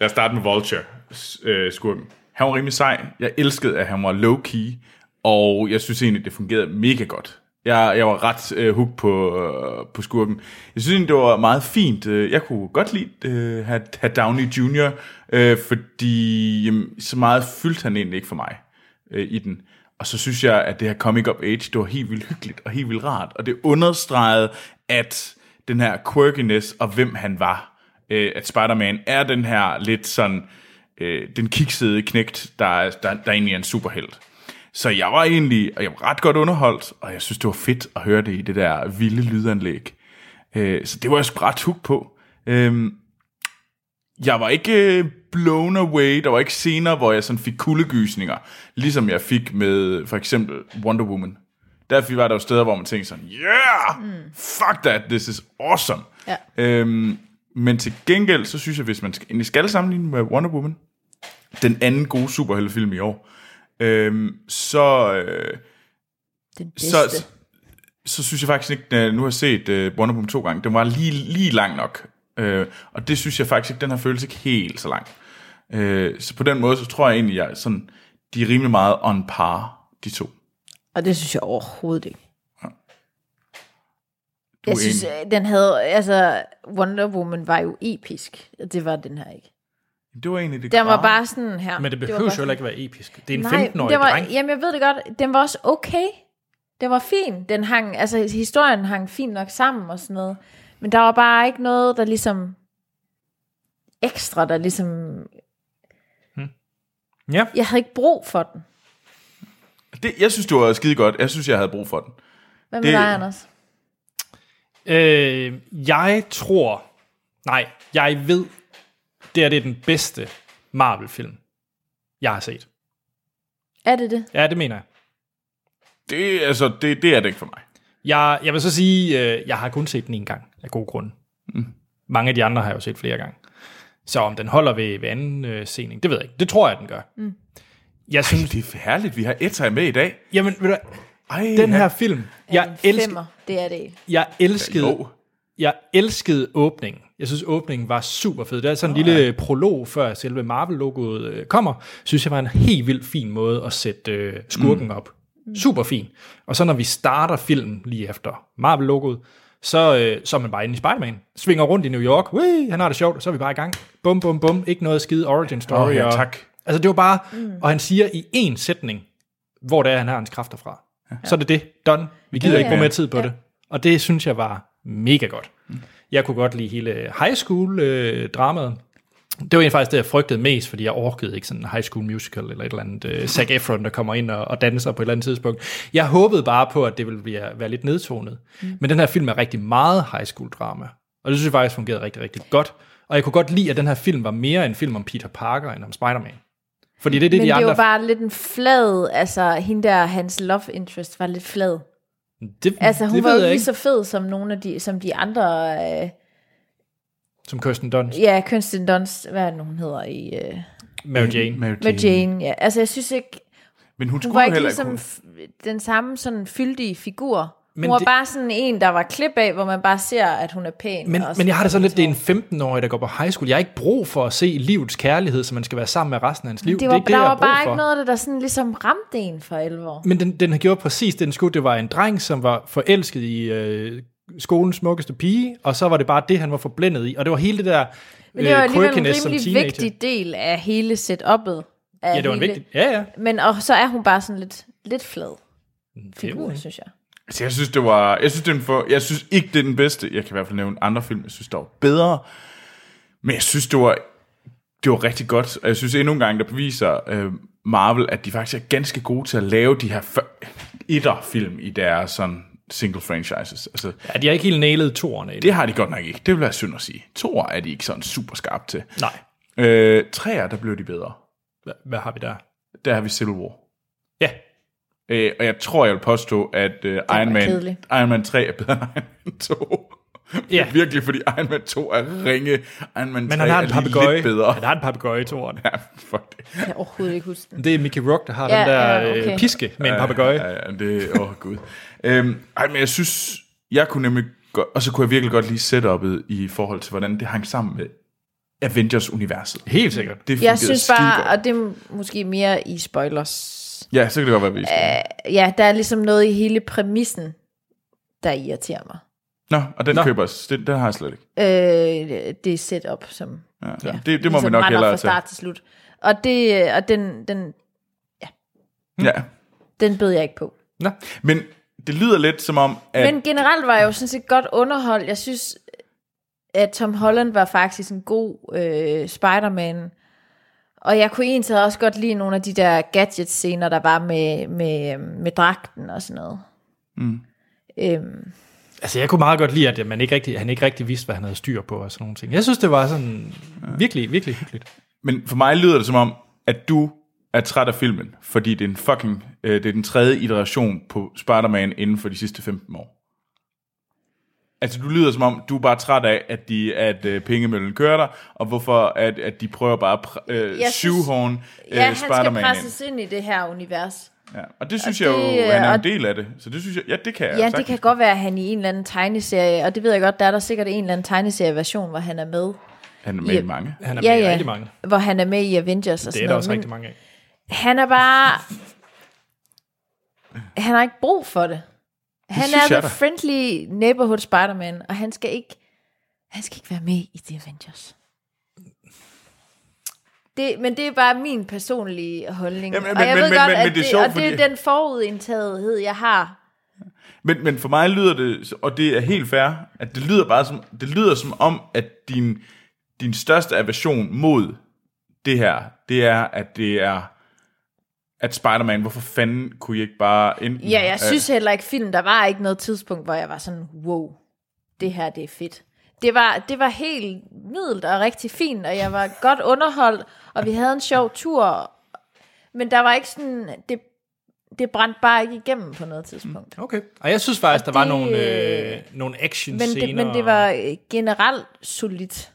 Lad os starte med Vulture, s- øh, skurken. Han var rimelig sej. Jeg elskede, at han var low-key, og jeg synes egentlig, det fungerede mega godt. Jeg, jeg var ret øh, hooked på, øh, på skurken. Jeg synes egentlig, det var meget fint. Øh, Jeg kunne godt lide øh, have, have Downey Jr., øh, fordi jamen, så meget fyldte han egentlig ikke for mig øh, i den. Og så synes jeg, at det her Comic Up Age, det var helt vildt hyggeligt og helt vildt rart. Og det understregede, at den her quirkiness og hvem han var, øh, at Spider-Man er den her lidt sådan, øh, den kiksede knægt, der, er- der, der egentlig er en superhelt. Så jeg var egentlig og jeg var ret godt underholdt, og jeg synes, det var fedt at høre det i det der vilde lydanlæg. Øh, så det var jeg sgu ret hooked på. Øhm, jeg var ikke øh, blown away. Der var ikke scener, hvor jeg sådan fik kuldegysninger, ligesom jeg fik med for eksempel Wonder Woman. Derfor var der jo steder, hvor man tænkte sådan, yeah, mm. fuck that, this is awesome.
Ja.
Øhm, men til gengæld, så synes jeg, hvis man skal, egentlig skal sammenligne med Wonder Woman, den anden gode superheltefilm i år, øhm, så, øh,
Den bedste.
så, så synes jeg faktisk ikke, at nu har jeg set øh, Wonder Woman to gange, den var lige, lige lang nok. Øh, og det synes jeg faktisk ikke, den her følelse ikke helt så lang. Øh, så på den måde, så tror jeg egentlig, jeg sådan, de er rimelig meget on par, de to.
Og det synes jeg overhovedet ikke.
Du er
Jeg synes,
enig.
øh, den havde, altså, Wonder Woman var jo episk, og det var den her ikke.
Det var egentlig det
Den var
grave.
bare sådan her.
Men det
Ah, var
behøver jo
bare
heller ikke være episk. Det er en
Nej,
15-årig
den var,
dreng.
Jamen, jeg ved det godt. Den var også okay. Den var fin. Den hang, altså, historien hang fint nok sammen og sådan noget. Men der var bare ikke noget, der ligesom ekstra, der ligesom...
Hmm. Ja.
Jeg havde ikke brug for den. øh-
Det, jeg synes, det var skide godt. Jeg synes, jeg havde brug for den.
Hvad med det... dig, Anders?
Øh, jeg tror... Nej, jeg ved, det er det er den bedste Marvel-film, jeg har set.
Er det det?
Ja, det mener jeg.
Det, altså, det, det er det ikke for mig.
Jeg, jeg vil så sige, øh, jeg har kun set den en gang, af god grund.
Mm.
Mange af de andre har jeg jo set flere gange. Så om den holder ved, ved anden øh, sening, det ved jeg ikke. Det tror jeg, den gør.
Mm.
Jeg synes,
Det er herligt, vi har Etta med i dag.
Jamen, ved du,
Ej,
den her film, jeg, elsker,
Femmer, det er det ikke.
jeg elskede,
Jo.
jeg elskede åbningen. Jeg synes, åbningen var super fed. Det er sådan en lille prolog, før selve Marvel-logoet øh, kommer. Synes jeg var en helt vildt fin måde at sætte øh, skurken
Mm.
op. Super fin. Og så når vi starter filmen lige efter Marvel-logoet, så, øh, så er man bare inde i Spider-Man. Svinger rundt i New York. Whee, han har det sjovt, så er vi bare i gang. Bum, bum, bum. Ikke noget skide origin story.
Åh, ja,
og-
tak.
Altså det var bare, mm. og han siger i én sætning, hvor det er, han har hans kræfter fra. Ja. Så er det det. Done. Vi gider
Ja,
ja, ikke
ja.
bruge mere tid på
Ja.
det. Og det synes jeg var mega godt. Jeg kunne godt lide hele high school øh, dramaet. Det var egentlig faktisk det, jeg frygtede mest, fordi jeg orkede ikke sådan en high school musical eller et eller andet øh,
[LAUGHS]
Zac Efron, der kommer ind og, og danser på et eller andet tidspunkt. Jeg håbede bare på, at det ville blive, være lidt nedtonet. Mm. Men den her film er rigtig meget high school drama, og det synes jeg faktisk fungerede rigtig, rigtig godt. Og jeg kunne godt lide, at den her film var mere en film om Peter Parker end om Spider-Man. Fordi det er det, de
Men det
andre...
var bare lidt en flad, altså hende der, hans love interest var lidt flad.
Det,
Altså hun
det
var
ved
jo
jeg
lige
ikke,
så fed som nogle af de, som de andre, øh,
som Kirsten Dunst.
ja, Kirsten Dunst, hvad er det, hun hedder i... Øh,
Mary Jane.
Mary
med Jane, ja. Altså jeg synes ikke,
Men hun,
hun
skulle
var
jo
ikke
heller
ligesom
ikke
f- den samme sådan fyldige figur. Men
Men
hun var
det-
det... bare sådan en, der var klip af, hvor man bare ser, at hun er pæn.
Men,
og
men jeg har det sådan lidt, det er en 15-årig, der går på high school. Jeg har ikke brug for at se livets kærlighed, som man skal være sammen med resten af hans liv.
det var,
det er ikke det,
der
jeg
var
har brug
bare
for.
ikke noget af det, der sådan ligesom ramte en for alvor.
Men den, den har gjort præcis det, den skulle. Det var en dreng, som var forelsket i øh, skolens smukkeste pige, og så var det bare det, han var forblændet i. Og det var hele det der
Men det var alligevel en
Øh, quirkiness som
rimelig
teenager.
vigtig del af hele setup'et. Af
Ja, det var en
hele-
vigtig... Ja, ja.
Men og så er hun bare sådan lidt, lidt flad
Mm,
ved
figur,
jeg.
synes jeg.
Altså, jeg synes, det var... Jeg synes, det er den for, jeg synes ikke, det er den bedste. Jeg kan i hvert fald nævne andre film, jeg synes, der var bedre. Men jeg synes, det var, det var rigtig godt. Og jeg synes endnu en gang, der beviser øh, Marvel, at de faktisk er ganske gode til at lave de her før- etter-film i deres sådan, single franchises. Altså,
ja, de har ikke helt nailet toerne.
Det har de godt nok ikke. Det vil være synd at sige. Toer er de ikke sådan super skarpe til.
Nej.
Øh, træer, der blev de bedre.
Hvad, hvad har vi der?
Der har vi Civil War.
Ja.
Øh, og jeg tror, jeg vil påstå, at øh, Iron, Man,
kedelig.
Iron Man 3 er bedre end Iron Man [LAUGHS] 2.
Ja.
Virkelig, fordi Iron Man 2 er ringe. Iron Man 3
Men han har en
er lige
papegøje.
lidt bedre.
Han har en papegøje i toeren.
[LAUGHS] Ja, fuck det.
Jeg kan overhovedet ikke huske den.
Det er Mickey Rock, der har
Ja,
den der
ja, okay.
øh, piske med en papegøje.
Ja, ja, det åh oh, gud. Øhm, ej, men jeg synes, jeg kunne nemlig godt, og så kunne jeg virkelig godt lide setup'et i forhold til, hvordan det hang sammen med Avengers-universet.
Helt sikkert.
Det fungerede
Jeg synes
skidegodt.
bare, og det er måske mere i spoilers.
Ja, så kan det godt være, vi
Øh, ja, der er ligesom noget i hele præmissen, der irriterer mig.
Nå, og den køber os. Den, den har jeg slet ikke.
Øh, det er setup, som
Ja. Ja. Det, det må vi nok
render
hellere
Ligesom fra start til slut. Og, det, øh, og den, den,
Ja.
den bed jeg ikke på.
Nå.
Men det lyder lidt som om, at...
Men generelt var jeg jo sådan set godt underholdt. Jeg synes, at Tom Holland var faktisk en god øh, Spider-Man. Og jeg kunne egentlig også godt lide nogle af de der gadget-scener, der var med, med, øh, med dragten og sådan noget.
Mm.
Øh,
Øhm,
Altså, jeg kunne meget godt lide, at man ikke rigtig, han ikke rigtig vidste, hvad han havde styr på og sådan nogle ting. Jeg synes, det var sådan virkelig, virkelig hyggeligt.
Men for mig lyder det som om, at du er træt af filmen, fordi det er, en fucking, øh, det er den tredje iteration på Spider-Man inden for de sidste 15 år. Altså, du lyder som om, du er bare træt af, at, de, at øh, pengemøllen kører dig, og hvorfor at, at de prøver bare at pr- øh,
Jeg synes-
syvhorn øh,
ja, han skal
Spider-Man ind.
presses ind i det her univers.
Ja, og det synes
Og
jeg jo,
det, øh,
han er en
og-
del af det. Så det synes jeg, ja, det kan jeg
Ja, det
sagtens.
kan godt være, at han i en eller anden tegneserie, og det ved jeg godt, der er der sikkert en eller anden tegneserie-version, hvor han er med.
Han er med i mange.
Han er
ja,
med i
ja,
rigtig mange.
Hvor han er med i Avengers og
Det
sådan
er der
noget.
også
men
rigtig mange af.
Han er bare... Han har ikke brug for det. Han
synes
er
jeg
the
da.
friendly neighborhood Spider-Man, og han skal ikke, han skal ikke være med i The Avengers. Det, men det er bare min personlige holdning.
Jamen,
og
men-
jeg
men-
ved
men-
godt,
men-
at
men det er
det,
sjovt,
og det er
fordi-
den forudindtagethed, jeg har
Men, men for mig lyder det, og det er helt fair, at det lyder bare som, det lyder som om, at din, din største aversion mod det her, det er, at det er, at Spider-Man, hvorfor fanden kunne I ikke bare enten...
Ja, jeg synes heller ikke film, der var ikke noget tidspunkt, hvor jeg var sådan, wow, det her det er fedt. Det var, det var helt middelt og rigtig fint, og jeg var godt underholdt, og vi havde en sjov tur, men der var ikke sådan, det, det brændte bare ikke igennem på noget tidspunkt.
Okay. Og jeg synes faktisk, der var
det-
nogle, øh, nogle
Men
action-scener.
det, men det var øh, generelt solidt.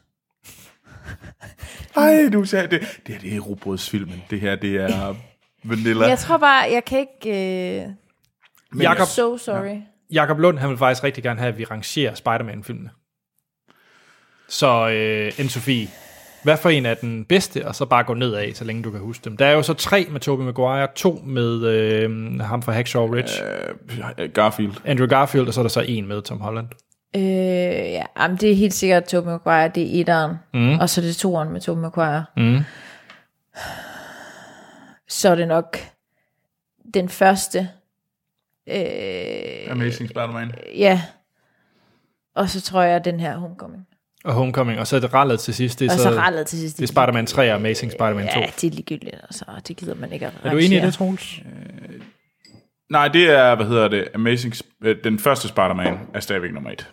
Ej, du sagde det. Det her, det er robotsfilmen. Det her, det er
[LAUGHS]
vanilla.
Jeg tror bare, jeg kan ikke... Øh,
Men Jakob-
so sorry.
Jakob Lund, han vil faktisk rigtig gerne have, at vi rangerer Spider-Man-filmene. Så øh, Anne-Sophie, hvad for en er den bedste, og så bare gå nedad, så længe du kan huske dem. Der er jo så tre med Tobey Maguire, to med øh, ham fra Hacksaw Ridge,
Øh, Garfield.
Andrew Garfield, og så er der så en med Tom Holland.
Øh, ja, jamen, det er helt sikkert Tobey Maguire, det er etteren,
Mm.
og så er det toeren med Tobey Maguire.
Mm.
så er det nok den første. Øh,
Amazing Spider-Man.
ja. Og så tror jeg, den her Homecoming.
Og Homecoming, og så er det rallet til sidst. Det er
Og så rallet til sidst.
Det er Spider-Man 3 og Amazing Spider-Man 2.
Ja, det er ligegyldigt, altså. og Det gider man ikke at
Er du enig i
rangere.
det, Troels?
Nej, det er, hvad hedder det, Amazing... Sp- øh, Den første Spider-Man er stadigvæk nummer et.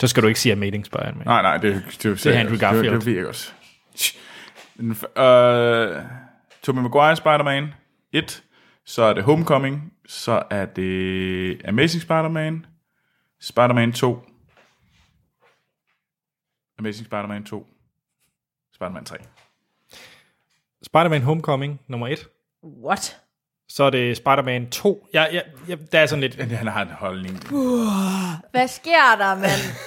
Så skal du ikke sige Amazing Spider-Man.
Nej, nej, det, det, det,
Det er Andrew Garfield.
Det, det ved jeg godt. Den f- Øh, Tobey Maguire Spider-Man 1, så er det Homecoming, så er det Amazing Spider-Man, Spider-Man 2, Amazing Spider-Man 2, Spider-Man 3.
Spider-Man Homecoming, nummer 1.
What?
Så er det Spider-Man 2. Ja, ja, ja, der er sådan
[LAUGHS]
lidt...
Han har en holdning.
Uh, hvad sker der, mand?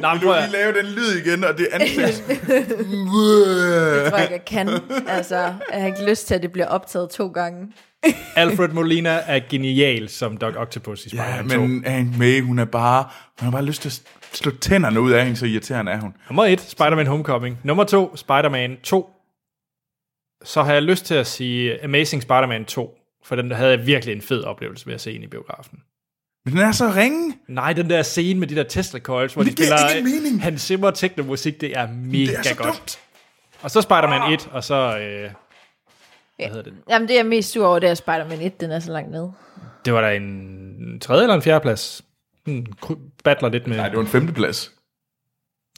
Nej,
Vil du lige lave den lyd igen, og [LAUGHS] det er ansigt?
Jeg tror ikke, jeg kan. Altså, jeg har ikke lyst til, at det bliver optaget to gange.
Alfred Molina er genial som Doc Octopus i Spider-Man
Ja,
2.
men Aunt May, hun er bare... Hun har bare lyst til at slå tænderne ud af hende, så irriterende er hun.
Nummer 1, Spider-Man Homecoming. Nummer 2, Spider-Man 2. Så har jeg lyst til at sige Amazing Spider-Man 2, for den der havde jeg virkelig en fed oplevelse ved at se ind i biografen.
Men den er så ringe.
Nej, den der scene med de der Tesla Coils, hvor de
Det giver
spiller øh,
ingen mening.
han simmer teknomusik, det er mega
Det er så
godt.
dumt.
Og så Spider-Man 1, og så... Øh, hvad hedder det?
Jamen, det jeg er mest sur over, det er at Spider-Man 1, den er så langt nede.
Det var da en tredje eller en fjerde plads. Den kry- battler lidt med...
Nej, det var en femteplads.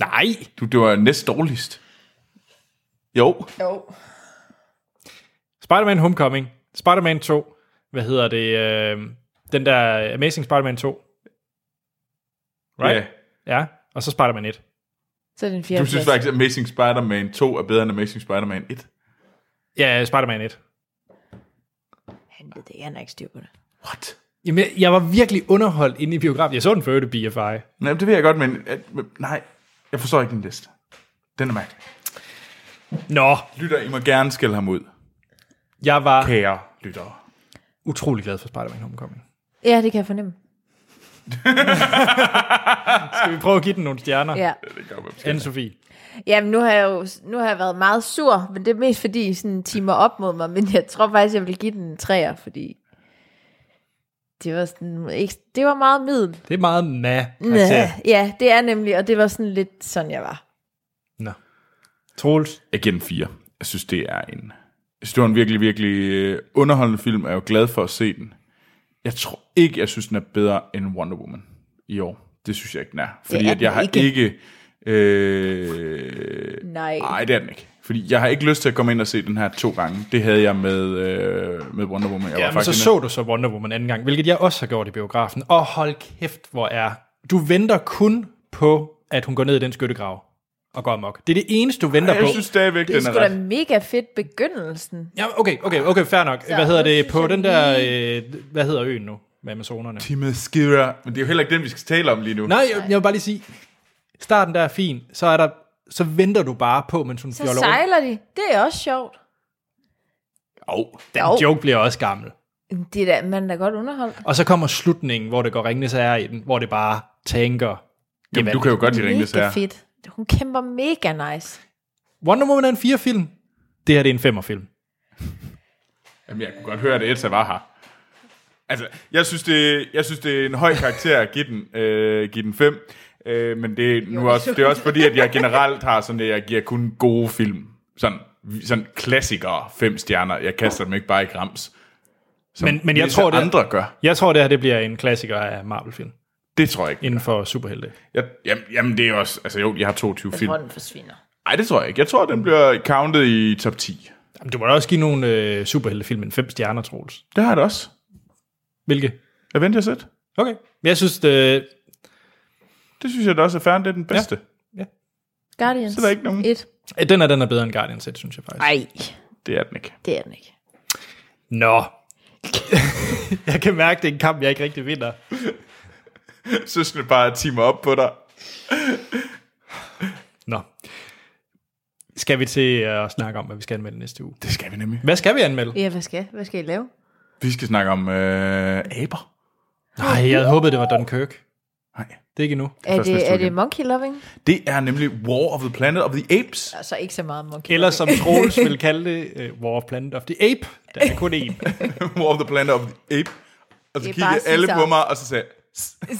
Nej!
Du, det var næst dårligst. Jo.
Jo.
Spider-Man Homecoming, Spider-Man 2, hvad hedder det, øh, den der Amazing Spider-Man 2. Right? Ja. ja, og så Spider-Man 1.
Så er det en
Du
fjerde
synes
plads.
faktisk, at Amazing Spider-Man 2 er bedre end Amazing Spider-Man 1?
Ja, Spider-Man 1.
Han ved det, han har ikke styr på det.
Jamen, jeg, jeg var virkelig underholdt inde i biografen. Jeg så den før i BFI.
Nej, det ved jeg godt, men, at, men nej, jeg forstår ikke din liste. Den er mærkelig.
Nå.
Lytter, I må gerne skælde ham ud.
Jeg var
Kære lyttere.
utrolig glad for Spider-Man Homecoming.
Ja, det kan jeg fornemme.
Skal vi prøve at give den nogle stjerner?
Ja.
Anne-Sophie.
Jamen, nu har jeg jo nu har jeg været meget sur, men det er mest fordi, I sådan timer op mod mig, men jeg tror faktisk, jeg vil give den en træer, fordi det var, sådan, ikke, det var meget middel.
Det er meget ma.
Ja, ja, det er nemlig, og det var sådan lidt sådan, jeg var.
Troels.
Jeg giver den 4. Jeg synes, det er en... Jeg synes, det var en virkelig, virkelig øh, underholdende film. Jeg er jo glad for at se den. Jeg tror ikke, jeg synes, den er bedre end Wonder Woman i år. Det synes jeg ikke, den er. Fordi
er
at jeg
den
har
ikke.
ikke... ikke øh,
Nej.
Nej, det er den ikke. Fordi jeg har ikke lyst til at komme ind og se den her to gange. Det havde jeg med, øh, med Wonder Woman. Jeg
Ja, men så
faktisk
så du så Wonder Woman anden gang, hvilket jeg også har gjort i biografen. Og hold kæft, hvor er... Du venter kun på, at hun går ned i den skyttegrav og går amok. Det er det eneste, du venter
Ej, jeg
på.
synes stadigvæk,
Det er sgu da mega fedt begyndelsen.
Ja, okay, okay, okay, fair nok.
Så,
Hvad hedder
nu
det
synes
på
jeg
den der...
lige-
Øh, hvad hedder øen nu med Amazonerne?
Skira, men det er jo heller ikke den, vi skal tale om lige nu.
Nej, jeg, jeg vil bare lige sige, starten der er fin, så er der så venter du bare på, mens hun
Så
fjoller rundt.
sejler de. Det er også sjovt.
Oh, den
Jo.
joke bliver også gammel.
Det er da, man er da godt underholdt.
Og så kommer slutningen, hvor det går ringende sager i den, hvor det bare tænker...
Jamen, du kan jo godt lide Ringenes
Mega
Herre.
fedt. Hun kæmper mega nice.
Wonder Woman er en 4-film. Det her det er en 5'er-film.
Jamen, jeg kunne godt høre, at Elsa var her. Altså, jeg synes, det, jeg synes, det er en høj karakter at give den, øh, give den fem. Øh, men det er, nu også, det er også fordi, at jeg generelt har sådan, at jeg giver kun gode film. Sådan, sådan klassikere fem stjerner. Jeg kaster dem ikke bare i grams. Som
Men- men jeg
visse
tror, det er-
andre gør.
Jeg tror, det her det bliver en klassiker af Marvel-film.
Det tror jeg ikke.
Inden for superhelte.
Jeg, jamen, jamen, det er også... Altså jo, jeg har 22 film.
forsvinder.
Nej, det tror jeg ikke. Jeg tror, den bliver counted i top 10.
Jamen, du må da også give nogle øh, superheltefilm en 5 stjerner, Troels.
Det har jeg da også.
Hvilke?
Avengers 1.
Okay. Men Jeg synes, det... øh,
Det synes jeg da også er færdigt. Det er den bedste.
Guardians.
Så er der ikke nogen.
Et.
Ja. Den er, den er bedre end Guardians 1, synes jeg faktisk.
Ej,
Det er den ikke.
det er den ikke.
Nå. [LAUGHS] jeg kan mærke, det er en kamp, jeg ikke rigtig vinder.
Søskende bare timer op på dig.
Nå. Skal vi til øh, at snakke om, hvad vi skal anmelde næste uge?
Det skal vi nemlig.
Hvad skal vi anmelde?
Ja, hvad skal, hvad skal I lave?
Vi skal snakke om øh, aber.
Nej, jeg havde håbet, det var Dunkirk.
Nej.
Det er ikke endnu.
Er det, er det monkey loving?
Det er nemlig War of the Planet of the Apes.
Altså ikke så meget monkey
Eller
loving.
som Troels vil kalde det, uh, War of Planet of the Ape. Der er kun én.
[LAUGHS] War of the Planet of the Ape. Og så
Det er
kiggede
bare
alle
Cæsar.
på mig, og så sagde jeg,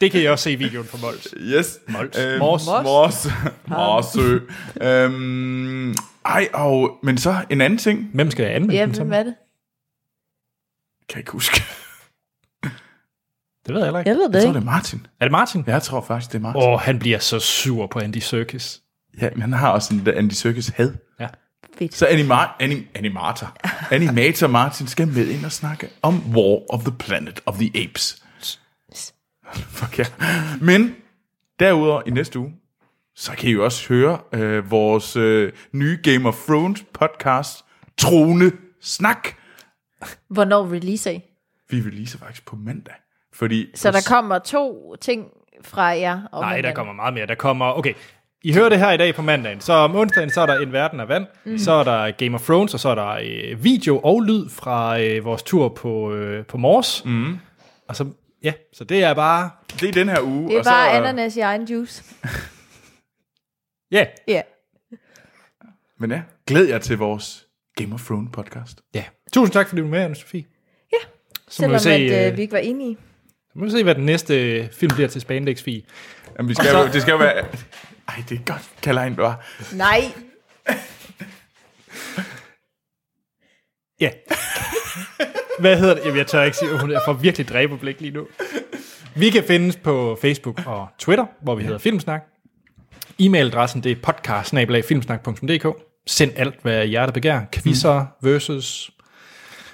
Det kan jeg også se i videoen på Mols.
yes.
Mols.
Øhm,
Mors.
Mors. Morsø. øhm, ej, og, men så en anden ting. Kan
Hvem skal jeg anmelde
Ja,
den
hvem
som?
er det?
jeg ikke huske.
Det ved jeg heller ikke.
Jeg ved det
Jeg tror,
ikke.
det er Martin.
Er det Martin?
Jeg tror faktisk, det er Martin.
Åh, oh, han bliver så sur på Andy Serkis.
Ja, men han har også en der Andy Serkis had.
Ja.
Fedt.
Så anima- anim- animator, animator Martin skal med ind og snakke om War of the Planet of the Apes. Fuck ja. Men derudover i næste uge, så kan I jo også høre øh, vores øh, nye Game of Thrones podcast, Trone Snak.
Hvornår releaser I?
Vi releaser faktisk på mandag. Fordi
Så der kommer to ting fra jer. Og
Nej, der kommer meget mere. Der kommer, okay, I hører det her i dag på mandagen. Så om onsdagen, så er der En Verden af Vand,
Mhm.
mm. så er der Game of Thrones, og så er der øh, video og lyd fra øh, vores tur på, øh, på Mors. Mm. Og så, ja, så det er bare,
det er den her uge.
Det er
og så,
bare ananas i egen juice.
ja, yeah,
Ja.
Men ja, glæd jer til vores Game of Thrones podcast.
ja. Yeah. Tusind tak, fordi du var med, Anne-Sophie. Så må vi
Selvom
se,
at,
øh,
øh, vi ikke var enige.
Nu må vi se, hvad den næste film bliver til Spandex Fie.
Jamen, vi skal,
Og
så...
så-
det skal jo være... Ej, det er godt, Kalain, du var.
Nej.
Ja. Hvad hedder det? Jamen, jeg tør ikke sige, hun jeg får virkelig dræberblik lige nu. Vi kan findes på Facebook og Twitter, hvor vi hedder Filmsnak. E-mailadressen det er podcast Send alt, hvad hjertet begær. Quizzer versus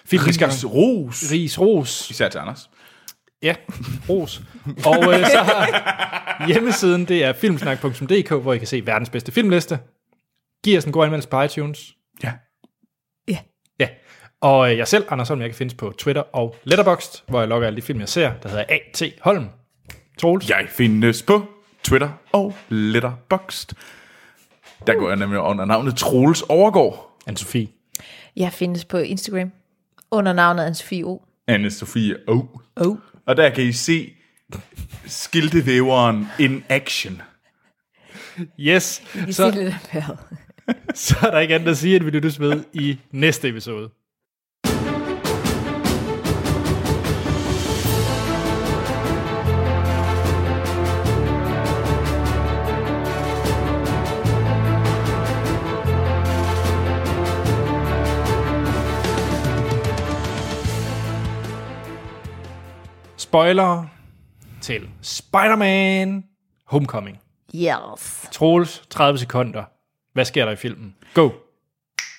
filmdiskar.
Ris, ros.
Ris, ros.
Især til Anders.
Ja, ros. Og øh, så har hjemmesiden, det er filmsnak.dk, hvor I kan se verdens bedste filmliste. Giv os en god anmeldelse på iTunes.
Ja.
Ja.
Ja. Og øh, jeg selv, Anders Holm, jeg kan findes på Twitter og Letterboxd, hvor jeg logger alle de film, jeg ser, der hedder A.T. Holm. Troels.
Jeg findes på Twitter og Letterboxd. Der går jeg nemlig under navnet Troels Overgaard.
Anne-Sophie.
Jeg findes på Instagram under navnet Anne-Sophie O.
Anne-Sophie O.
Oh.
Og der kan I se skiltevæveren in action.
Yes.
Vi
Så,
ser lidt af vejret.
så er der ikke andet at sige, end vi lyttes ved i næste episode. spoiler til Spider-Man Homecoming.
Yes.
Troels, 30 sekunder. Hvad sker der i filmen? Go.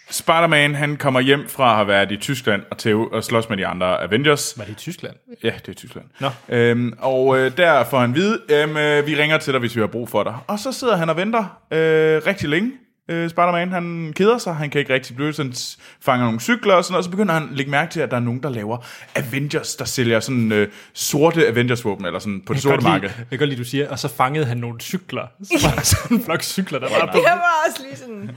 Spider-Man, han kommer hjem fra at have været i Tyskland og, til, og slås med de andre Avengers.
Var det i Tyskland?
Ja, det er Tyskland.
Nå.
Øhm, og øh, der får han vide, øhm, øh, vi ringer til dig, hvis vi har brug for dig. Og så sidder han og venter øh, rigtig længe. Øh, Spider-Man, han keder sig, han kan ikke rigtig blive, så han s- fanger nogle cykler og sådan noget, og så begynder han at lægge mærke til, at der er nogen, der laver Avengers, der sælger sådan øh, sorte Avengers-våben, eller sådan på det sorte marked.
Jeg kan godt lide, du siger, og så fangede han nogle [LAUGHS] cykler. Så var der sådan en flok cykler, der var på.
Det var også lige sådan,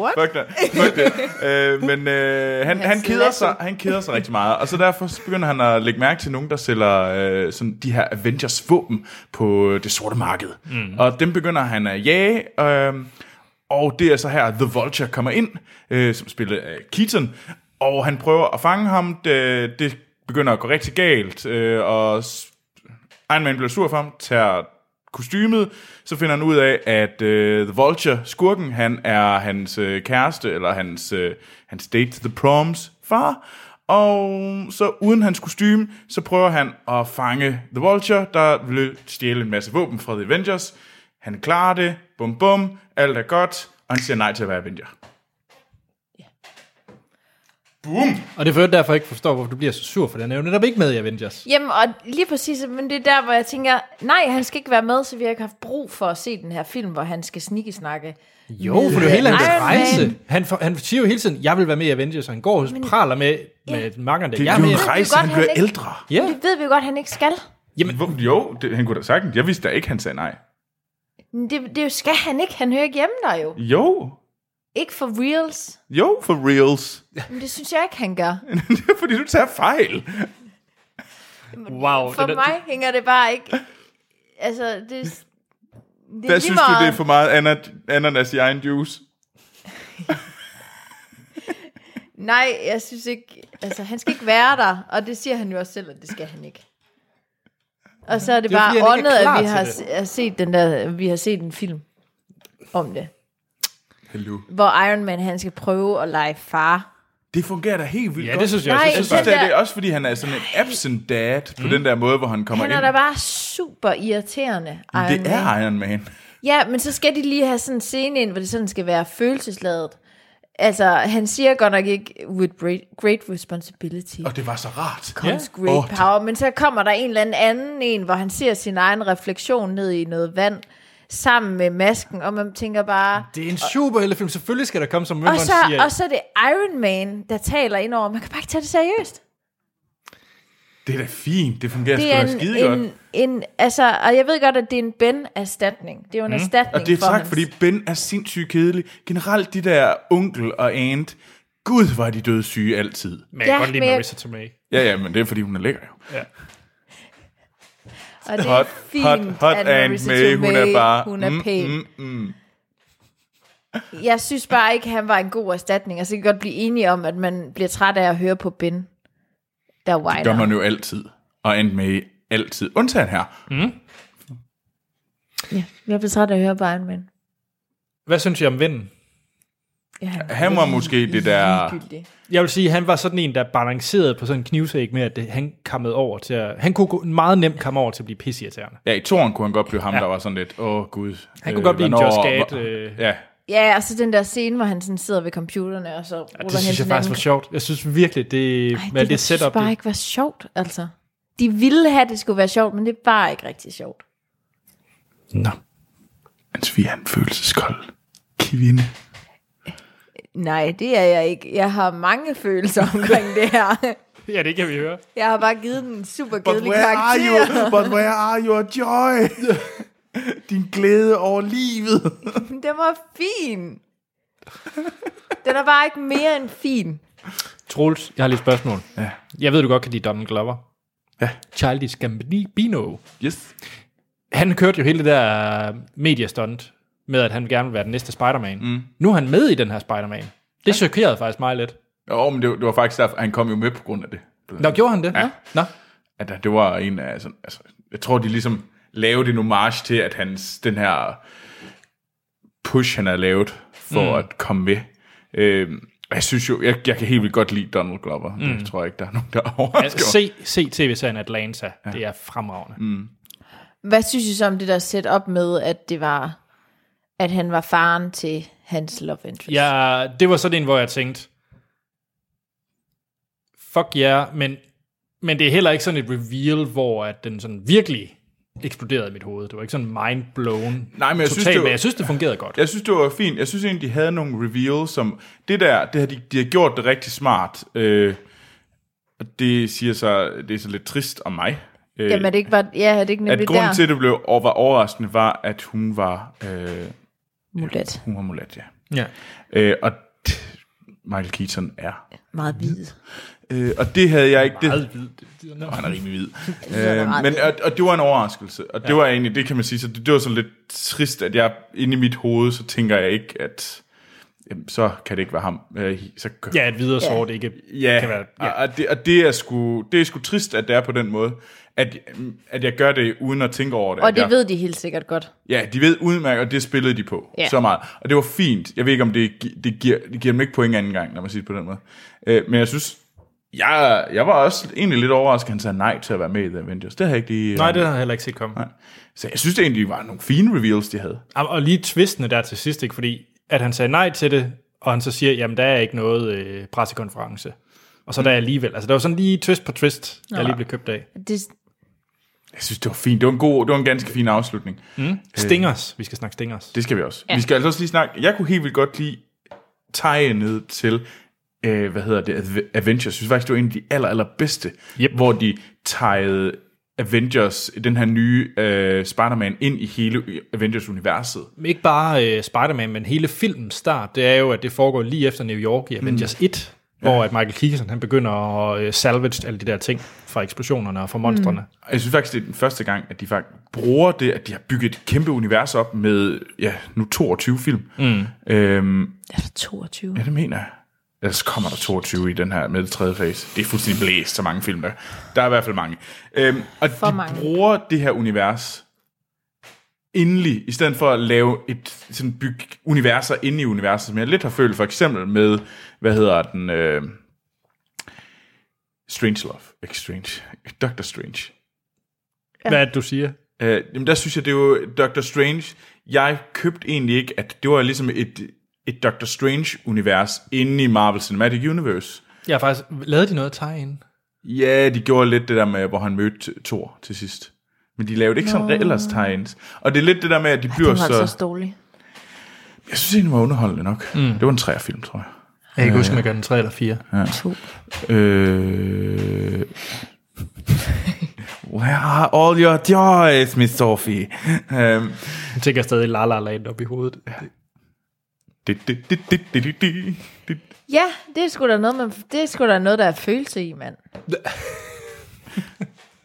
what?
Fuck det. Fuck det. Øh, men øh, han, han, keder sig, han keder sig rigtig meget, og så derfor så begynder han at lægge mærke til nogen, der sælger øh, sådan de her Avengers-våben på det sorte marked. Mm. Og dem begynder han at jage, øh, og det er så her, The Vulture kommer ind, øh, som spiller øh, Keaton, og han prøver at fange ham. Det, det begynder at gå rigtig galt, øh, og s- Iron Man bliver sur for ham, tager kostymet, så finder han ud af, at øh, The Vulture, skurken, han er hans øh, kæreste, eller hans, øh, hans date to the proms far, og så uden hans kostume, så prøver han at fange The Vulture, der vil stjæle en masse våben fra The Avengers. Han klarer det, bum bum, alt er godt, og han siger nej til at være Avenger. Boom!
Og det er for øvrigt derfor, jeg ikke forstår, hvorfor du bliver så sur for den. Jeg er jo netop ikke med i Avengers.
Jamen, og lige præcis, men det er der, hvor jeg tænker, nej, han skal ikke være med, så vi har ikke haft brug for at se den her film, hvor han skal snikke snakke.
Jo, for det er jo hele hans rejse. Han, for, han siger jo hele tiden, jeg vil være med i Avengers, og han går og praler med, med makkerne.
Det
Jeg
er
er
jo
med.
en rejse, han bliver ældre.
Ja.
Det ved vi jo godt, han ikke skal.
Jamen.
Hvor, jo, det, han kunne da sagtens. Jeg vidste da ikke, han sagde nej.
Men Det, det skal han ikke. Han hører ikke hjemme der jo.
Jo,
Ikke for reals.
jo, for reals.
Men det synes jeg ikke, han gør.
Det er fordi, du tager fejl.
Wow.
For mig hænger det bare ikke... Altså, det, det er
Der
lige
synes du, det er for meget ana- ananas i egen juice.
Nej, jeg synes ikke... Altså, han skal ikke være der, og det siger han jo også selv, at det skal han ikke. Og så er det,
Det er jo,
bare
fordi han ikke
åndet,
er klar
at vi
til
har,
det.
se- har set den der, vi har set en film om det.
Hello.
Hvor Iron Man, han skal prøve at lege far.
Det fungerer da helt vildt
Ja,
godt.
det synes Mm. jeg
Nej,
også.
også.
Jeg synes,
Jeg den
det er,
der-
det er også, fordi han er sådan en absent dad på den der måde, hvor han kommer
Han
ind.
er da bare super irriterende, Iron
Men det
Man.
er Iron Man.
Ja, men så skal de lige have sådan en scene ind, hvor det sådan skal være følelsesladet. Altså, han siger godt nok ikke, with great, great responsibility
Og det var så rart.
comes great
Åh,
oh, power, men så kommer der en eller anden anden en, hvor han ser sin egen refleksion ned i noget vand, sammen med masken, og man tænker bare...
Det er en superheltefilm. Selvfølgelig skal der komme, som
Og
Mømmeren
så,
siger.
og så er det Iron Man, der taler ind over. Man kan bare ikke tage det seriøst.
det er da fint. Det fungerer sgu
det er
da skide godt.
en, en, altså, og jeg ved godt, at det er en Ben-erstatning. Det er jo en mm. erstatning
Og det er
for
tak,
hans-
fordi Ben er sindssygt kedelig. Generelt de der onkel og aunt, gud, var de døde syge altid.
Men jeg kan
Ja,
godt lide
men jeg-
Marissa Tomei.
Ja, ja, men det er, fordi hun er lækker jo.
Ja.
Og det er
hot,
fint,
hot, hot
at
Aunt
Marissa
May, hun er
Tomei,
bare...
hun er pæn.
Mm, mm, mm.
Jeg synes bare ikke, han var en god erstatning. Og så kan jeg godt blive enige om, at man bliver træt af at høre på Ben, der whiner.
Det gør man jo altid. Og Aunt May altid. Undtagen her.
Mm.
Ja, jeg bliver træt af at høre på Iron Man.
Hvad synes I om vinden?
Ja,
Han var måske det der...
Jeg vil sige, han var sådan en, der balancerede på sådan en knivsæk med, at det, han kammede over til at... Han kunne gå- meget nemt komme over til at blive pissirriterende.
Ja, i toren kunne han godt blive ham,
Ja.
der var sådan lidt, åh oh, gud.
Han kunne godt blive en
hvornår-
Josh Gad,
hvor-
øh.
Ja,
Ja, og så den der scene, hvor han sådan sidder ved computerne, og så ruller
Og det
han
synes jeg
sådan
faktisk var
anden-
sjovt. Jeg synes virkelig, det, Ej,
Ej,
det,
det,
det
jeg synes
setup...
bare
Det,
ikke var sjovt, altså. De ville have, at det skulle være sjovt, men det er bare ikke rigtig sjovt.
hans vi er en følelseskold kvinde.
Nej, det er jeg ikke. Jeg har mange følelser omkring det her.
ja, det kan vi høre.
Jeg har bare givet den en super
But
kedelig
where are
karakter.
you? But where are your joy? [LAUGHS] Din glæde over livet.
Den var fin. Den er bare ikke mere end fin.
Troels, jeg har lige et spørgsmål.
Ja.
Jeg ved, du godt kan lide Donald Glover.
Ja.
Childish Gambino.
Yes.
Han kørte jo hele det der øh, mediestunt med, at han gerne vil være den næste Spider-Man.
Mm.
Nu er han med i den her Spider-Man. Det ja. chokerede faktisk mig lidt.
Jo, men det, var- det var faktisk derfor, han kom jo med på grund af det.
Nå, gjorde han det? Ja. Nå.
At der- det var en af sådan, altså, jeg tror, de ligesom lavede en homage til, at hans, den her push, han har lavet for
Mm.
mm. at komme med. Øhm, Og Jeg synes jo, jeg, jeg kan helt vildt godt lide Donald Glover. Mm.
Mm.
Det tror jeg ikke, der er nogen, der [LAUGHS] er
Ja,
overrasket.
se, se tv-serien Atlanta. Ja. Det er fremragende.
Mm.
Hvad synes I så om det der setup med, at det var, at han var faren til hans love interest?
Ja, det var sådan en, hvor jeg tænkte, fuck ja, yeah, men, men det er heller ikke sådan et reveal, hvor at den sådan virkelig eksploderede i mit hoved. Det var ikke sådan mind-blown.
Nej, men jeg, synes,
totalt,
det var,
men jeg synes, det fungerede godt.
Jeg synes, det var fint. Jeg synes egentlig, de havde nogle reveals, som... Det der, det har de, de har gjort det rigtig smart. Øh, og det siger så, det er så lidt trist om mig. Øh,
Jamen er det ikke bare, ja, er det ikke nemlig
at grunden
der?
til, at det blev over, var overraskende, var, at hun var... Øh,
mulat.
Hun var mulat, ja.
Ja.
Øh, og t- Michael Keaton er
Meget hvid.
Øh, og det havde jeg ikke... Det,
Meget hvid. Det,
det, han er rimelig
[LAUGHS]
hvid.
Det er
øh,
ret
men,
hvid.
og, og det var en overraskelse. Og det
Ja.
ja. var egentlig, det kan man sige, så det, det var sådan lidt trist, at jeg inde i mit hoved, så tænker jeg ikke, at jamen, så kan det ikke være ham. Øh, så, kan-
Ja, at videre sort ikke
ja.
kan være...
Og, og, det, og det, er sgu, det er sgu trist, at det er på den måde, at, at jeg gør det uden at tænke over det.
Og
at
det
jeg,
ved de helt sikkert godt.
Ja, de ved udmærket, og det spillede de på
Ja.
ja. så meget. Og det var fint. Jeg ved ikke, om det, gi- det, giver, det giver dem ikke point anden gang, når man siger det på den måde. Øh, men jeg synes, jeg, jeg var også egentlig lidt overrasket, at han sagde nej til at være med i The Avengers. Det har jeg ikke lige...
Nej, det har jeg heller ikke set komme.
Nej. Så jeg synes det egentlig var nogle fine reveals, de havde.
Og og lige tvistende der til sidst, ikke? fordi at han sagde nej til det, og han så siger, jamen der er ikke noget øh, pressekonference. Og så der er alligevel. Altså der var sådan lige twist på twist, jeg
Nå.
lige blev købt af.
Det,
Jeg synes, det var fint. Det var en, god, det var en ganske fin afslutning.
Mm. Stingers. Vi skal snakke stingers.
Det skal vi også.
Ja.
Ja. Vi skal altså også lige snakke... Jeg kunne helt vildt godt lide tegnet til, øh, hvad hedder det, Ave- Avengers. Jeg synes faktisk, det var en af de aller, allerbedste,
yep.
hvor de tegede Avengers, den her nye øh, Spider-Man, ind i hele Avengers-universet.
Ikke bare øh, Spider-Man, men hele filmens start, det er jo, at det foregår lige efter New York i Avengers 1, hvor at Michael Keaton han begynder at øh, salvage alle de der ting fra eksplosionerne og fra monstrene. Mm.
Og Jeg synes faktisk, det er den første gang, at de faktisk bruger det, at de har bygget et kæmpe univers op med, ja, nu 22 film.
Mm.
Øhm,
er der 22?
Ja, det mener jeg. Ellers kommer der 22 i den her med tredje fase. Det er fuldstændig blæst, så mange film der. Der er i hvert fald mange. Øhm, og For de mange. bruger det her univers endelig, i stedet for at lave et sådan bygge universer inde i universet, som jeg lidt har følt for eksempel med, hvad hedder den, øh, Strangelove, ikke Strange, Doctor Strange.
Ja. Hvad er det, du siger?
Øh, jamen der synes jeg, det er jo Doctor Strange. Jeg købte egentlig ikke, at det var ligesom et, et Doctor Strange-univers inde i Marvel Cinematic Universe.
Jeg har faktisk... Lavede de noget tegn?
Ja, de gjorde lidt det der med, hvor han mødte Thor til sidst. Men de lavede ikke
Nå.
sådan ellers tegns. Og det er lidt det der med, at de
det
bliver
var så...
så...
altså dårlig.
Jeg synes egentlig, den var underholdende nok. Mm. Det var en træerfilm, tror jeg.
Jeg kan ikke huske, om
Øh,
jeg gør den 3 eller 4.
Ja.
To.
Øh... [LAUGHS] Where are all your joys, Miss Sophie? Um...
Jeg tænker stadig La La Land op i hovedet.
Det, det, det, det, det, det, det.
Ja, det er sgu da noget, man, det er sgu da noget, der er følelse i, mand.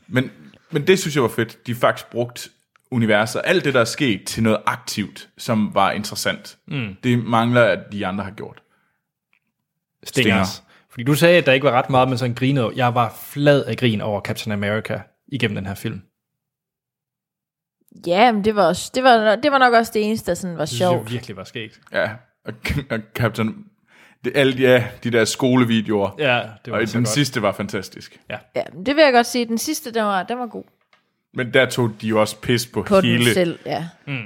Men, men det synes jeg var fedt. De faktisk brugt universet og alt det, der er sket, til noget aktivt, som var interessant.
Mm.
Det mangler, at de andre har gjort.
Stingers.
Stinger.
Fordi du sagde, at der ikke var ret meget, men sådan grinede. Jeg var flad af grin over Captain America igennem den her film.
Ja, men det var, også, det, var, det var nok også det eneste, der sådan var
Det synes
sjovt.
jeg virkelig var skægt.
Ja, og, og Captain... Det, alle de, ja, de der skolevideoer.
Ja, det var
og
så
den
godt.
sidste var fantastisk.
Ja.
Ja, men det vil jeg godt sige. Den sidste, den var, den var god.
Men der tog de jo også pis på,
På
hele...
den selv, ja.
Mm.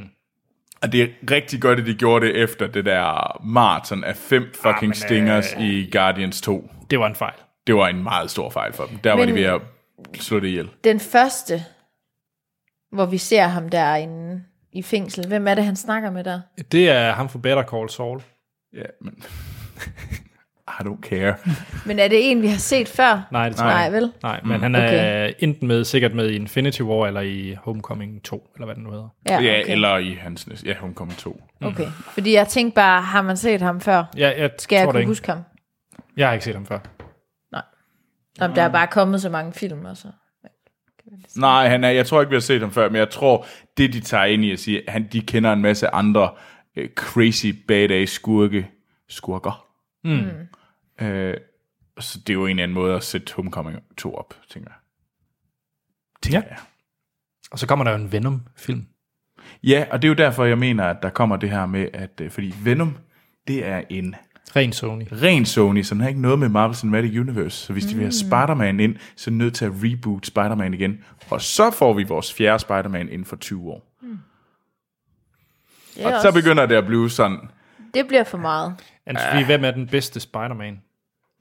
Og det er rigtig godt, at de gjorde det efter det der maraton af fem fucking
men, øh,
stingers i Guardians 2.
Det var en fejl.
Det var en meget stor fejl for dem. Der var
Men-
de ved at slå det ihjel.
Den første, hvor vi ser ham derinde i fængsel. Hvem er det, han snakker med der?
Det er ham fra Better Call Saul.
Ja, men... [LAUGHS] I don't care.
Men er det en, vi har set før?
Nej, det tror
Nej,
jeg ikke.
vel?
Nej,
Mm.
men han er okay. enten med, sikkert med i Infinity War, eller i Homecoming 2, eller hvad den nu hedder.
Ja, okay.
ja eller i hans næste... Ja, Homecoming 2.
Okay, fordi jeg tænkte bare, har man set ham før?
Ja, jeg
Skal jeg
tror det
kunne
ikke.
huske ham?
Jeg har ikke set ham før.
Om der er bare kommet så mange film og så.
Nej, han er, jeg tror ikke, vi har set ham før, men jeg tror, det de tager ind i at sige, han, de kender en masse andre øh, crazy badass skurke, skurker.
Mm. Mm.
Øh, så det er jo en eller anden måde at sætte Homecoming 2 op, tænker jeg.
Ja. Og så kommer der jo en Venom-film.
Ja, og det er jo derfor, jeg mener, at der kommer det her med, at øh, fordi Venom, det er en
Ren Sony.
Ren Sony, så den har ikke noget med Marvel Cinematic Universe. Så hvis mm. de vil have
Mm.
Spider-Man ind, så er de nødt til at reboot Spider-Man igen. Og så får vi vores fjerde Spider-Man inden for 20 år.
Det,
Og
er
så
også,
begynder det at blive sådan,
det bliver for meget.
Anne-Sophie, Altså, hvem er den bedste Spider-Man?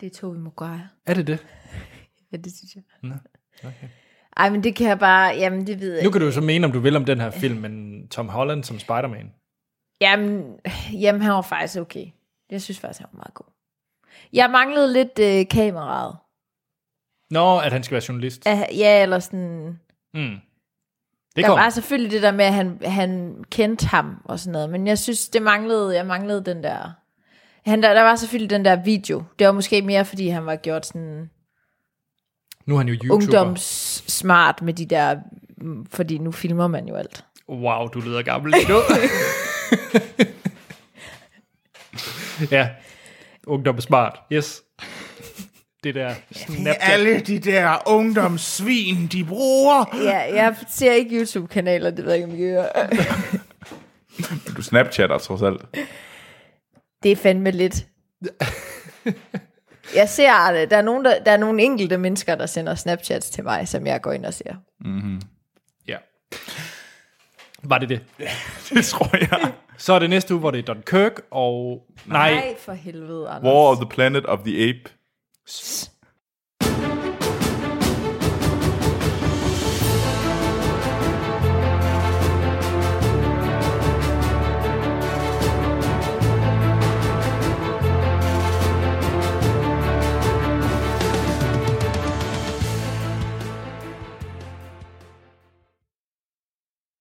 Det er Tobey Maguire.
Er det det?
Ja, det synes jeg.
Nå, okay.
Ej, men det kan jeg bare... Jamen, det ved jeg
Nu kan du jo så mene, om du vil om den her film, men Tom Holland som Spider-Man.
Jamen, jamen, han var faktisk okay. Jeg synes faktisk, han var meget god. Jeg manglede lidt øh, kameraet.
Nå, at han skal være journalist.
Ah, Ja, eller sådan...
Mm.
Det
Det
der var
kommer.
selvfølgelig det der med, at han, han kendte ham og sådan noget, men jeg synes, det manglede, jeg manglede den der... Han, der, der var selvfølgelig den der video. Det var måske mere, fordi han var gjort sådan
Nu er han jo YouTuber.
ungdomssmart med de der... mm, Fordi nu filmer man jo alt.
Wow, du lyder gammel lige nu. [LAUGHS] ja, ungdom er smart. Yes. Det der Snapchat.
alle de der ungdomssvin, de bruger.
Ja, jeg ser ikke YouTube-kanaler, det ved jeg ikke, om I gør.
du snapchatter trods alt.
Det er fandme [LAUGHS] lidt. Jeg ser det. Der er, nogen, der, der er nogle enkelte mennesker, der sender Snapchats til mig, som jeg går ind og ser.
Mm-hmm.
Ja. Var det det?
[LAUGHS] det tror jeg.
Så er det næste uge, hvor det er Don Kirk og... Nej.
for helvede, Anders.
War of the Planet of the Ape.